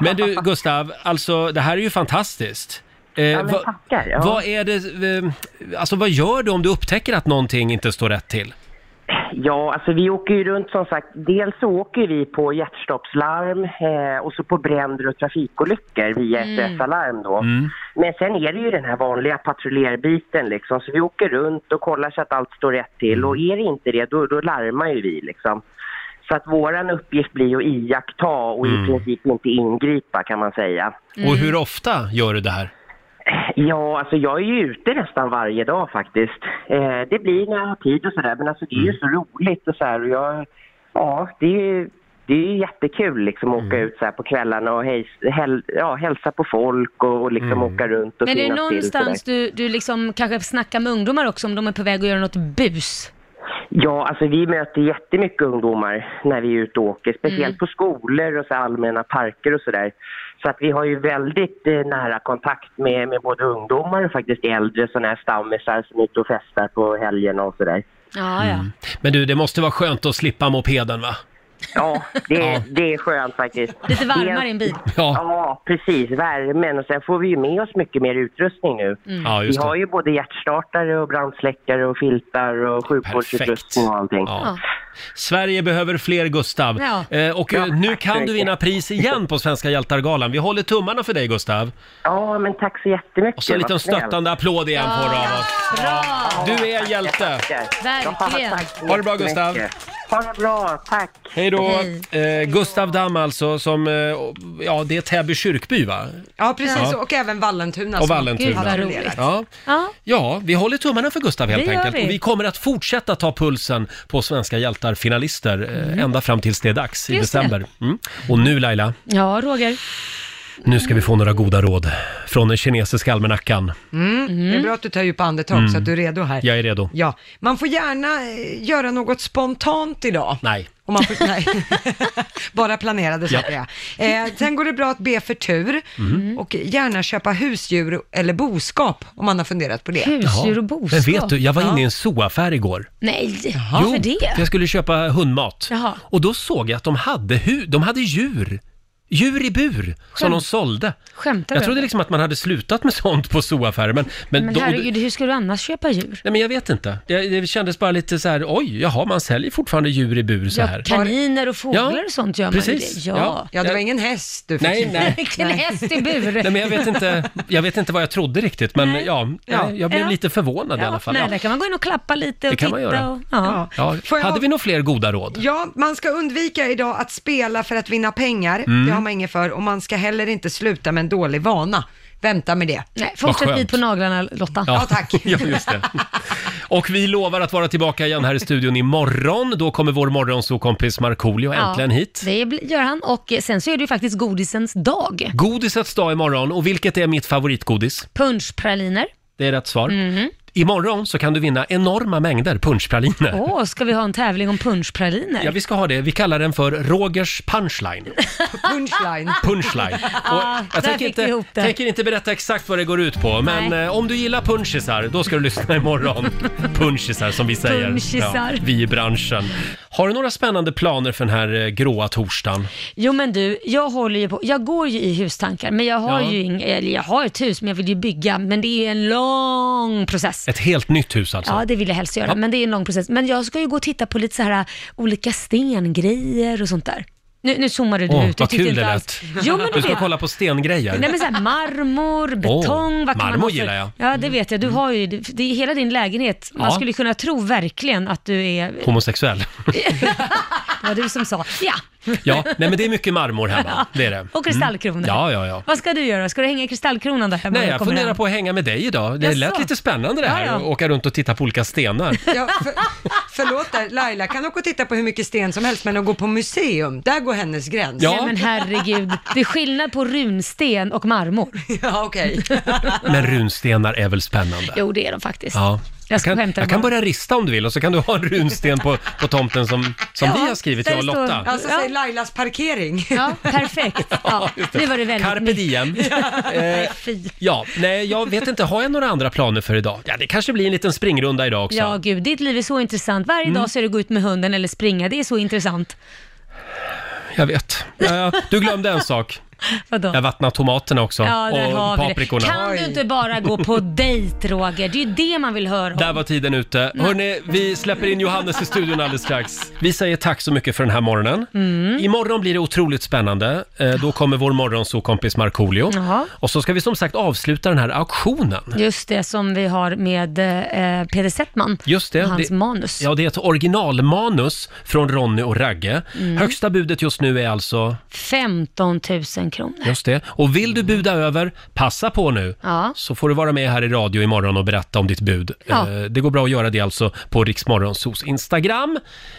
Speaker 1: Men du Gustav, alltså det här är ju fantastiskt. Eh,
Speaker 19: Ja, men
Speaker 1: vad-
Speaker 19: tackar, ja.
Speaker 1: Vad är det, eh, alltså vad gör du om du upptäcker att någonting inte står rätt till?
Speaker 19: Ja, alltså vi åker ju runt som sagt. Dels så åker vi på hjärtstoppslarm eh, och så på bränder och trafikolyckor via
Speaker 14: Mm.
Speaker 19: SOS Alarm då. Men sen är det ju den här vanliga patrullerbiten liksom. Så vi åker runt och kollar så att allt står rätt till och är det inte det då, då larmar ju vi liksom. Så att våran uppgift blir att iaktta och i princip inte ingripa kan man säga.
Speaker 4: Mm.
Speaker 1: Och hur ofta gör du det här?
Speaker 19: Ja, alltså jag är ju ute nästan varje dag faktiskt. Eh, det blir när jag har tid och sådär, men alltså det är ju så roligt och så här. Och jag, ja, det är ju det är ju jättekul liksom att åka ut så här på kvällarna och hejs, häl, ja, hälsa på folk och, och liksom åka runt och
Speaker 4: Men är det
Speaker 19: finnas till och sådär.
Speaker 4: någonstans du, du liksom kanske snackar med ungdomar också om de är på väg att göra något bus?
Speaker 19: Ja, alltså vi möter jättemycket ungdomar när vi är ute och åker, speciellt
Speaker 4: Mm.
Speaker 19: på skolor och så här allmänna parker och sådär. Så att vi har ju väldigt eh, nära kontakt med, med både ungdomar och faktiskt äldre sådana här stammisar som är ute och festar på helgerna och sådär.
Speaker 4: Ja, ja.
Speaker 1: Mm. Men du, det måste vara skönt att slippa mopeden va?
Speaker 19: Ja, det, det är skönt faktiskt.
Speaker 4: Lite varmare
Speaker 19: Det-
Speaker 4: i en bil.
Speaker 1: Ja.
Speaker 19: precis. Värmen. Och sen får vi ju med oss mycket mer utrustning nu.
Speaker 1: Mm. Ja, just
Speaker 19: vi har
Speaker 1: det.
Speaker 19: ju både hjärtstartare och brandsläckare och filtar och sjukvårdsutrustning och allting.
Speaker 1: Ja. Sverige behöver fler Gustav.
Speaker 19: Ja.
Speaker 1: Eh, och eh,
Speaker 19: Ja,
Speaker 1: nu
Speaker 19: tack så
Speaker 1: kan du
Speaker 19: mycket.
Speaker 1: vinna pris igen på Svenska hjältar-galan. Vi håller tummarna för dig Gustav.
Speaker 19: Ja, men tack så jättemycket.
Speaker 1: Och så en liten
Speaker 19: Vad snällt.
Speaker 1: stöttande applåd igen får du av oss.
Speaker 4: Bra!
Speaker 1: Du är en hjälte.
Speaker 4: Verkligen.
Speaker 1: Ha det bra Gustav.
Speaker 19: Ha det bra, tack.
Speaker 1: Hej då.
Speaker 4: Hej.
Speaker 1: Eh, Gustav Damm alltså som, eh, ja det är Täby kyrkby va?
Speaker 2: Ja, precis.
Speaker 1: Ja.
Speaker 2: Och även Vallentuna.
Speaker 4: Alltså,
Speaker 1: Och
Speaker 2: som
Speaker 1: Vallentuna.
Speaker 2: patrullerar.
Speaker 1: Ja.
Speaker 4: Ja.
Speaker 1: ja, vi håller tummarna för Gustav helt
Speaker 2: Det gör
Speaker 1: enkelt.
Speaker 2: vi.
Speaker 1: Och vi kommer att fortsätta ta pulsen på svenska hjältar-finalister eh, ända fram tills det är dags i
Speaker 4: Mm. Just det.
Speaker 1: december. Mm. Och nu Laila,
Speaker 4: Ja, Roger.
Speaker 1: nu ska vi få några goda råd från den kinesiska almanackan.
Speaker 2: Mm. Det är bra att du tar djupa andetag
Speaker 1: Mm.
Speaker 2: så att du är redo här.
Speaker 1: Jag är redo.
Speaker 2: Ja, man får gärna eh, göra något spontant idag.
Speaker 1: Nej.
Speaker 2: Om man för... Nej. Bara planerade
Speaker 3: Ja.
Speaker 2: saker, ja. Eh, sen går det bra att be för tur
Speaker 3: Mm.
Speaker 2: och gärna köpa husdjur eller boskap om man har funderat på det.
Speaker 4: Husdjur och
Speaker 1: Men vet du, jag var inne i en zooaffär igår.
Speaker 4: Nej,
Speaker 1: jo,
Speaker 4: varför det?
Speaker 1: Jag skulle köpa hundmat.
Speaker 4: Jaha.
Speaker 1: Och då såg jag att de hade, hu- de hade djur. Djur i bur som
Speaker 4: Skämt-
Speaker 1: de sålde.
Speaker 4: Skämtar
Speaker 1: Jag
Speaker 4: du?
Speaker 1: trodde liksom att man hade slutat med sånt på zooaffärer. Men, men,
Speaker 4: Men
Speaker 1: då,
Speaker 4: herregud, hur ska du annars köpa djur?
Speaker 1: Nej men jag vet inte. Det, det kändes bara lite så här, oj, jaha, man säljer fortfarande djur i bur så här.
Speaker 4: Ja, kaniner och fåglar
Speaker 1: Ja,
Speaker 4: och sånt gör
Speaker 1: precis.
Speaker 4: man ju det.
Speaker 1: Ja.
Speaker 4: Ja.
Speaker 1: Ja, det var
Speaker 2: ingen häst du
Speaker 1: fick. Nej, nej.
Speaker 4: Vilken häst i bur.
Speaker 1: Nej, men jag, vet inte, jag vet inte vad jag trodde riktigt, men ja,
Speaker 4: Ja.
Speaker 1: jag blev
Speaker 4: Ja.
Speaker 1: lite förvånad i alla fall.
Speaker 4: Nej,
Speaker 1: Ja.
Speaker 4: där kan man gå in och klappa lite och
Speaker 1: Det kan
Speaker 4: titta
Speaker 1: man göra.
Speaker 4: och... Ja.
Speaker 1: Ja.
Speaker 2: Får jag-
Speaker 1: Hade vi några fler goda råd?
Speaker 2: Ja, man ska undvika idag att spela för att vinna pengar.
Speaker 1: Mm.
Speaker 2: Det har man inget för. Och man ska heller inte sluta med en dålig vana. Vänta med det.
Speaker 4: Nej,
Speaker 1: fortsätt skönt. bit på
Speaker 4: naglarna, Lotta.
Speaker 2: Ja, tack.
Speaker 1: ja, just det. Och vi lovar att vara tillbaka igen här i studion imorgon. Då kommer vår morgonsokompis Markoolio äntligen hit.
Speaker 4: Det bl- gör han och eh, sen så är det ju faktiskt godisens dag.
Speaker 1: Godisets dag imorgon och vilket är mitt favoritgodis?
Speaker 4: Punschpraliner.
Speaker 1: Det är rätt svar.
Speaker 2: Mm.
Speaker 4: Mhm.
Speaker 1: Imorgon så kan du vinna enorma mängder punschpraliner.
Speaker 4: Åh, ska vi ha en tävling om punschpraliner?
Speaker 1: Ja, vi ska ha det. Vi kallar den för Rogers punchline.
Speaker 2: Punchline.
Speaker 1: Punchline.
Speaker 4: Ah, där
Speaker 1: jag tänker
Speaker 4: fick vi
Speaker 1: inte,
Speaker 4: ihop det.
Speaker 1: tänker inte berätta exakt vad det går ut på, men
Speaker 4: Nej.
Speaker 1: eh, om du gillar punchisar, då ska du lyssna imorgon. punchisar som vi säger.
Speaker 4: Punchisar.
Speaker 1: vi i branschen. Har du några spännande planer för den här eh, gråa torsdagen?
Speaker 4: Jo men du, jag håller ju på, jag går ju i hustankar, men jag har
Speaker 1: Ja.
Speaker 4: ju ing, eller jag har ett hus, men jag vill ju bygga, men det är en lång process.
Speaker 1: Ett helt nytt hus alltså?
Speaker 4: Ja, det vill jag helst göra,
Speaker 1: Ja.
Speaker 4: men det är en lång process. Men jag ska ju gå och titta på lite så här äh, olika stengrejer och sånt där. Nu, nu zoomade du
Speaker 1: Åh,
Speaker 4: ut, jag
Speaker 1: vad
Speaker 4: tyckte
Speaker 1: kul
Speaker 4: inte
Speaker 1: det
Speaker 4: alls.
Speaker 1: lät.
Speaker 4: Jo, men du
Speaker 1: du ska
Speaker 4: vet,
Speaker 1: kolla på stengrejer.
Speaker 4: Nej men så här, marmor, betong, vad kan
Speaker 1: Åh,
Speaker 4: man
Speaker 1: marmor
Speaker 4: ha för-
Speaker 1: gillar jag.
Speaker 4: Ja det vet jag, du har ju, det det är hela din lägenhet. Man
Speaker 1: Ja.
Speaker 4: skulle kunna tro verkligen att du är,
Speaker 1: Homosexuell.
Speaker 4: det var du som sa, ja.
Speaker 1: Ja, nej men det är mycket marmor hemma. Det är det.
Speaker 4: Och kristallkronor.
Speaker 1: Mm. Ja, ja, ja.
Speaker 4: Vad ska du göra? Ska du hänga kristallkronan där hemma? när
Speaker 1: Nej,
Speaker 4: du
Speaker 1: jag
Speaker 4: kommer
Speaker 1: funderar
Speaker 4: hem?
Speaker 1: på att hänga med dig idag. Det lät
Speaker 4: Jaså?
Speaker 1: lite spännande det här,
Speaker 2: Ja, ja.
Speaker 1: att åka runt och titta på olika stenar.
Speaker 2: Ja, för, förlåt där, Laila kan åka och titta på hur mycket sten som helst, men att gå på museum, där går hennes gräns.
Speaker 4: Nej men herregud, det är skillnad på runsten och marmor.
Speaker 2: Ja okej.
Speaker 1: Men runstenar är väl spännande?
Speaker 4: Jo det är de faktiskt.
Speaker 1: Ja.
Speaker 4: Jag ska
Speaker 1: kan,
Speaker 4: skämta
Speaker 1: jag kan
Speaker 4: bara.
Speaker 1: börja rista om du vill och så kan du ha en runsten på, på tomten som, som vi har skrivit, jag och Lotta.
Speaker 2: Ja,
Speaker 4: alltså,
Speaker 2: så säger Alltså, Lailas parkering.
Speaker 4: Ja, perfekt. Ja, nu var det väldigt
Speaker 1: Carpe diem. Eh, ja, nej, jag vet inte. Har jag några andra planer för idag? Ja, det kanske blir en liten springrunda idag också.
Speaker 4: Ja, gud, ditt liv är så intressant. Varje
Speaker 1: Mm.
Speaker 4: dag så är det att gå ut med hunden eller springa, det är så intressant.
Speaker 1: Jag vet. Eh, du glömde en sak.
Speaker 4: Vadå?
Speaker 1: Jag vattnar tomaterna också.
Speaker 4: Ja, där
Speaker 1: och
Speaker 4: har vi det.
Speaker 1: paprikorna.
Speaker 4: Kan du inte bara gå på dejt, Roger? Det är ju det man vill höra om.
Speaker 1: Där var tiden ute. Hörni, vi släpper in Johannes i studion alldeles strax. Vi säger tack så mycket för den här morgonen.
Speaker 4: Mm.
Speaker 1: Imorgon blir det otroligt spännande. Eh, Då kommer vår morgonsokompis Markoolio.
Speaker 4: Ja.
Speaker 1: Och så ska vi som sagt avsluta den här auktionen.
Speaker 4: Just det som vi har med eh, Peter Settman.
Speaker 1: Just det.
Speaker 4: Och hans
Speaker 1: det,
Speaker 4: manus.
Speaker 1: Ja, det är ett originalmanus från Ronny och Ragge.
Speaker 4: Mm.
Speaker 1: Högsta budet just nu är alltså,
Speaker 4: 15 000 kronor.
Speaker 1: just det. Och vill du buda över, passa på nu.
Speaker 4: Ja.
Speaker 1: Så får du vara med här i radio imorgon och berätta om ditt bud.
Speaker 4: Ja.
Speaker 1: Eh, Det går bra att göra det alltså på Riksmorgonsos Instagram.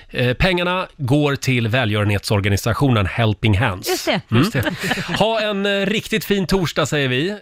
Speaker 1: Eh, Pengarna går till välgörenhetsorganisationen Helping Hands.
Speaker 4: Just det.
Speaker 1: Mm. Ha en eh, riktigt fin torsdag säger vi.